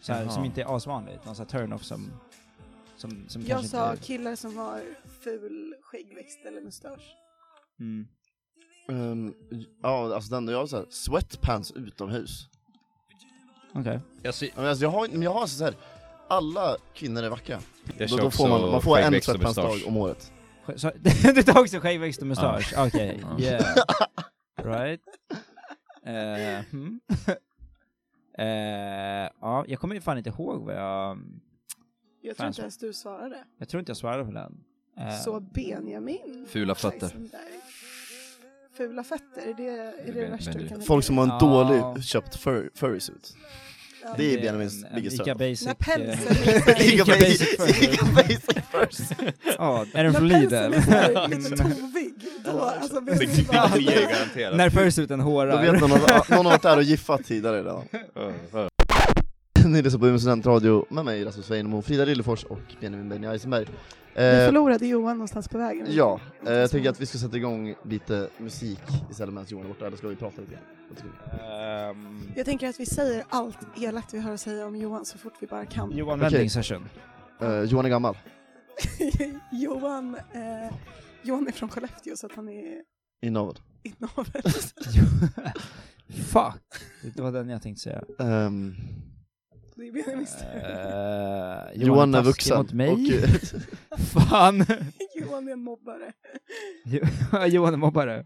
[SPEAKER 6] så här,
[SPEAKER 1] Jaha.
[SPEAKER 6] som inte är asvanligt, någon sån här turn-off som, som, som
[SPEAKER 5] Jag
[SPEAKER 6] kanske
[SPEAKER 5] sa
[SPEAKER 6] inte...
[SPEAKER 5] killar som har ful skäggväxt eller mustasch.
[SPEAKER 6] Mm.
[SPEAKER 2] Ehm, ja, alltså den jag har så här, sweatpants utomhus.
[SPEAKER 6] Okej.
[SPEAKER 1] Jag, ser,
[SPEAKER 2] Ja, Men alltså, jag har, men jag har så här, alla kvinnor är vackra.
[SPEAKER 1] jag
[SPEAKER 2] Då,
[SPEAKER 1] kör
[SPEAKER 2] då får man,
[SPEAKER 1] också
[SPEAKER 2] man får en
[SPEAKER 1] skäggväxt och
[SPEAKER 2] sweatpants-dag
[SPEAKER 1] mustasch.
[SPEAKER 2] om året.
[SPEAKER 6] Sk- Så, du tar också skäggväxt och mustasch? Okej,
[SPEAKER 1] Ja.
[SPEAKER 6] yeah. Right. Eh, hmm. Eh, ja, jag kommer ju fan inte ihåg vad jag...
[SPEAKER 5] Jag tror
[SPEAKER 6] Fan,
[SPEAKER 5] inte
[SPEAKER 6] så-
[SPEAKER 5] ens du svarade.
[SPEAKER 6] Jag tror inte jag svarade på den. Eh,
[SPEAKER 5] Så Benjamin.
[SPEAKER 1] Fula fötter.
[SPEAKER 5] Eisenberg. Fula fötter, är det, är det,
[SPEAKER 1] Ben-
[SPEAKER 5] värsta du kan
[SPEAKER 1] Benjamin.
[SPEAKER 2] Folk som har en
[SPEAKER 6] Ja.
[SPEAKER 2] dålig köpt fur, furrysuit.
[SPEAKER 5] Ja.
[SPEAKER 2] det är
[SPEAKER 6] en-
[SPEAKER 2] Benjamins
[SPEAKER 6] en
[SPEAKER 2] biggest
[SPEAKER 6] Ica
[SPEAKER 2] turn-off.
[SPEAKER 6] Basic...
[SPEAKER 5] När
[SPEAKER 6] eh,
[SPEAKER 5] penseln
[SPEAKER 6] Ica
[SPEAKER 5] är
[SPEAKER 6] Basic
[SPEAKER 2] Ica
[SPEAKER 6] Furry.
[SPEAKER 2] basic furrysuit.
[SPEAKER 6] Ja, är
[SPEAKER 5] när
[SPEAKER 6] den från
[SPEAKER 5] penseln
[SPEAKER 6] Lidl?
[SPEAKER 5] är så här lite tovig, då alltså Benjamin bara...
[SPEAKER 1] garanterat.
[SPEAKER 6] När fursuiten
[SPEAKER 2] Då
[SPEAKER 6] hårar.
[SPEAKER 2] vet någon att någon har varit där och giffat tidigare redan. Ni lyssnar på Umeå studentradio med mig Rasmus Weinemo, Frida Lillefors och Benjamin Benny Eisenberg.
[SPEAKER 5] Vi
[SPEAKER 2] Eh,
[SPEAKER 5] förlorade Johan någonstans på vägen.
[SPEAKER 2] ja, eh, jag tänker att vi ska sätta igång lite musik istället medan Johan är borta, eller ska vi prata lite grann? Vad tycker ni?
[SPEAKER 6] Ehm,
[SPEAKER 5] Jag tänker att vi säger allt elakt vi har att säga om Johan så fort vi bara kan.
[SPEAKER 6] Johan
[SPEAKER 2] Okej.
[SPEAKER 6] Wending session.
[SPEAKER 2] Eh, Johan är gammal.
[SPEAKER 5] Johan, eh, Johan är från Skellefteå så att han är
[SPEAKER 2] Inavel.
[SPEAKER 5] inavel.
[SPEAKER 6] Fuck! Det var den jag tänkte säga.
[SPEAKER 2] Ehm,
[SPEAKER 5] Det är Benjamins tur.
[SPEAKER 6] Eh,
[SPEAKER 2] Johan är
[SPEAKER 6] taskig
[SPEAKER 2] vuxen.
[SPEAKER 6] mot mig.
[SPEAKER 2] Och, eh,
[SPEAKER 6] Fan!
[SPEAKER 5] Johan är en mobbare.
[SPEAKER 6] Johan är mobbare.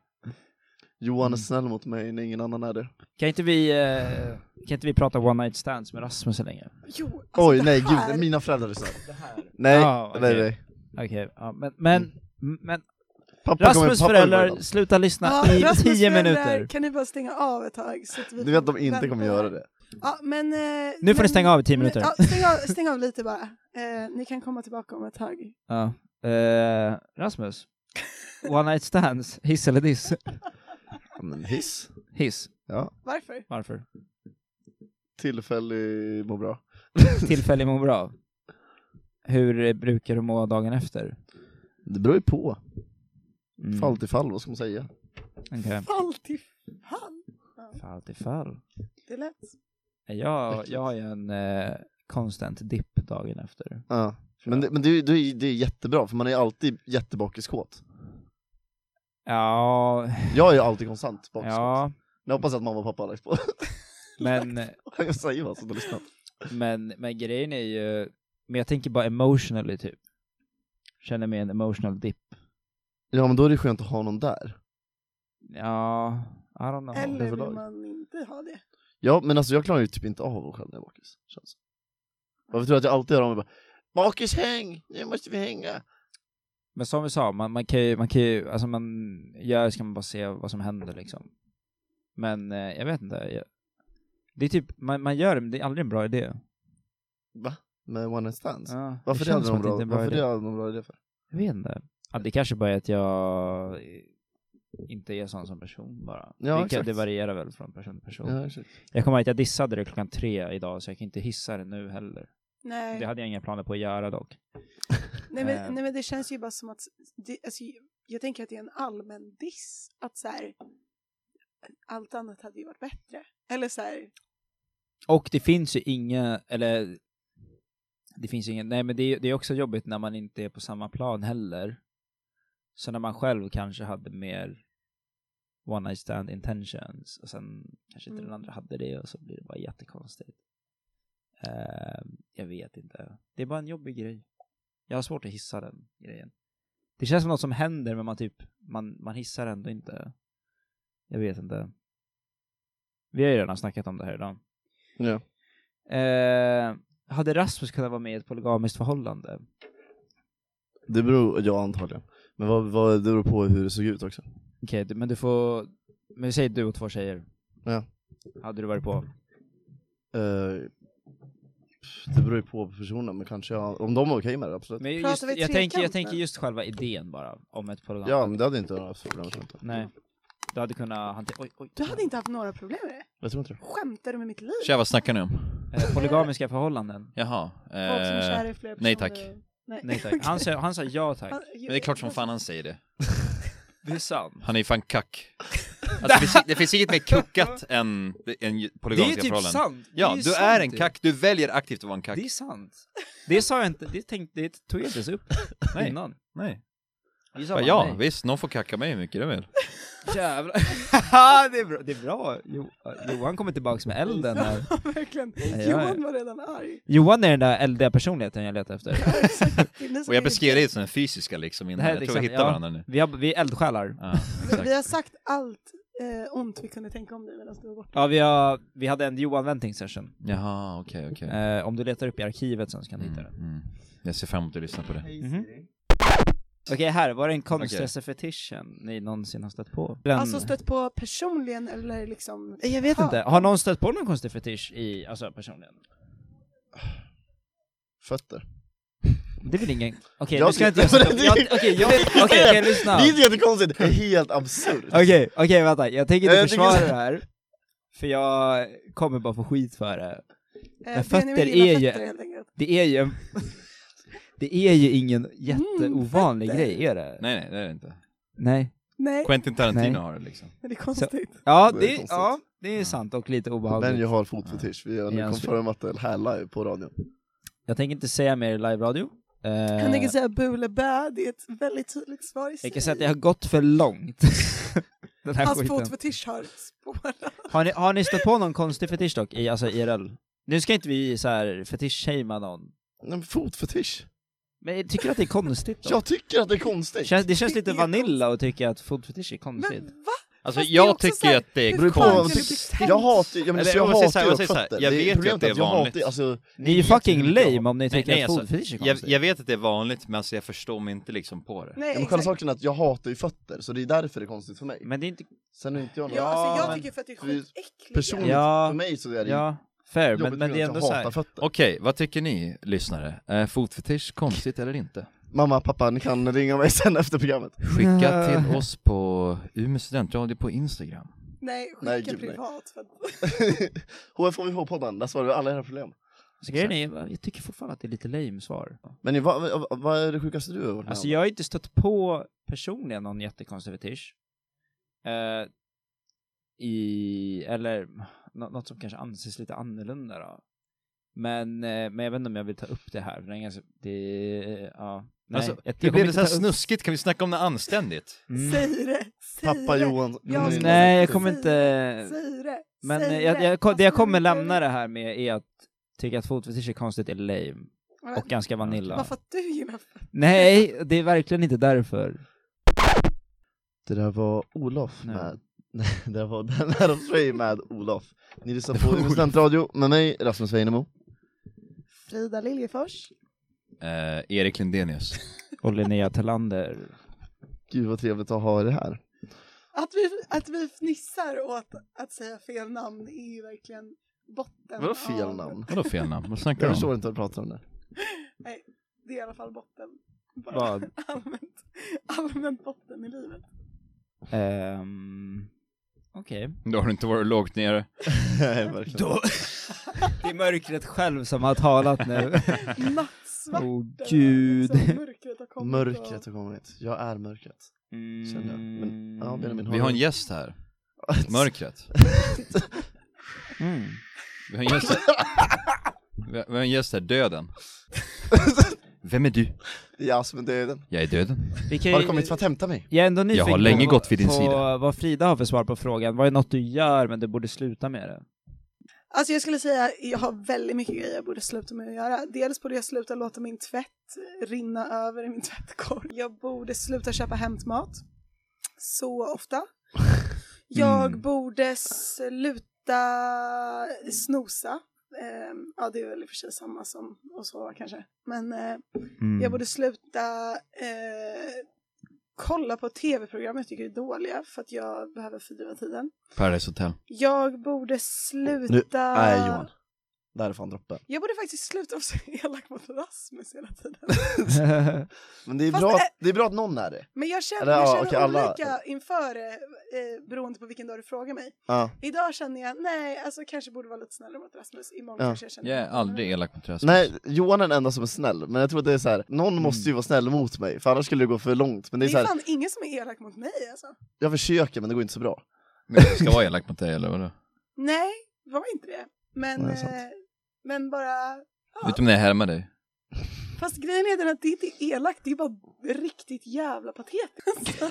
[SPEAKER 2] Johan är snäll mot mig när ingen annan är det.
[SPEAKER 6] Kan inte vi, eh, kan inte vi prata one night stands med Rasmus så länge?
[SPEAKER 5] Jo, alltså
[SPEAKER 2] Oj
[SPEAKER 5] det
[SPEAKER 2] nej
[SPEAKER 5] här-
[SPEAKER 2] gud, mina föräldrar lyssnar. Nej,
[SPEAKER 6] Ah, okej.
[SPEAKER 2] nej, nej.
[SPEAKER 6] Okej, ja, men, men,
[SPEAKER 2] Mm.
[SPEAKER 6] men
[SPEAKER 2] Pappa kommer-
[SPEAKER 6] Rasmus
[SPEAKER 2] pappa
[SPEAKER 6] föräldrar,
[SPEAKER 2] kommer-
[SPEAKER 6] sluta lyssna
[SPEAKER 5] Ja,
[SPEAKER 6] i
[SPEAKER 5] Rasmus
[SPEAKER 6] tio
[SPEAKER 5] föräldrar,
[SPEAKER 6] minuter.
[SPEAKER 5] Kan ni bara stänga av ett tag? Så att vi
[SPEAKER 2] Du vet att de inte kommer
[SPEAKER 5] vänta.
[SPEAKER 2] göra det.
[SPEAKER 5] Ja, men, eh,
[SPEAKER 6] Nu får ni
[SPEAKER 5] men-
[SPEAKER 6] stänga av i tio
[SPEAKER 5] men-
[SPEAKER 6] minuter.
[SPEAKER 5] Ja, stäng, av, stäng av lite bara. Eh, ni kan komma tillbaka om ett tag.
[SPEAKER 6] Ja. Eh, Rasmus, one night stands, hiss eller diss?
[SPEAKER 2] Ja, Men hiss.
[SPEAKER 6] Hiss.
[SPEAKER 2] Ja,
[SPEAKER 5] Varför?
[SPEAKER 6] Varför?
[SPEAKER 2] tillfällig må bra.
[SPEAKER 6] Tillfällig må bra. Hur eh, brukar du må dagen efter?
[SPEAKER 2] Det beror ju på.
[SPEAKER 6] Mm,
[SPEAKER 2] Fall till fall, vad ska man säga?
[SPEAKER 6] okej.
[SPEAKER 5] Alltid fan.
[SPEAKER 6] Fall till fall.
[SPEAKER 5] Det lät.
[SPEAKER 6] Jag,
[SPEAKER 2] Äckligt.
[SPEAKER 6] jag har ju en eh, konstant dipp dagen efter.
[SPEAKER 2] Ja. Men, det, men det, är ju- det, är ju- det är jättebra, för man är ju alltid jättebakiskåt.
[SPEAKER 6] Ja,
[SPEAKER 2] Jag är ju alltid konstant bakiskåt.
[SPEAKER 6] ja,
[SPEAKER 2] Jag hoppas att mamma och pappa har lagt på.
[SPEAKER 6] men,
[SPEAKER 2] jag säger vad som har lyssnat.
[SPEAKER 6] men, men grejen är ju, men jag tänker bara emotionally typ. Känner mig en emotional dip.
[SPEAKER 2] Ja men då är det skönt att ha någon där.
[SPEAKER 6] Ja, I don't know.
[SPEAKER 5] Eller vill
[SPEAKER 2] överlag.
[SPEAKER 5] man inte ha det?
[SPEAKER 2] Ja men alltså jag klarar ju typ inte av att själv när jag är bakis. Känns. det. Varför tror du att jag alltid hör om mig bara Bakishäng! Nu måste vi hänga!
[SPEAKER 6] Men som vi sa, man, man kan ju, man kan ju, alltså man gör ska man bara se vad som händer liksom. Men eh, jag vet inte. Jag, det är typ, man, man gör det men det är aldrig en bra idé.
[SPEAKER 2] Va? Med one night stands?
[SPEAKER 6] Ja, det
[SPEAKER 2] Varför det,
[SPEAKER 6] känns
[SPEAKER 2] hade
[SPEAKER 6] som
[SPEAKER 2] någon
[SPEAKER 6] att det
[SPEAKER 2] bra, varför
[SPEAKER 6] inte är en idé.
[SPEAKER 2] det hade någon bra idé för?
[SPEAKER 6] Jag vet inte. Ja, det kanske bara är att jag eh, inte är sån som person bara.
[SPEAKER 2] Ja,
[SPEAKER 6] det, kan,
[SPEAKER 2] exakt.
[SPEAKER 6] det varierar väl från person till person.
[SPEAKER 2] Ja, exakt.
[SPEAKER 6] Jag kommer ihåg att jag dissade det klockan tre idag så jag kan inte hissa det nu heller.
[SPEAKER 5] Nej.
[SPEAKER 6] Det hade jag inga planer på att göra dock.
[SPEAKER 5] Nej
[SPEAKER 6] Eh.
[SPEAKER 5] men, nej men det känns ju bara som att, det, alltså, jag tänker att det är en allmän diss. Att så här, allt annat hade ju varit bättre. Eller så här,
[SPEAKER 6] Och det finns ju inga, eller det finns ingen, nej men det är, det är också jobbigt när man inte är på samma plan heller. Så när man själv kanske hade mer one night stand intentions och sen kanske inte den
[SPEAKER 5] Mm.
[SPEAKER 6] andra hade det och så blir det bara jättekonstigt. Eh, jag vet inte. Det är bara en jobbig grej. Jag har svårt att hissa den grejen. Det känns som något som händer men man typ, man, man hissar ändå inte. Jag vet inte. Vi har ju redan snackat om det här idag.
[SPEAKER 2] Ja.
[SPEAKER 6] Eh, hade Rasmus kunnat vara med i ett polygamiskt förhållande?
[SPEAKER 2] Det beror, ja antagligen. Men vad, vad, det beror på hur det såg ut också.
[SPEAKER 6] Okej, du- men du får... Men vi säger du och två tjejer.
[SPEAKER 2] Ja.
[SPEAKER 6] Hade du varit på?
[SPEAKER 2] Eh, pff, det beror ju på personen, men kanske jag, om de är okej med det, absolut.
[SPEAKER 6] Men
[SPEAKER 5] Pratar
[SPEAKER 6] just,
[SPEAKER 5] vi
[SPEAKER 6] jag, tänker, jag
[SPEAKER 5] trekant
[SPEAKER 6] tänker
[SPEAKER 5] nu?
[SPEAKER 6] just själva idén bara, om ett polygam.
[SPEAKER 2] Ja, men det hade inte jag haft problem med.
[SPEAKER 6] Nej. Du hade kunnat hantera... Oj, oj.
[SPEAKER 5] du hade inte haft några problem med det.
[SPEAKER 2] Jag tror inte det.
[SPEAKER 5] Skämtar du med mitt liv?
[SPEAKER 7] Tja, vad snackar ni om?
[SPEAKER 6] Eh, polygamiska förhållanden?
[SPEAKER 7] Jaha.
[SPEAKER 5] Folk som är
[SPEAKER 7] Eh,
[SPEAKER 5] kära i flera
[SPEAKER 7] nej,
[SPEAKER 5] personer
[SPEAKER 7] tack.
[SPEAKER 5] och- Nej,
[SPEAKER 6] Nej tack. Han sa, han sa ja tack.
[SPEAKER 5] Han-
[SPEAKER 7] men det är klart som fan han säger det.
[SPEAKER 6] Det är sant.
[SPEAKER 7] Han är ju fan kack. Alltså, det, finns, det finns inget mer kuckat än, än
[SPEAKER 6] Det är ju
[SPEAKER 7] polygamiska
[SPEAKER 6] typ
[SPEAKER 7] förhållanden.
[SPEAKER 6] sant! Det
[SPEAKER 7] Ja,
[SPEAKER 6] ju
[SPEAKER 7] du
[SPEAKER 6] sant
[SPEAKER 7] är en
[SPEAKER 6] ju.
[SPEAKER 7] kack, du väljer aktivt att vara en kack.
[SPEAKER 6] Det är sant. Det sa jag inte, det, tänkte, det tog jag inte ens upp
[SPEAKER 7] Nej.
[SPEAKER 6] innan.
[SPEAKER 7] Nej.
[SPEAKER 6] Vi sa
[SPEAKER 7] Ja,
[SPEAKER 6] bara
[SPEAKER 7] ja
[SPEAKER 6] nej.
[SPEAKER 7] visst, någon får kacka mig hur mycket de vill.
[SPEAKER 6] Jävlar. det är bra. Det är bra. Jo, Johan kommer tillbaks med elden här.
[SPEAKER 5] Verkligen.
[SPEAKER 6] ja, ja.
[SPEAKER 5] Johan var redan arg.
[SPEAKER 6] Johan är den där eldiga personligheten jag letar efter.
[SPEAKER 5] Det är ni som
[SPEAKER 7] Och jag
[SPEAKER 5] är-
[SPEAKER 7] beskrev dig som den fysiska liksom
[SPEAKER 6] Det
[SPEAKER 7] innan,
[SPEAKER 6] här
[SPEAKER 7] jag
[SPEAKER 6] är
[SPEAKER 7] tror vi
[SPEAKER 6] liksom-
[SPEAKER 7] hittar
[SPEAKER 6] ja.
[SPEAKER 7] varandra nu.
[SPEAKER 6] Vi, har, vi är eldsjälar.
[SPEAKER 7] Ja,
[SPEAKER 5] Men
[SPEAKER 7] exakt.
[SPEAKER 5] Vi har sagt allt eh, ont vi kunde tänka om dig medan du var borta.
[SPEAKER 6] Ja, vi, har, vi hade en Johan Venting session.
[SPEAKER 7] Jaha, okej, okej.
[SPEAKER 6] Eh, om du letar upp i arkivet sen så kan du hitta
[SPEAKER 7] Mm,
[SPEAKER 6] den.
[SPEAKER 7] mm. Jag ser fram emot att lyssna på det.
[SPEAKER 6] Mhm. Okej, här. Var det den konstigaste fetischen ni någonsin har stött på? Den,
[SPEAKER 5] Alltså stött på personligen eller liksom...
[SPEAKER 6] jag vet inte. Har någon stött på någon konstig fetisch i, alltså personligen?
[SPEAKER 2] Fötter.
[SPEAKER 6] Det är väl ingen... Okej,
[SPEAKER 2] Jag
[SPEAKER 6] nu ska jag inte jag
[SPEAKER 2] tyckte-
[SPEAKER 6] sätta- jag- Okej, jag- okej, okej, lyssna.
[SPEAKER 2] Det är inte jättekonstigt, det är helt absurt.
[SPEAKER 6] Okej, okej vänta, jag tänker inte
[SPEAKER 2] Jag tycker
[SPEAKER 6] försvara
[SPEAKER 2] så-
[SPEAKER 6] det här För jag kommer bara få skit för det
[SPEAKER 5] Eh,
[SPEAKER 6] fötter
[SPEAKER 5] Benjamin gillar
[SPEAKER 6] är ju-
[SPEAKER 5] fötter, helt enkelt.
[SPEAKER 6] Det är ju en... Det är ju ingen jätteovanlig
[SPEAKER 5] Mm,
[SPEAKER 6] grej, är det?
[SPEAKER 7] Nej, nej, det är det inte.
[SPEAKER 6] Nej.
[SPEAKER 5] Nej,
[SPEAKER 7] Quentin Tarantino
[SPEAKER 6] Nej.
[SPEAKER 7] har det liksom.
[SPEAKER 5] det är konstigt.
[SPEAKER 6] Ja,
[SPEAKER 2] Det är
[SPEAKER 6] det,
[SPEAKER 2] konstigt.
[SPEAKER 6] ja, det är sant och lite obehagligt.
[SPEAKER 2] Men jag
[SPEAKER 6] jag...
[SPEAKER 2] har fotfetisch, vi har nu
[SPEAKER 6] Ja, så-
[SPEAKER 2] confirmat det här live på radion.
[SPEAKER 6] tänker inte säga mer i live-radio. Eh,
[SPEAKER 5] Han tänker säga bu eller bä, det är ett väldigt tydligt svar i sig.
[SPEAKER 6] jag kan säga att det har gått för långt. Den här
[SPEAKER 5] Hans
[SPEAKER 6] skiten.
[SPEAKER 5] fotfetisch har spårat.
[SPEAKER 6] Har ni, har ni stött på någon konstig fetisch dock, i, alltså IRL? Nu ska inte vi så här fetisch-shamea någon.
[SPEAKER 2] Nej, men fotfetisch?
[SPEAKER 6] Men jag tycker att det är konstigt då?
[SPEAKER 2] Jag tycker att det är konstigt!
[SPEAKER 6] Känns, det känns
[SPEAKER 5] Det
[SPEAKER 6] lite
[SPEAKER 5] är
[SPEAKER 6] vanilla att tycka att fotfetisch är konstigt.
[SPEAKER 5] Men va?
[SPEAKER 7] Alltså
[SPEAKER 5] Fast det är
[SPEAKER 7] jag
[SPEAKER 5] också så
[SPEAKER 7] tycker
[SPEAKER 5] här,
[SPEAKER 7] att det
[SPEAKER 5] hur
[SPEAKER 7] är
[SPEAKER 5] fan kan det bli
[SPEAKER 7] konstigt.
[SPEAKER 5] tänt?
[SPEAKER 2] Jag hatar, jag, men,
[SPEAKER 7] Eller,
[SPEAKER 2] jag
[SPEAKER 7] jag säger så
[SPEAKER 2] hatar
[SPEAKER 7] här,
[SPEAKER 2] ju
[SPEAKER 7] jag säger så här,
[SPEAKER 2] fötter.
[SPEAKER 7] jag
[SPEAKER 2] Det-
[SPEAKER 7] vet ju att
[SPEAKER 2] problemet
[SPEAKER 7] det är
[SPEAKER 2] jag hatar-
[SPEAKER 7] vanligt.
[SPEAKER 2] alltså,
[SPEAKER 6] Ni är ju
[SPEAKER 2] vet ju
[SPEAKER 6] fucking
[SPEAKER 2] hur jag-
[SPEAKER 6] lame om ni
[SPEAKER 7] Nej,
[SPEAKER 6] tycker
[SPEAKER 7] nej,
[SPEAKER 6] att
[SPEAKER 7] alltså,
[SPEAKER 6] fotfetisch är
[SPEAKER 7] jag,
[SPEAKER 6] konstigt.
[SPEAKER 7] jag vet att det är vanligt, men alltså, jag förstår mig inte liksom på det.
[SPEAKER 5] Nej,
[SPEAKER 2] Ja, men själva
[SPEAKER 5] exakt.
[SPEAKER 2] saken är att jag hatar ju fötter, så det är därför det är konstigt för mig.
[SPEAKER 6] Men det är inte...
[SPEAKER 2] Sen är inte jag någon...
[SPEAKER 5] Ja, alltså, jag
[SPEAKER 6] men-
[SPEAKER 5] tycker fötter är
[SPEAKER 2] För det är
[SPEAKER 5] skitäckliga.
[SPEAKER 2] Personligt,
[SPEAKER 6] Ja.
[SPEAKER 2] för mig så är det
[SPEAKER 6] Ja, fair,
[SPEAKER 2] jobbigt
[SPEAKER 6] men, men det är
[SPEAKER 2] att
[SPEAKER 6] ändå
[SPEAKER 2] jag
[SPEAKER 6] så
[SPEAKER 2] hatar
[SPEAKER 6] här.
[SPEAKER 2] fötter.
[SPEAKER 7] Okej, vad tycker ni lyssnare? Eh, fotfetisch, konstigt eller inte?
[SPEAKER 2] Mamma, pappa, ni kan ringa mig sen efter programmet.
[SPEAKER 7] Skicka
[SPEAKER 6] Nej.
[SPEAKER 7] till oss på Umeå studentradio på Instagram.
[SPEAKER 5] Nej,
[SPEAKER 2] Nej,
[SPEAKER 5] skicka
[SPEAKER 2] gud, nej.
[SPEAKER 5] privat. För att...
[SPEAKER 2] HFHVH-podden, där svarar vi alla era problem.
[SPEAKER 6] Så grejen är, jag tycker fortfarande att det är lite lame svar.
[SPEAKER 2] Men ni, vad, vad- vad är det sjukaste du har varit med
[SPEAKER 6] Alltså
[SPEAKER 2] om?
[SPEAKER 6] jag har inte stött på personligen någon jättekonstig fetisch. Eh, I, eller nå- något som kanske anses lite annorlunda då. Men, eh, men jag vet inte om jag vill ta upp det här, för det är ganska, det, ja. Nej,
[SPEAKER 7] Alltså,
[SPEAKER 6] jag, jag
[SPEAKER 7] Det
[SPEAKER 6] kommer
[SPEAKER 7] blev
[SPEAKER 6] inte
[SPEAKER 7] det så här
[SPEAKER 6] ta upp-
[SPEAKER 7] snuskigt, kan vi snacka om något anständigt?
[SPEAKER 6] Mm.
[SPEAKER 5] Säg det! Säg
[SPEAKER 2] Pappa
[SPEAKER 5] det.
[SPEAKER 2] Johan...
[SPEAKER 5] Jag
[SPEAKER 2] Mm.
[SPEAKER 5] ska-
[SPEAKER 6] Nej, jag kommer
[SPEAKER 5] Säg
[SPEAKER 6] inte,
[SPEAKER 5] det!
[SPEAKER 6] Mm. Men
[SPEAKER 5] säg
[SPEAKER 6] eh, jag,
[SPEAKER 5] det.
[SPEAKER 6] jag, ko- det jag
[SPEAKER 5] Alltså,
[SPEAKER 6] kommer
[SPEAKER 5] men-
[SPEAKER 6] lämna det här med är att tycka att fotfetisch är konstigt är lame och ganska vanilla.
[SPEAKER 5] Varför att du gillar fötter?
[SPEAKER 6] Nej, det är verkligen inte därför.
[SPEAKER 2] Det där var Olof
[SPEAKER 6] Nej.
[SPEAKER 2] med... Nej, det där var Den här hos mig med Olof. Ni lyssnar på Umeå studentradio med mig, Rasmus Weinemo.
[SPEAKER 5] Frida Liljefors.
[SPEAKER 7] Eh, Erik Lindenius.
[SPEAKER 6] Och Linnea Thelander.
[SPEAKER 2] Gud vad trevligt att ha er här.
[SPEAKER 5] Att vi, att vi fnissar åt att säga fel namn är ju verkligen botten.
[SPEAKER 2] Vadå fel
[SPEAKER 5] av-
[SPEAKER 2] namn?
[SPEAKER 1] Vadå fel namn? Vad snackar
[SPEAKER 2] Jag
[SPEAKER 1] du
[SPEAKER 2] förstår
[SPEAKER 1] om?
[SPEAKER 2] inte vad du pratar om där.
[SPEAKER 5] Det är i alla fall botten. Bara
[SPEAKER 6] Vad?
[SPEAKER 5] Allmänt, allmänt botten i livet.
[SPEAKER 6] Ehm, Okej.
[SPEAKER 1] Då har du inte varit lågt nere.
[SPEAKER 2] Nej, verkligen.
[SPEAKER 6] Det är mörkret själv som har talat nu.
[SPEAKER 5] Nattsvart.
[SPEAKER 6] Åh
[SPEAKER 5] där,
[SPEAKER 6] gud.
[SPEAKER 5] liksom, mörkret har kommit.
[SPEAKER 2] Mörkret har
[SPEAKER 5] Och...
[SPEAKER 2] kommit. Jag är mörkret. Känner jag. Men, ja, Benjamin,
[SPEAKER 6] mm.
[SPEAKER 1] Vi har en gäst här.
[SPEAKER 2] du-
[SPEAKER 1] Mörkret.
[SPEAKER 6] Mm.
[SPEAKER 1] Vi har en gäst här. Vi har- Vi har en gäst här, döden. Vem är du?
[SPEAKER 2] Ja, som är döden.
[SPEAKER 1] Jag är döden.
[SPEAKER 6] Vi kan
[SPEAKER 2] Har
[SPEAKER 6] ju-
[SPEAKER 2] du kommit för att hämta mig?
[SPEAKER 6] Jag är ändå nyfiken
[SPEAKER 1] Jag har länge
[SPEAKER 6] på,
[SPEAKER 1] gått vid din
[SPEAKER 6] på
[SPEAKER 1] sida.
[SPEAKER 6] vad Frida har för svar på frågan. Vad är något du gör men du borde sluta med det?
[SPEAKER 5] Alltså jag skulle säga, jag har väldigt mycket grejer jag borde sluta med att göra. Dels borde jag sluta låta min tvätt rinna över i min tvättkorg. Jag borde sluta köpa hämtmat så ofta. Jag
[SPEAKER 1] Mm.
[SPEAKER 5] borde sluta snosa. Ehm, ja, det är väl i och för sig samma som att sova kanske. Men eh,
[SPEAKER 2] Mm.
[SPEAKER 5] jag borde sluta eh, kolla på tv-program jag tycker är dåliga för att jag behöver fördriva tiden.
[SPEAKER 1] Paradise Hotel.
[SPEAKER 5] Jag borde sluta...
[SPEAKER 2] Nej, Johan. Där är fan droppen.
[SPEAKER 5] Jag borde faktiskt sluta vara så elak mot Rasmus hela tiden.
[SPEAKER 2] Men det är,
[SPEAKER 5] Fast
[SPEAKER 2] bra,
[SPEAKER 5] det-
[SPEAKER 2] det är bra att någon är det.
[SPEAKER 5] Men jag känner,
[SPEAKER 2] Eller,
[SPEAKER 5] jag
[SPEAKER 2] ja,
[SPEAKER 5] känner
[SPEAKER 2] okej, alla-
[SPEAKER 5] olika inför det, eh, beroende på vilken dag du frågar mig.
[SPEAKER 2] Ja.
[SPEAKER 5] Idag känner jag, nej, alltså kanske borde vara lite snällare mot Rasmus. Imorgon
[SPEAKER 2] Ja.
[SPEAKER 5] kanske jag känner...
[SPEAKER 1] Jag är aldrig elak mot Rasmus.
[SPEAKER 2] Nej, Johan är den enda som är snäll, men jag tror att det är så här. någon
[SPEAKER 1] Mm.
[SPEAKER 2] måste ju vara snäll mot mig, för annars skulle det gå för långt. Men det är
[SPEAKER 5] Det är
[SPEAKER 2] så här,
[SPEAKER 5] fan ingen som är elak mot mig alltså.
[SPEAKER 2] jag försöker men det går inte så bra.
[SPEAKER 1] Men jag ska vara elak mot dig eller vadå?
[SPEAKER 5] Nej, var inte det. Men,
[SPEAKER 2] Nej, det är sant.
[SPEAKER 5] eh, men bara... Ja.
[SPEAKER 1] Utom när jag härmar dig.
[SPEAKER 5] Fast grejen är den att det inte är elakt, det är bara riktigt jävla patetiskt.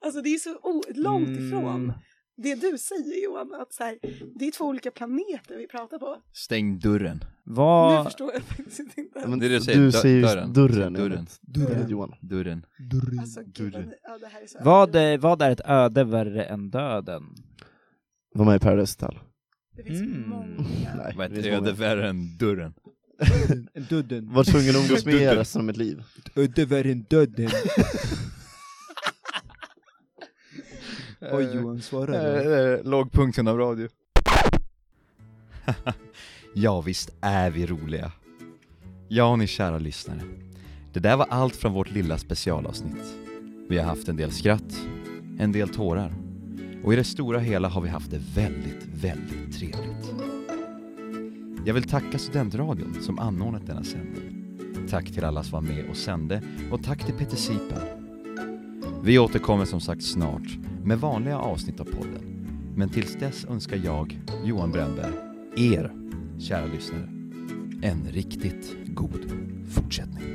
[SPEAKER 5] alltså det är så o- långt
[SPEAKER 6] Mm.
[SPEAKER 5] ifrån det du säger Johan, att så här, det är två olika planeter vi pratar på.
[SPEAKER 1] Stäng dörren.
[SPEAKER 5] Nu
[SPEAKER 6] Vad...
[SPEAKER 5] förstår jag faktiskt inte.
[SPEAKER 2] Men
[SPEAKER 1] Det är det du säger,
[SPEAKER 2] du
[SPEAKER 1] dö-
[SPEAKER 2] säger just
[SPEAKER 1] dörren.
[SPEAKER 2] dörren.
[SPEAKER 1] Dörren.
[SPEAKER 2] dörren. dörren. Johan.
[SPEAKER 1] Dörren.
[SPEAKER 5] Alltså, gud, vad ni- ja, det här är så
[SPEAKER 6] Vad,
[SPEAKER 5] överdrivet.
[SPEAKER 6] är- vad är ett öde värre än döden?
[SPEAKER 2] Var med i Paradise Hotel.
[SPEAKER 5] Det finns
[SPEAKER 6] Mm.
[SPEAKER 5] många.
[SPEAKER 2] Nej,
[SPEAKER 1] Vad är
[SPEAKER 2] det
[SPEAKER 1] ett
[SPEAKER 2] finns
[SPEAKER 1] öde
[SPEAKER 2] många.
[SPEAKER 1] värre än dörren?
[SPEAKER 6] Döden.
[SPEAKER 2] Var tvungen att umgås med er
[SPEAKER 1] Dörren.
[SPEAKER 2] resten av mitt liv.
[SPEAKER 6] Öde värre än döden.
[SPEAKER 2] Oj,
[SPEAKER 6] Johan,
[SPEAKER 1] Eh, eh, Lågpunkten av radio. ja, visst är vi roliga. Ja, ni kära lyssnare. Det där var allt från vårt lilla specialavsnitt. Vi har haft en del skratt, en del tårar och i det stora hela har vi haft det väldigt, väldigt trevligt. Jag vill tacka Studentradion som anordnat denna sändning. Tack till alla som var med och sände och tack till Peter Sipen. Vi återkommer som sagt snart med vanliga avsnitt av podden. Men tills dess önskar jag, Johan Brännberg, er, kära lyssnare, en riktigt god fortsättning.